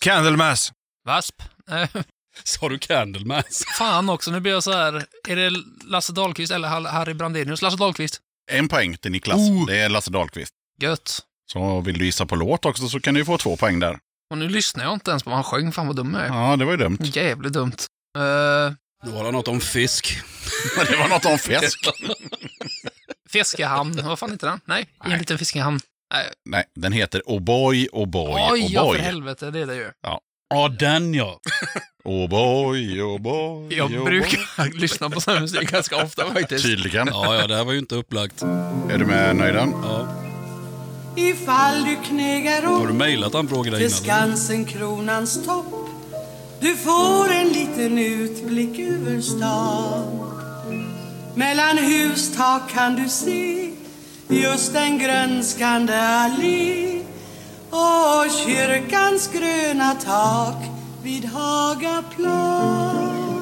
Candlemass.
Vasp. Eh,
Sa du Candlemass?
Fan också, nu blir jag så här. Är det Lasse Dahlqvist eller Hall- Harry Brandenius? Lasse Dahlqvist. Oh.
En poäng till Niklas.
Oh.
Det är Lasse Dahlqvist.
Gött.
Så vill du gissa på låt också så kan du ju få två poäng där.
Och nu lyssnar jag inte ens på vad han sjöng. Fan vad dum jag är.
Ja, det var ju dumt.
Jävligt dumt. Uh,
Nu var det något om fisk.
det var något om fisk.
Eh, Fiskehamn. Vad fan heter den? Nej, en liten fiskehamn. Nej.
Nej, den heter Oh O'boy, O'boy,
Oj, ja för
O'boy.
helvete. Det är det ju.
oh Ja. Oh
Ja, den ja.
O'boy, O'boy,
Jag
O'boy.
brukar lyssna på sån här musik ganska ofta faktiskt.
Tydligen.
Ja, ja, det här var ju inte upplagt.
Är du med nöjden?
Ja.
Ifall du knegar
Har du
upp
mejlat han frågade
till
innan?
Skansen kronans topp Du får en liten utblick över stan Mellan hustak kan du se just en grönskande allé och kyrkans gröna tak vid Hagaplan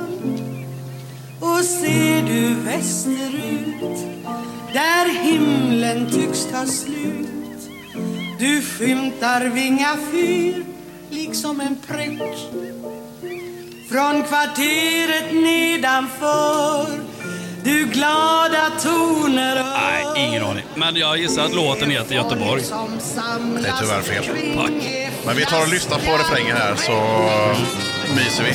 Och ser du västerut där himlen tycks ta slut du skymtar Vinga fyr liksom en prick Från kvarteret nedanför Du glada toner hör
Ingen aning. Men jag gissar att låten heter Göteborg.
som samlas
Det är tyvärr fel.
kring er
Men vi tar och lyssnar på refrängen här så eh, myser vi.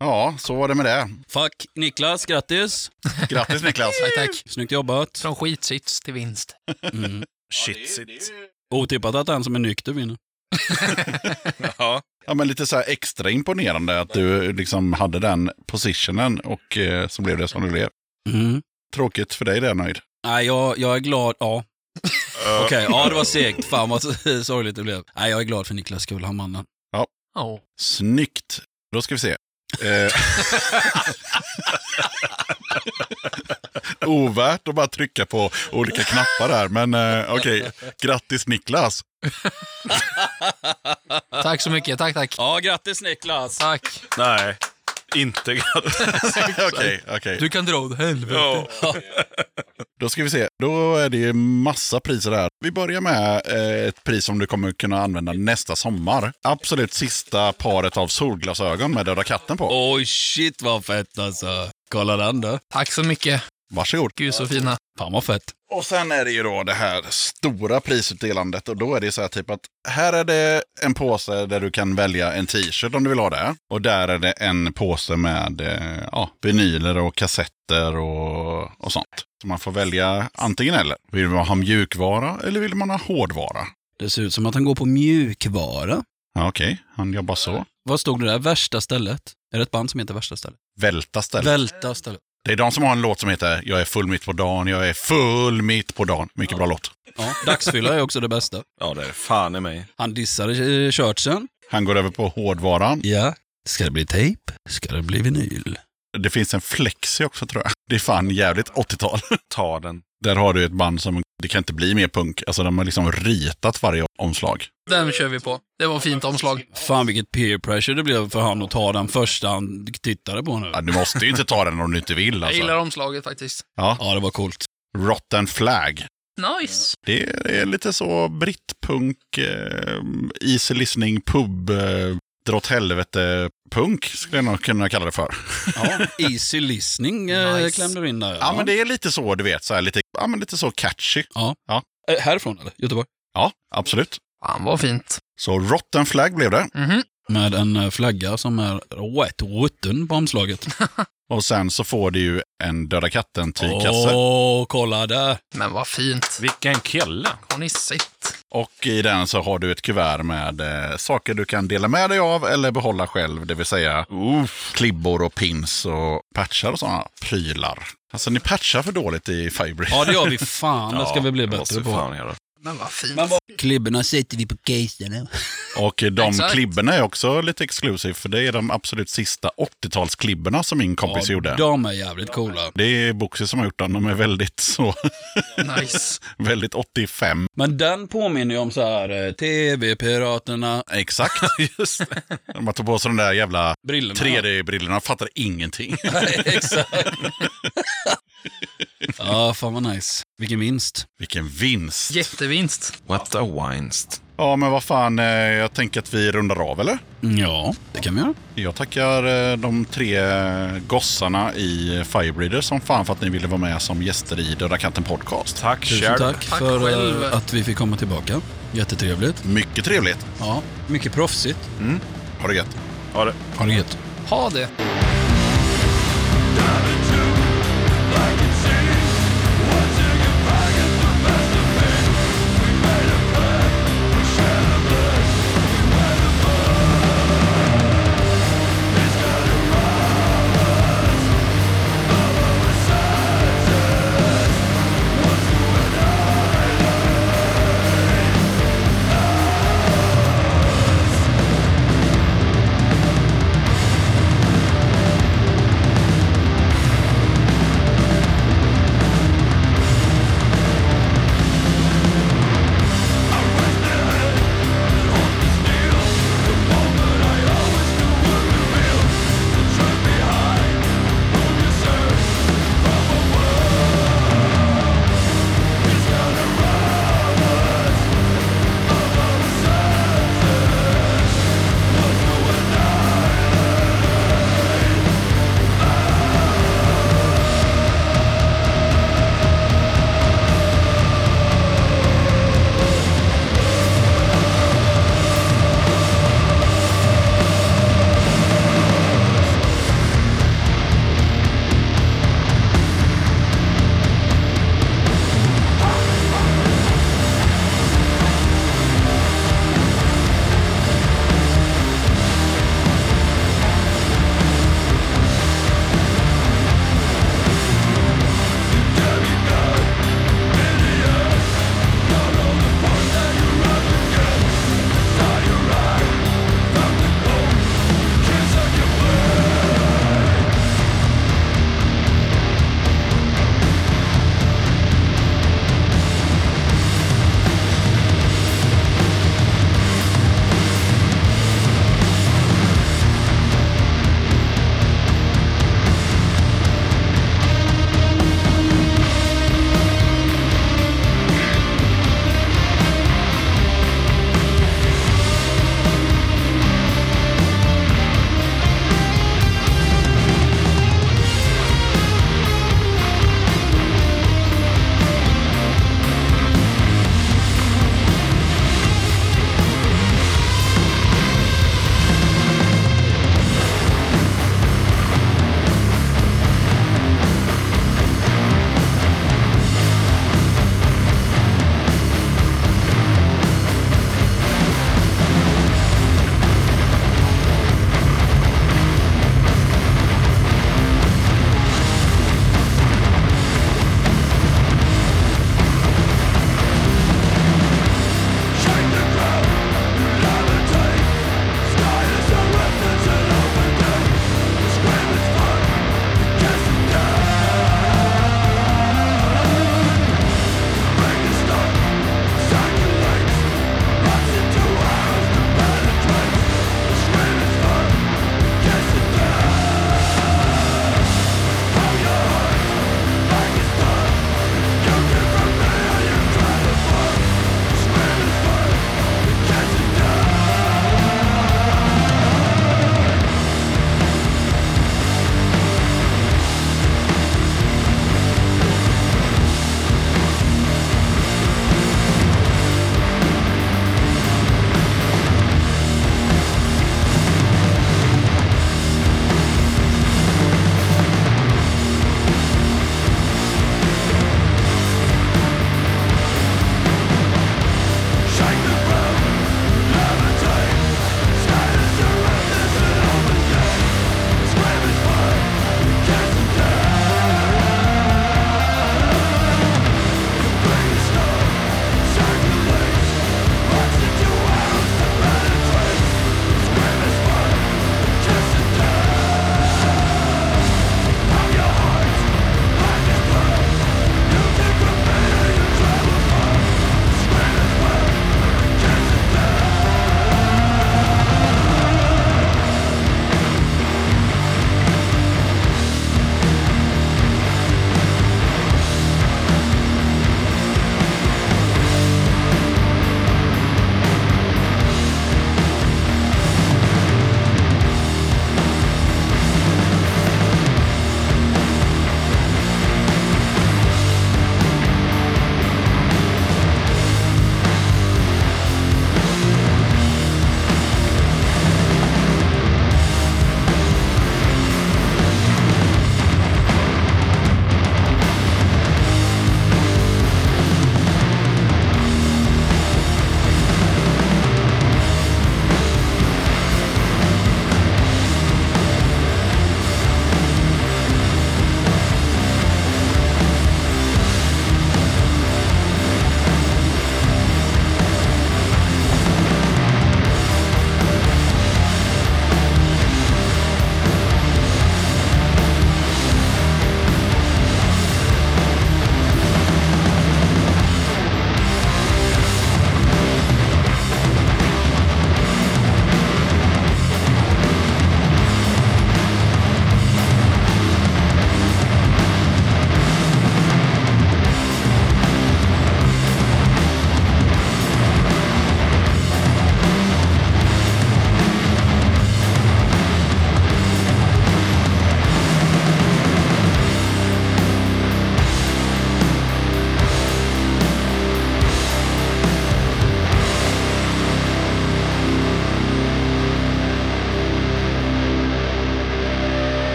Ja, så var det med det.
Fuck, Niklas, grattis!
Grattis Niklas!
Tack, tack.
Snyggt jobbat!
Från skitsits till vinst.
Mm.
Shit, shit.
Otippat att den som är nykter vinner.
Ja. ja, men lite så här extra imponerande att du liksom hade den positionen och eh, så blev det som det blev.
Mm.
Tråkigt för dig det, nöjd.
Nej, jag, jag är glad. Ja. Okej, ja det var segt. Fan vad sorgligt det blev. Nej, jag är glad för Niklas skull, han mannen.
Ja.
Oh.
Snyggt. Då ska vi se. Eh. Ovärt att bara trycka på olika knappar här, men eh, okej. Grattis Niklas!
Tack så mycket. Tack, tack.
Ja, grattis Niklas!
Tack.
Nej. Inte grattis.
Okej, okej.
Du kan dra åt helvete.
Ja.
Då ska vi se. Då är det ju massa priser här. Vi börjar med eh, ett pris som du kommer kunna använda nästa sommar. Absolut sista paret av solglasögon med Döda katten på.
Oj, shit vad fett alltså. Kolla den då.
Tack så mycket.
Varsågod.
Gud så fina.
Fan vad fett.
Och sen är det ju då det här stora prisutdelandet och då är det så här typ att här är det en påse där du kan välja en t-shirt om du vill ha det. Och där är det en påse med eh, ja, vinyler och kassetter och, och sånt. Så man får välja antingen eller. Vill man ha mjukvara eller vill man ha hårdvara?
Det ser ut som att han går på mjukvara.
Ja, Okej, han jobbar så.
Vad stod det där? Värsta stället? Är det ett band som heter Värsta stället?
Välta stället.
Välta stället.
det är de som har en låt som heter Jag är full mitt på dagen, jag är full mitt på dagen. Mycket bra låt.
Ja, dagsfylla är också det bästa.
Ja, det är fan i mig.
Han dissade eh, shirtsen.
Han går över på hårdvaran.
Ja. Ska det bli tejp? Ska det bli vinyl?
Det finns en flexi också tror jag. Det är fan jävligt 80-tal.
Ta den.
Där har du ett band som, det kan inte bli mer punk. Alltså de har liksom ritat varje omslag.
Den kör vi på. Det var fint omslag.
Fan vilket peer pressure det blev för han att ta den första han tittade på nu.
Ja, du måste ju inte ta den om du inte vill
Jag
alltså.
gillar omslaget faktiskt.
Ja.
ja, det var coolt.
Rotten Flag.
Nice.
Det är lite så brittpunk, eh, easy listening, pub, eh, dra åt helvete-punk skulle jag nog kunna kalla det för.
Ja, easy listening eh,
Nice.
klämde du in där.
Ja, men det är lite så, du vet. Så här, lite, ja, men lite så catchy.
Ja. Eh, Härifrån eller? Göteborg?
Ja, absolut.
Fan vad fint.
Så Rotten Flag blev det.
Med en eh, flagga som är wet rutten på omslaget.
Och sen så får du ju en Döda katten-tygkasse.
Åh, kolla där!
Men vad fint.
Vilken kille.
Har ni sett?
Och i den så har du ett kuvert med eh, saker du kan dela med dig av eller behålla själv. Det vill säga klibbor och pins och patchar och sådana prylar. Alltså ni patchar för dåligt i Firebreed.
Ja, det gör vi fan. Det ska vi bli bättre på.
Men vad fint.
Klibborna sätter vi på caserna.
Och eh, de
Exakt.
klibborna är också lite exklusiv för det är de absolut sista 80-talsklibborna som min kompis gjorde.
De är jävligt coola.
Det är Boxy som har gjort dem. De är väldigt så,
Nice.
väldigt 85.
Men den påminner ju om så här eh, TV-piraterna.
Exakt.
Just det.
De tog på sig de där jävla
Brillorna.
3D-brillorna, fattar ingenting.
Nej, Exakt. Ja, fan vad nice. Vilken vinst.
Vilken vinst.
Jättevinst.
What a winst.
Ja, men vad fan, eh, jag tänker att vi rundar av, eller?
Mm, Ja, det kan vi göra.
Jag tackar eh, de tre eh, gossarna i Firebreeder som fan för att ni ville vara med som gäster i Döda katten podcast.
Tack
Tusen
själv.
tack,
Tack
för
själv.
eh, att vi fick komma tillbaka. Jättetrevligt.
Mycket trevligt. Mm.
Ja, mycket proffsigt.
Ha det gött.
Ha det.
Ha det gött.
Ha det.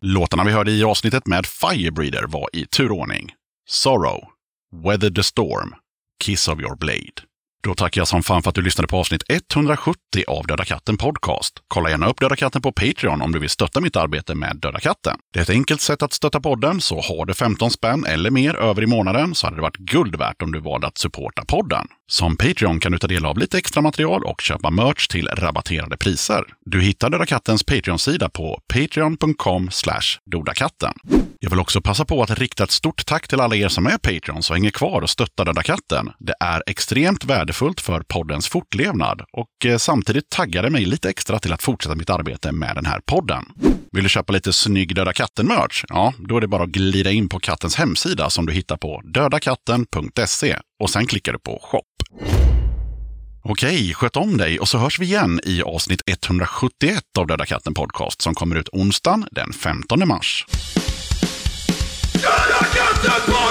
Låtarna vi hörde i avsnittet med Firebreeder var i turordning Sorrow, Weather the Storm, Kiss of your Blade. Då tackar jag som fan för att du lyssnade på avsnitt 170 av Döda katten Podcast. Kolla gärna upp Döda katten på Patreon om du vill stötta mitt arbete med Döda katten. Det är ett enkelt sätt att stötta podden, så har du 15 spänn eller mer över i månaden så hade det varit guld värt om du valde att supporta podden. Som Patreon kan du ta del av lite extra material och köpa merch till rabatterade priser. Du hittar Döda kattens Patreon-sida på patreon.com dodakatten. Jag vill också passa på att rikta ett stort tack till alla er som är Patreons och hänger kvar och stöttar Döda katten. Det är extremt värdefullt för poddens fortlevnad och eh, samtidigt taggar det mig lite extra till att fortsätta mitt arbete med den här podden. Vill du köpa lite snygg Döda katten-merch? Ja, då är det bara att glida in på kattens hemsida som du hittar på dödakatten.se och sen klickar du på shop. Okej, sköt om dig och så hörs vi igen i avsnitt 171 av Döda katten Podcast som kommer ut onsdagen den 15 mars.
Döda katten på